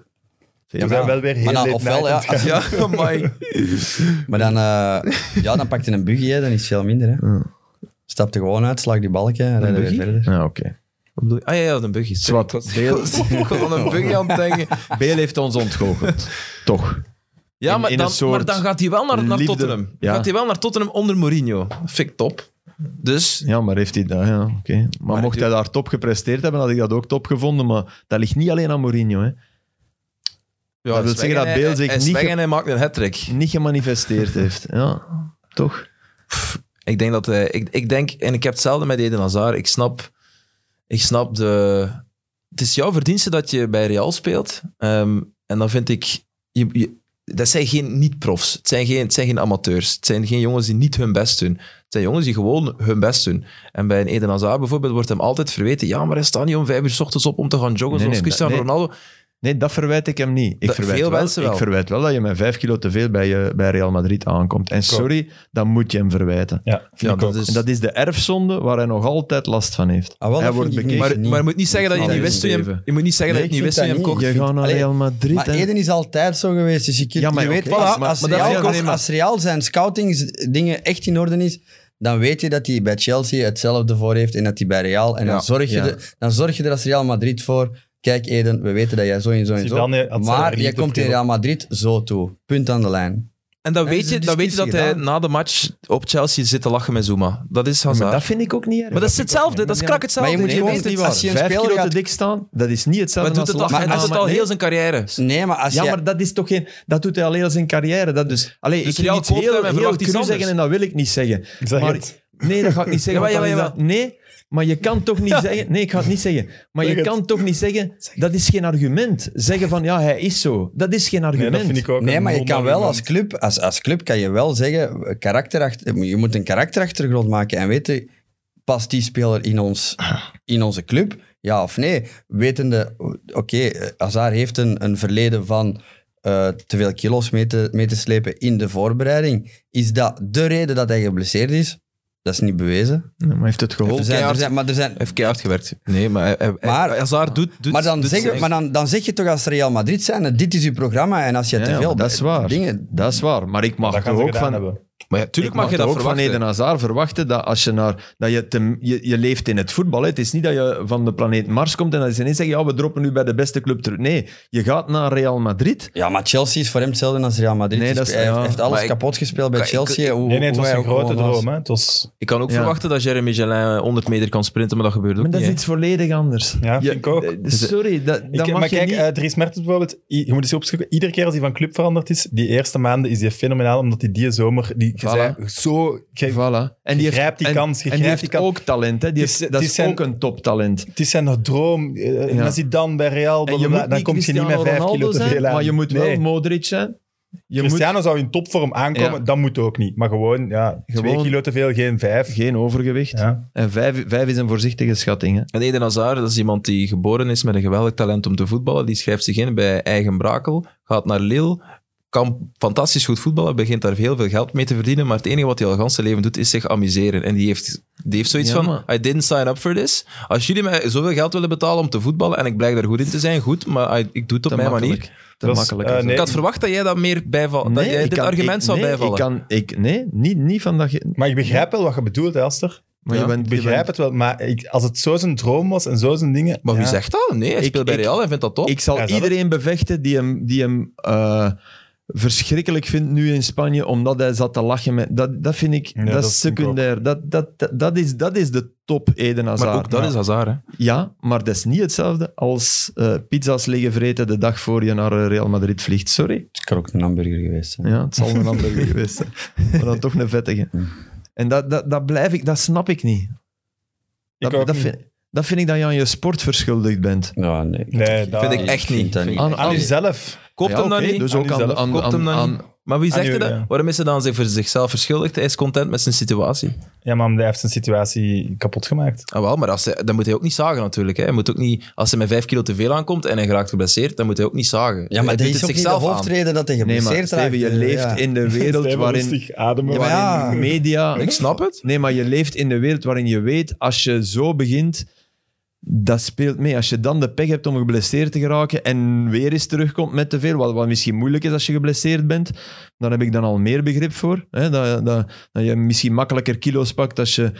Speaker 2: We zijn wel weer heel
Speaker 3: Maar dan,
Speaker 2: late night
Speaker 3: ofwel, ja,
Speaker 2: aan het gaan.
Speaker 3: als-
Speaker 1: Ja, maar
Speaker 3: maar dan, eh, ja, dan pak je een buggy, hè, dan is het veel minder. Hè.
Speaker 4: Ja.
Speaker 3: Stap er gewoon uit, slag die balken en rijden weer
Speaker 1: buggy?
Speaker 3: verder.
Speaker 4: Ja, oké.
Speaker 1: Wat bedoel je? Ah ja, ja, een buggy. Sorry,
Speaker 4: Zwart.
Speaker 1: ik was- Ik was aan een buggy aan het denken.
Speaker 4: Beel heeft ons ontgoocheld. Toch.
Speaker 1: Ja,
Speaker 4: In-
Speaker 1: maar,
Speaker 4: in
Speaker 1: dan,
Speaker 4: een soort
Speaker 1: maar dan gaat hij wel naar, naar
Speaker 4: liefde.
Speaker 1: Tottenham.
Speaker 4: Ja.
Speaker 1: Gaat hij wel naar Tottenham onder Mourinho. Fik top. Dus,
Speaker 4: Ja, maar heeft hij dat... Ja, oké. Maar,
Speaker 1: Maar
Speaker 4: mocht hij daar top gepresteerd hebben, had ik dat ook top gevonden. Maar dat ligt niet alleen aan Mourinho. Hè.
Speaker 1: ja,
Speaker 4: Dat wil
Speaker 1: Swaggen,
Speaker 4: zeggen dat
Speaker 1: hij-
Speaker 4: Bale zich
Speaker 1: hij-
Speaker 4: niet
Speaker 1: Swaggen,
Speaker 4: ge-
Speaker 1: hij maakt een hat-trick.
Speaker 4: Niet gemanifesteerd heeft. Ja, toch?
Speaker 1: Ik denk dat hij... Ik, ik denk, en ik heb hetzelfde met Eden Hazard. Ik snap... Ik snap de... Het is jouw verdienste dat je bij Real speelt. Ehm, en dan vind ik... Je, je- dat zijn geen niet-profs. Het zijn geen, het zijn geen amateurs. Het zijn geen jongens die niet hun best doen. Het zijn jongens die gewoon hun best doen. En bij een Eden Hazard bijvoorbeeld wordt hem altijd verweten... Ja, maar hij staat niet om vijf uur s ochtends op om te gaan joggen
Speaker 4: Nee,
Speaker 1: zoals
Speaker 4: nee,
Speaker 1: Cristiano
Speaker 4: nee.
Speaker 1: Ronaldo.
Speaker 4: Nee, dat verwijt ik hem niet. Ik,
Speaker 1: Dat-
Speaker 4: verwijt,
Speaker 1: veel
Speaker 4: wel,
Speaker 1: mensen wel.
Speaker 4: ik verwijt wel dat je met vijf kilo te veel bij, je, bij Real Madrid aankomt. En sorry, dat moet je hem verwijten.
Speaker 2: Ja, vind
Speaker 1: Ja,
Speaker 2: ik
Speaker 1: dat
Speaker 2: ook.
Speaker 1: is-
Speaker 4: En dat is de erfzonde waar hij nog altijd last van heeft.
Speaker 3: Ah, wel, dat
Speaker 4: hij
Speaker 3: vind
Speaker 4: wordt
Speaker 3: ik
Speaker 4: bekeken.
Speaker 3: niet.
Speaker 4: Maar,
Speaker 1: Maar, maar je moet niet zeggen dat je
Speaker 3: Nee,
Speaker 1: niet wist toen je hem...
Speaker 4: Steven.
Speaker 1: Je moet niet zeggen dat je
Speaker 3: Nee,
Speaker 1: het niet
Speaker 3: ik
Speaker 1: wist toen je hem kocht.
Speaker 3: vind dat
Speaker 4: je gaat naar
Speaker 3: Allee,
Speaker 4: Real Madrid.
Speaker 3: Maar
Speaker 4: en-
Speaker 3: Eden is altijd zo geweest, dus je, kunt,
Speaker 4: Ja, maar
Speaker 3: je weet
Speaker 4: oké,
Speaker 3: wel, als,
Speaker 4: maar-
Speaker 3: als
Speaker 4: maar dat
Speaker 3: Real,
Speaker 4: vind ik
Speaker 3: kost-
Speaker 4: alleen maar-
Speaker 3: als Real zijn scoutingsdingen echt in orde is, dan weet je dat hij bij Chelsea hetzelfde voor heeft en dat hij bij Real. En
Speaker 1: Ja,
Speaker 3: dan, zorg je
Speaker 1: ja.
Speaker 3: er, dan zorg je er als Real Madrid voor. Kijk Eden, we weten dat jij zo en zo en zo.
Speaker 2: Zidane had zelf
Speaker 3: Maar
Speaker 2: niet
Speaker 3: jij komt in
Speaker 2: opgeroepen.
Speaker 3: Real Madrid zo toe. Punt aan de lijn.
Speaker 1: En dan
Speaker 3: Er is
Speaker 1: weet, je,
Speaker 3: een
Speaker 1: dan weet je dat
Speaker 3: discussie
Speaker 1: hij
Speaker 3: gedaan.
Speaker 1: na de match op Chelsea zit te lachen met Zuma. Dat is Hazard.
Speaker 4: maar dat vind ik ook niet erg.
Speaker 1: Maar dat is hetzelfde, dat is krak hetzelfde.
Speaker 3: Maar je moet gewoon-
Speaker 1: weet het.
Speaker 3: niet waar. als je een
Speaker 4: Vijf
Speaker 3: speler
Speaker 4: kilo
Speaker 3: gaat-
Speaker 4: te dik staan, dat is niet
Speaker 1: Maar
Speaker 4: hetzelfde
Speaker 1: hij doet
Speaker 4: als
Speaker 1: het al,
Speaker 3: Maar
Speaker 1: hij doet
Speaker 3: als-
Speaker 1: het al
Speaker 4: Nee.
Speaker 1: heel zijn carrière.
Speaker 3: Dus Nee, maar als
Speaker 4: Ja,
Speaker 3: jij-
Speaker 4: maar dat is toch geen... Dat doet hij alleen al zijn carrière. Dat dus, allee,
Speaker 1: Dus
Speaker 4: ik
Speaker 1: Real
Speaker 4: kan iets
Speaker 1: koopt hem
Speaker 4: heel,
Speaker 1: en
Speaker 4: heel
Speaker 1: verwacht iets
Speaker 4: cru
Speaker 1: anders.
Speaker 4: zeggen en dat wil ik niet zeggen.
Speaker 2: Zeg
Speaker 4: maar,
Speaker 2: het.
Speaker 4: Nee, dat ga ik niet zeggen.
Speaker 1: Jawel,
Speaker 4: want dan
Speaker 1: jawel,
Speaker 4: is dat- nee, maar je kan toch niet zeggen... Nee, ik ga het niet zeggen. Maar
Speaker 2: Zeg
Speaker 4: je
Speaker 2: het.
Speaker 4: kan toch niet zeggen... Dat is geen argument. Zeggen van, ja, hij is zo. Dat is geen
Speaker 2: Nee,
Speaker 4: argument.
Speaker 2: dat vind ik ook
Speaker 3: Nee,
Speaker 2: een
Speaker 3: maar je kan wel
Speaker 2: non-argument.
Speaker 3: als club, als, als club kan je wel zeggen, eh, karakterach- je moet een karakterachtergrond maken en weten, past die speler in, ons, in onze club? Ja of nee? Wetende, oké, eh, Hazard heeft een, een verleden van eh, te veel kilo's mee te, mee te slepen in de voorbereiding. Is dat de reden dat hij geblesseerd is? Dat is niet bewezen.
Speaker 4: Nee, maar heeft het
Speaker 3: Er
Speaker 4: geholpen?
Speaker 3: zijn, er
Speaker 1: keihard.
Speaker 3: zijn, maar er zijn,
Speaker 1: Hij heeft keihard gewerkt. Nee, maar, hij- hij-
Speaker 3: Maar-
Speaker 1: hij- Hazard doet, doet
Speaker 3: maar, dan
Speaker 1: doet
Speaker 3: zeg,
Speaker 1: zijn-
Speaker 3: maar dan, dan zeg je toch als Real Madrid zijn, dit is uw programma en als je
Speaker 4: Ja,
Speaker 3: te
Speaker 4: ja,
Speaker 3: veel
Speaker 4: maar dat is waar.
Speaker 3: dingen...
Speaker 4: Dat is waar, maar ik mag
Speaker 2: Dat gaan
Speaker 4: toch
Speaker 2: ze
Speaker 4: ook
Speaker 2: gedaan
Speaker 4: van...
Speaker 2: hebben.
Speaker 1: Maar ja, tuurlijk mag, je dat
Speaker 4: toch ook
Speaker 1: verwachten.
Speaker 4: van Eden Hazard verwachten dat als je naar... Dat je, te- je, je leeft in het voetbal. hè. Het is niet dat je van de planeet Mars komt en dat ze ineens zeggen, ja, we droppen nu bij de beste club terug. Nee, je gaat naar Real Madrid.
Speaker 3: Ja, maar Chelsea is voor hem hetzelfde als Real Madrid.
Speaker 4: Nee,
Speaker 3: Hij
Speaker 4: dat is-
Speaker 3: heeft- hij
Speaker 4: ja.
Speaker 3: heeft alles
Speaker 1: Maar ik-
Speaker 3: kapot gespeeld bij
Speaker 1: ik-
Speaker 3: Chelsea. hoe-
Speaker 2: Nee, nee, het
Speaker 3: hoe
Speaker 2: was
Speaker 3: hij
Speaker 2: een
Speaker 3: ook
Speaker 2: grote
Speaker 3: gewoon was.
Speaker 2: droom. Hè. Het was...
Speaker 1: Ik kan ook
Speaker 4: Ja.
Speaker 1: verwachten dat Jeremy Gelin 100 meter kan sprinten, maar dat gebeurt ook
Speaker 4: Maar dat
Speaker 1: niet.
Speaker 4: is
Speaker 1: hè.
Speaker 4: iets volledig anders.
Speaker 2: Ja, dus vind ik ook.
Speaker 4: eh, Sorry, dat, dat
Speaker 2: Ik,
Speaker 4: mag
Speaker 2: maar
Speaker 4: je
Speaker 2: kijk,
Speaker 4: niet...
Speaker 2: eh, Dries Mertens bijvoorbeeld, i- je moet eens opzoeken, iedere keer als hij van club veranderd is, die eerste maanden is die fenomenaal, omdat hij die, zomer, die, je
Speaker 4: Voilà.
Speaker 2: zei, zo... je-
Speaker 4: Voilà. En
Speaker 2: Je grijpt die
Speaker 4: en-
Speaker 2: kans, je
Speaker 4: En die
Speaker 2: grijpt
Speaker 4: heeft
Speaker 2: die kans.
Speaker 4: ook talent. Hè. Die
Speaker 2: Het is-
Speaker 4: heeft-
Speaker 2: het
Speaker 4: dat
Speaker 2: is
Speaker 4: is
Speaker 2: zijn-
Speaker 4: ook een toptalent.
Speaker 2: Het is zijn droom. eh,
Speaker 4: Ja.
Speaker 2: Als hij dan bij Real,
Speaker 4: En je
Speaker 2: blablabla,
Speaker 4: moet
Speaker 2: dan
Speaker 4: niet
Speaker 2: kom je niet
Speaker 4: Cristiano
Speaker 2: met vijf
Speaker 4: Ronaldo
Speaker 2: kilo te
Speaker 4: zijn,
Speaker 2: veel aan.
Speaker 4: maar je moet
Speaker 2: Nee.
Speaker 4: wel Modric zijn. Je moet
Speaker 2: Cristiano zou in topvorm aankomen,
Speaker 4: Ja.
Speaker 2: dat moet ook niet. Maar gewoon, ja, twee
Speaker 4: Gewoon-
Speaker 2: kilo te veel, geen vijf.
Speaker 4: geen overgewicht.
Speaker 2: Ja.
Speaker 4: En vijf, vijf is een voorzichtige schatting. Hè.
Speaker 1: En Eden Hazard, dat is iemand die geboren is met een geweldig talent om te voetballen. Die schrijft zich in bij Eigen Brakel, gaat naar Lille, kan fantastisch goed voetballen, begint daar heel veel geld mee te verdienen, maar het enige wat hij al het hele leven doet, is zich amuseren. En die heeft, die heeft zoiets
Speaker 4: Ja,
Speaker 1: van,
Speaker 4: maar-
Speaker 1: I didn't sign up for this. Als jullie mij zoveel geld willen betalen om te voetballen en ik blijk daar goed in te zijn, goed, maar I- ik doe het op
Speaker 4: Te
Speaker 1: mijn
Speaker 4: makkelijk.
Speaker 1: manier.
Speaker 4: Te
Speaker 2: Dat is,
Speaker 4: makkelijk.
Speaker 2: eh,
Speaker 4: is dat.
Speaker 2: nee,
Speaker 1: Ik had verwacht dat jij dat meer bijvalt, dat
Speaker 4: Nee,
Speaker 1: jij
Speaker 4: ik
Speaker 1: dit
Speaker 4: kan-
Speaker 1: argument
Speaker 4: ik-
Speaker 1: zou
Speaker 4: nee,
Speaker 1: bijvallen.
Speaker 4: Ik kan, ik, nee, niet, niet van dat... ge-
Speaker 2: Maar ik begrijp wel wat je bedoelt, hè, Aster.
Speaker 4: Maar
Speaker 1: Ja,
Speaker 4: je bent,
Speaker 2: Ik
Speaker 4: je
Speaker 2: begrijp
Speaker 4: bent-
Speaker 2: het wel, maar ik, als het zo zijn droom was en zo zijn dingen...
Speaker 1: Maar wie
Speaker 2: ja.
Speaker 1: zegt dat? Nee, hij
Speaker 4: Ik-
Speaker 1: speelt bij
Speaker 4: ik-
Speaker 1: Real en vindt dat top.
Speaker 4: Ik zal
Speaker 2: Ja, is dat
Speaker 4: iedereen bevechten die hem, die hem eh, verschrikkelijk vindt nu in Spanje, omdat hij zat te lachen met... Dat, dat vind ik...
Speaker 2: Ja,
Speaker 4: dat,
Speaker 2: dat
Speaker 4: is
Speaker 2: vind ik ook.
Speaker 4: secundair. Dat, dat, dat, dat is, dat is de top Eden Hazard.
Speaker 1: maar ook dat
Speaker 4: Ja.
Speaker 1: is Hazard, hè.
Speaker 4: Ja, maar dat is niet hetzelfde als eh, pizza's liggen vreten de dag voor je naar eh, Real Madrid vliegt. Sorry.
Speaker 3: Het kan ook een hamburger geweest zijn.
Speaker 4: Ja, het zal een ander geweest zijn. Maar dan toch een vettige. En dat, dat, dat blijf ik... Dat snap ik niet. Dat,
Speaker 2: ook
Speaker 4: dat,
Speaker 2: niet.
Speaker 4: Vind, dat vind ik dat je aan je sport verschuldigd bent.
Speaker 3: Ja, nee.
Speaker 2: Nee, dat...
Speaker 1: Vind ik
Speaker 3: ik
Speaker 1: echt
Speaker 3: vind
Speaker 1: niet.
Speaker 3: dat
Speaker 1: Vind
Speaker 3: niet.
Speaker 1: ik
Speaker 4: Aan-
Speaker 1: echt
Speaker 2: Aan
Speaker 1: niet.
Speaker 2: jezelf.
Speaker 1: Koopt
Speaker 4: Ja,
Speaker 1: hem dan
Speaker 4: oké,
Speaker 1: niet.
Speaker 4: Dus ook aan,
Speaker 2: jezelf.
Speaker 4: aan,
Speaker 1: Koopt hem
Speaker 4: aan,
Speaker 1: dan
Speaker 4: aan,
Speaker 1: niet. Maar wie
Speaker 2: aan
Speaker 1: zegt
Speaker 2: u,
Speaker 1: er dat?
Speaker 2: ja.
Speaker 1: Waarom is hij dan zich voor zichzelf verschuldigd? Hij is content met zijn situatie.
Speaker 2: Ja, maar hij heeft zijn situatie kapot gemaakt.
Speaker 1: Ah, wel, maar als hij, dat moet hij ook niet zagen natuurlijk. Hè. Hij moet ook niet, als hij met vijf kilo te veel aankomt en hij geraakt geblesseerd, dan moet hij ook niet zagen.
Speaker 3: Ja, maar
Speaker 1: Hij
Speaker 3: dat
Speaker 1: biedt
Speaker 3: is
Speaker 1: het
Speaker 3: ook niet de
Speaker 1: zichzelf aan.
Speaker 3: hoofdreden dat hij
Speaker 4: Nee, maar
Speaker 3: geblesseerd
Speaker 4: Steven, je
Speaker 3: raakt. eh,
Speaker 4: leeft
Speaker 3: Ja.
Speaker 4: in de wereld
Speaker 2: Stijf,
Speaker 4: waarin,
Speaker 2: rustig ademen.
Speaker 3: Ja, maar ja.
Speaker 4: waarin media...
Speaker 1: Ik snap het.
Speaker 4: Nee, maar je leeft in de wereld waarin je weet, als je zo begint, dat speelt mee. Als je dan de pech hebt om geblesseerd te geraken en weer eens terugkomt met te veel, wat, wat misschien moeilijk is als je geblesseerd bent, dan heb ik dan al meer begrip voor. Hè? Dat, dat, dat je misschien makkelijker kilo's pakt als je...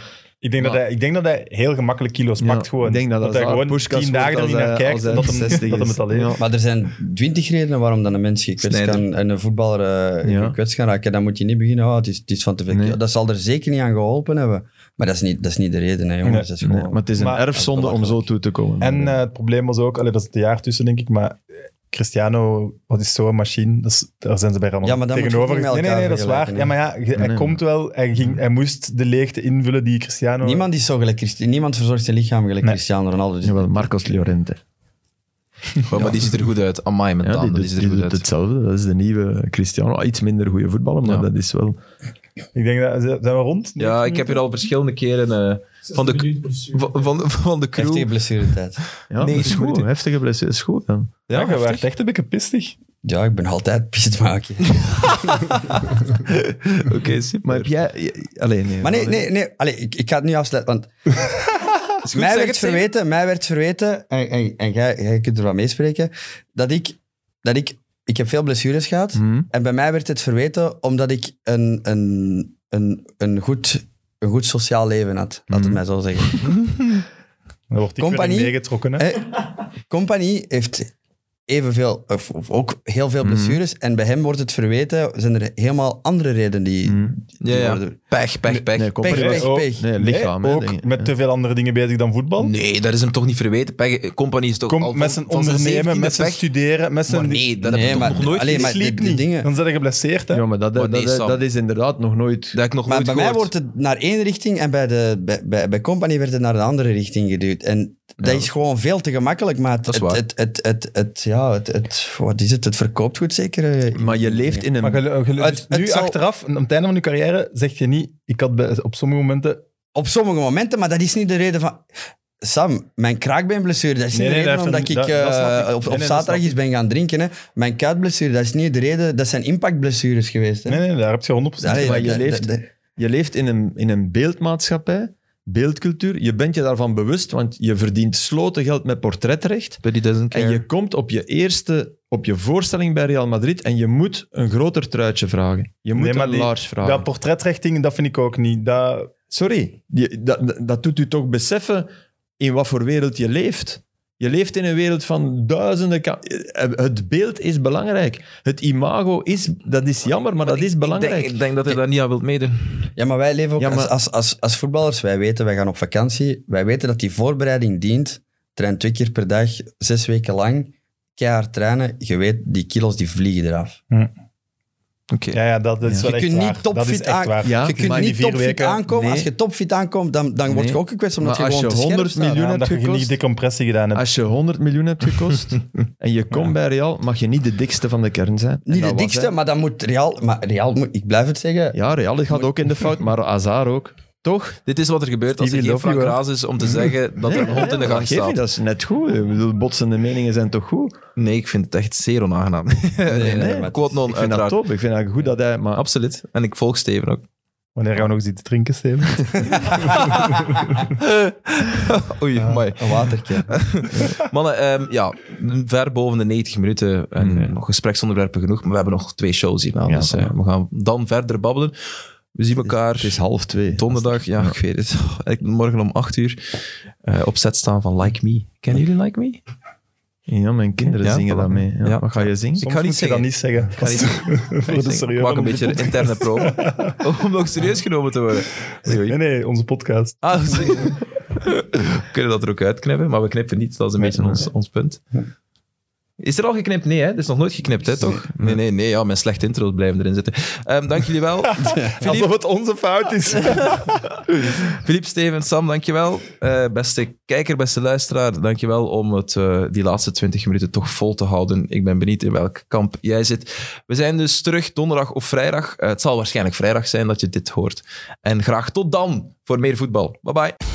Speaker 2: Ik denk, dat
Speaker 4: Maar-
Speaker 2: hij, ik denk dat hij heel gemakkelijk kilo's
Speaker 4: Ja,
Speaker 2: pakt gewoon.
Speaker 4: ik denk dat
Speaker 2: hij
Speaker 4: Hazard
Speaker 2: gewoon
Speaker 4: Puskas
Speaker 2: tien dagen er
Speaker 4: wordt
Speaker 2: niet
Speaker 4: als
Speaker 2: naar
Speaker 4: hij-
Speaker 2: kijkt
Speaker 4: als hij
Speaker 2: en dat hem,
Speaker 4: 60
Speaker 2: dat hem
Speaker 4: is.
Speaker 2: het alleen...
Speaker 4: Ja.
Speaker 3: Maar er zijn twintig redenen waarom dan een mens gekwetst
Speaker 1: Sneijder.
Speaker 3: kan, en een voetballer eh,
Speaker 4: Ja.
Speaker 3: gekwetst kan raken. Dan moet je niet beginnen, oh, het, is, het is van te veel.
Speaker 4: Nee.
Speaker 3: kilo. Dat zal er zeker niet aan geholpen hebben. Maar dat is niet, dat is niet de reden, hè, jongens.
Speaker 2: Nee,
Speaker 3: dat is
Speaker 4: Nee,
Speaker 3: gewoon...
Speaker 4: maar het is een
Speaker 2: Maar-
Speaker 4: erfzonde om zo toe te komen.
Speaker 2: En eh, het probleem was ook, allee, dat is het jaar tussen denk ik, maar eh, Cristiano, wat is zo'n machine? Dat is, daar zijn ze bij allemaal
Speaker 3: Ja, maar dan moet je het
Speaker 2: tegenover.
Speaker 3: niet met
Speaker 2: nee, nee,
Speaker 3: elkaar
Speaker 2: nee, dat is waar. Ja, maar
Speaker 3: vergelijken,
Speaker 2: ja, ge- hij
Speaker 4: Nee,
Speaker 2: komt wel, hij, ging, hij moest de leegte invullen die Cristiano...
Speaker 3: Niemand is zo gelijk Christi- Niemand verzorgt zijn lichaam gelijk
Speaker 2: Nee.
Speaker 3: Cristiano Ronaldo. Dus
Speaker 4: Jawel, Marcos Llorente.
Speaker 1: Ja, Oh, maar die ziet er goed uit. Amai, mijn
Speaker 4: Ja, die,
Speaker 1: tanden, die,
Speaker 4: doet-
Speaker 1: ziet
Speaker 4: die
Speaker 1: er goed
Speaker 4: doet
Speaker 1: uit.
Speaker 4: hetzelfde. Dat is de nieuwe Cristiano. Ah, Iets minder goede voetballer, maar
Speaker 1: Ja.
Speaker 4: dat is wel...
Speaker 2: Ik denk, dat, zijn we rond?
Speaker 1: Ja, ik heb hier al verschillende keren eh, van, de, van, van, van de
Speaker 3: Heftige
Speaker 1: crew...
Speaker 3: blessuretijd.
Speaker 4: Ja,
Speaker 1: Nee,
Speaker 4: dat is
Speaker 1: is goed,
Speaker 4: goed.
Speaker 1: hè.
Speaker 4: Heftige blessure is goed dan.
Speaker 2: Ja, je
Speaker 1: heftig.
Speaker 2: werd echt een beetje pistig.
Speaker 3: Ja, ik ben altijd pist maken.
Speaker 1: Oké, super.
Speaker 4: Maar heb jij... Alleen, nee.
Speaker 3: Maar nee, nee, nee. Allee, ik, ik ga het nu afsluiten, want
Speaker 1: Is goed,
Speaker 3: mij
Speaker 1: zeg
Speaker 3: werd,
Speaker 1: het, Steven.
Speaker 3: verweten, mij werd verweten, en, en, en jij, jij kunt er wat meespreken, dat ik, dat ik, ik heb veel blessures gehad.
Speaker 4: Hmm.
Speaker 3: En bij mij werd het verweten omdat ik een, een, een, een, goed, een goed sociaal leven had. Laat het
Speaker 4: Mhm.
Speaker 3: mij zo zeggen.
Speaker 2: Dan wordt ik weer in
Speaker 3: Compagnie?
Speaker 2: meegetrokken. Hè.
Speaker 3: Eh, Compagnie heeft evenveel, of, of ook heel veel
Speaker 4: Mhm.
Speaker 3: blessures. En bij hem wordt het verweten, zijn er helemaal andere redenen die,
Speaker 1: Mhm.
Speaker 4: Hmm.
Speaker 3: die
Speaker 1: Ja, ja.
Speaker 3: worden...
Speaker 1: Pech, pech, pech.
Speaker 4: Nee, kom
Speaker 3: Pech,
Speaker 4: maar.
Speaker 2: was
Speaker 3: pech,
Speaker 2: ook-
Speaker 3: pech.
Speaker 4: Nee, lichaam.
Speaker 2: Nee,
Speaker 4: hè,
Speaker 2: ook
Speaker 4: dingen.
Speaker 2: met te veel andere dingen bezig dan voetbal.
Speaker 1: Nee, dat is hem toch niet verweten. Pech, compagnie is toch al
Speaker 2: Komt
Speaker 1: van-
Speaker 2: met zijn
Speaker 1: van zijn
Speaker 2: ondernemen, met
Speaker 1: 17e
Speaker 2: zijn
Speaker 1: pech.
Speaker 2: studeren, met zijn...
Speaker 1: Maar nee, dat heb
Speaker 3: Nee,
Speaker 1: ik toch
Speaker 3: maar-
Speaker 1: nog nooit
Speaker 3: alleen
Speaker 1: gezien.
Speaker 3: maar-
Speaker 2: sliep
Speaker 3: die- die
Speaker 2: niet.
Speaker 3: dingen-
Speaker 2: Dan zijn ze geblesseerd, hè?
Speaker 4: Ja, maar dat,
Speaker 1: Maar nee,
Speaker 4: dat,
Speaker 1: Sam.
Speaker 4: dat is inderdaad nog nooit...
Speaker 1: Dat heb ik nog
Speaker 3: Maar
Speaker 1: nooit
Speaker 3: bij mij
Speaker 1: gehoord.
Speaker 3: wordt het naar één richting en bij, de, bij, bij, bij Company werd het naar een andere richting geduwd. En dat
Speaker 1: Ja.
Speaker 3: is gewoon veel te gemakkelijk, maar het,
Speaker 1: Dat is
Speaker 3: het,
Speaker 1: waar.
Speaker 3: het, het, het, het- ja, het, het, wat is het? Het verkoopt goed zeker. eh,
Speaker 4: Maar je leeft in een...
Speaker 2: Maar gelu- gelu- dus
Speaker 3: Het-
Speaker 2: nu
Speaker 3: het zal-
Speaker 2: achteraf, aan het einde van je carrière, zeg je niet, ik had bij- op sommige momenten...
Speaker 3: Op sommige momenten, maar dat is niet de reden van... Sam, mijn kraakbeenblessure, dat is
Speaker 2: Nee,
Speaker 3: niet
Speaker 2: nee,
Speaker 3: de reden
Speaker 2: dat
Speaker 3: omdat
Speaker 2: heeft
Speaker 3: ik,
Speaker 2: een- dat- dat snap
Speaker 3: eh,
Speaker 2: ik.
Speaker 3: op,
Speaker 2: Nee,
Speaker 3: op
Speaker 2: nee, dat
Speaker 3: zaterdag
Speaker 2: snap
Speaker 3: eens ben gaan drinken. Hè. Mijn kuitblessure, dat is niet de reden... Dat zijn impactblessures geweest. Hè.
Speaker 2: Nee, nee, daar heb je 100%
Speaker 3: Allee,
Speaker 4: maar je
Speaker 3: dat-
Speaker 4: leeft-
Speaker 3: dat- dat-
Speaker 4: Je leeft in een, in een beeldmaatschappij, beeldcultuur. Je bent je daarvan bewust, want je verdient sloten geld met portretrecht.
Speaker 1: But he doesn't
Speaker 4: En
Speaker 1: care.
Speaker 4: je komt op je eerste... Op je voorstelling bij Real Madrid en je moet een groter truitje vragen. Je moet
Speaker 2: Nee, maar
Speaker 4: een
Speaker 2: die-
Speaker 4: large vragen.
Speaker 2: Dat portretrechtingen, dat vind ik ook niet. Dat,
Speaker 4: Sorry, je- dat, dat- dat doet u toch beseffen in wat voor wereld je leeft. Je leeft in een wereld van duizenden... ka- Het beeld is belangrijk. Het imago is... Dat is jammer, maar dat is belangrijk.
Speaker 1: Ik denk, ik denk dat hij daar niet aan wilt meedoen.
Speaker 3: Ja, maar wij leven ook
Speaker 4: Ja, maar-
Speaker 3: Als, als, als, als voetballers. Wij weten, wij gaan op vakantie. Wij weten dat die voorbereiding dient. Train twee keer per dag, zes weken lang. Keihard trainen. Je weet, die kilo's die vliegen eraf.
Speaker 1: Oké.
Speaker 2: ja, ja, dat is
Speaker 4: Ja.
Speaker 2: wel
Speaker 3: Je
Speaker 2: echt
Speaker 3: kunt
Speaker 2: waar.
Speaker 3: niet topfit
Speaker 2: dat is echt
Speaker 3: aan-
Speaker 2: waar.
Speaker 4: Ja,
Speaker 3: je kunt
Speaker 2: maar die
Speaker 3: niet
Speaker 2: vier
Speaker 3: topfit
Speaker 2: weken-
Speaker 3: aankomen.
Speaker 4: nee.
Speaker 3: Als je topfit aankomt, dan, dan word je
Speaker 4: Nee.
Speaker 3: ook gekwetst omdat
Speaker 4: Maar
Speaker 3: je
Speaker 4: als
Speaker 3: gewoon
Speaker 4: je
Speaker 3: te scherp
Speaker 4: 100
Speaker 3: staat.
Speaker 4: miljoen
Speaker 2: Ja,
Speaker 4: hebt
Speaker 2: omdat je
Speaker 4: gekost. Ah.
Speaker 2: niet de compressie gedaan hebt.
Speaker 4: Als je 100 miljoen hebt gekost en je komt bij Real, mag je niet de dikste van de kern zijn. En
Speaker 3: Niet
Speaker 4: dat
Speaker 3: de
Speaker 4: was
Speaker 3: dikste,
Speaker 4: hij.
Speaker 3: maar dan moet Real... Maar Real moet, ik blijf het zeggen,
Speaker 4: Ja, Real gaat ook in de fout, maar Azar ook.
Speaker 2: Toch?
Speaker 1: Dit is wat er gebeurt als er
Speaker 2: Stevie
Speaker 1: geen Frank
Speaker 2: Loffi, hoor.
Speaker 1: Raas is om te
Speaker 4: Mm-hmm.
Speaker 1: zeggen dat er een hond in de gang
Speaker 4: Geef niet,
Speaker 1: staat.
Speaker 4: dat is net goed. Ik bedoel, botsende meningen zijn toch goed?
Speaker 1: Nee, ik vind het echt zeer onaangenaam. Nee, nee,
Speaker 3: nee,
Speaker 1: nee.
Speaker 3: maar
Speaker 1: Quote non,
Speaker 4: Ik vind dat
Speaker 1: uiteraard.
Speaker 4: top. Ik vind dat goed dat hij... Maar
Speaker 1: Absoluut. En ik volg Steven ook.
Speaker 2: Wanneer gaan we nog eens iets drinken, Steven?
Speaker 1: Oei,
Speaker 4: Ah.
Speaker 1: mooi.
Speaker 3: Een watertje.
Speaker 1: Mannen, ehm, ja, ver boven de 90 minuten en eh, nog gespreksonderwerpen genoeg. Maar we hebben nog twee shows hierna,
Speaker 4: Mm. Ja,
Speaker 1: dus eh, we gaan dan verder babbelen. We zien elkaar
Speaker 4: het is half twee.
Speaker 1: donderdag, ja, ik weet het. Ik moet morgen om 8 uur eh, op set staan van Like Me. Kennen jullie Like Me?
Speaker 4: Ja, mijn kinderen
Speaker 1: Ja,
Speaker 4: zingen
Speaker 1: voilà.
Speaker 4: dat mee. Ja.
Speaker 1: Ja.
Speaker 4: Wat ga je zingen?
Speaker 1: Ik
Speaker 2: Soms
Speaker 1: ga niet
Speaker 2: moet je dat
Speaker 1: zeggen.
Speaker 2: niet zeggen.
Speaker 1: ga niet
Speaker 2: Voor de
Speaker 1: Ik
Speaker 2: serieuze
Speaker 1: maak een beetje
Speaker 2: podcast.
Speaker 1: interne pro. Om nog serieus genomen te worden.
Speaker 2: Nee, nee, onze podcast.
Speaker 1: Ah, sorry. we kunnen dat er ook uitknippen, maar we knippen niet. Dat is een beetje ons, ons punt. Is er al geknipt? Nee, hè? Er is nog nooit geknipt, hè, toch? Nee, nee, nee. Ja, mijn slechte intro's blijven erin zitten. Ehm, dank jullie wel.
Speaker 2: Alsof het onze fout is.
Speaker 1: Filip, Steven, Sam, dankjewel. Eh beste kijker, beste luisteraar, dankjewel om het, eh, die laatste 20 minuten toch vol te houden. Ik ben benieuwd in welk kamp jij zit. We zijn dus terug donderdag of vrijdag. Eh, het zal waarschijnlijk vrijdag zijn dat je dit hoort. En graag tot dan voor meer voetbal. Bye bye.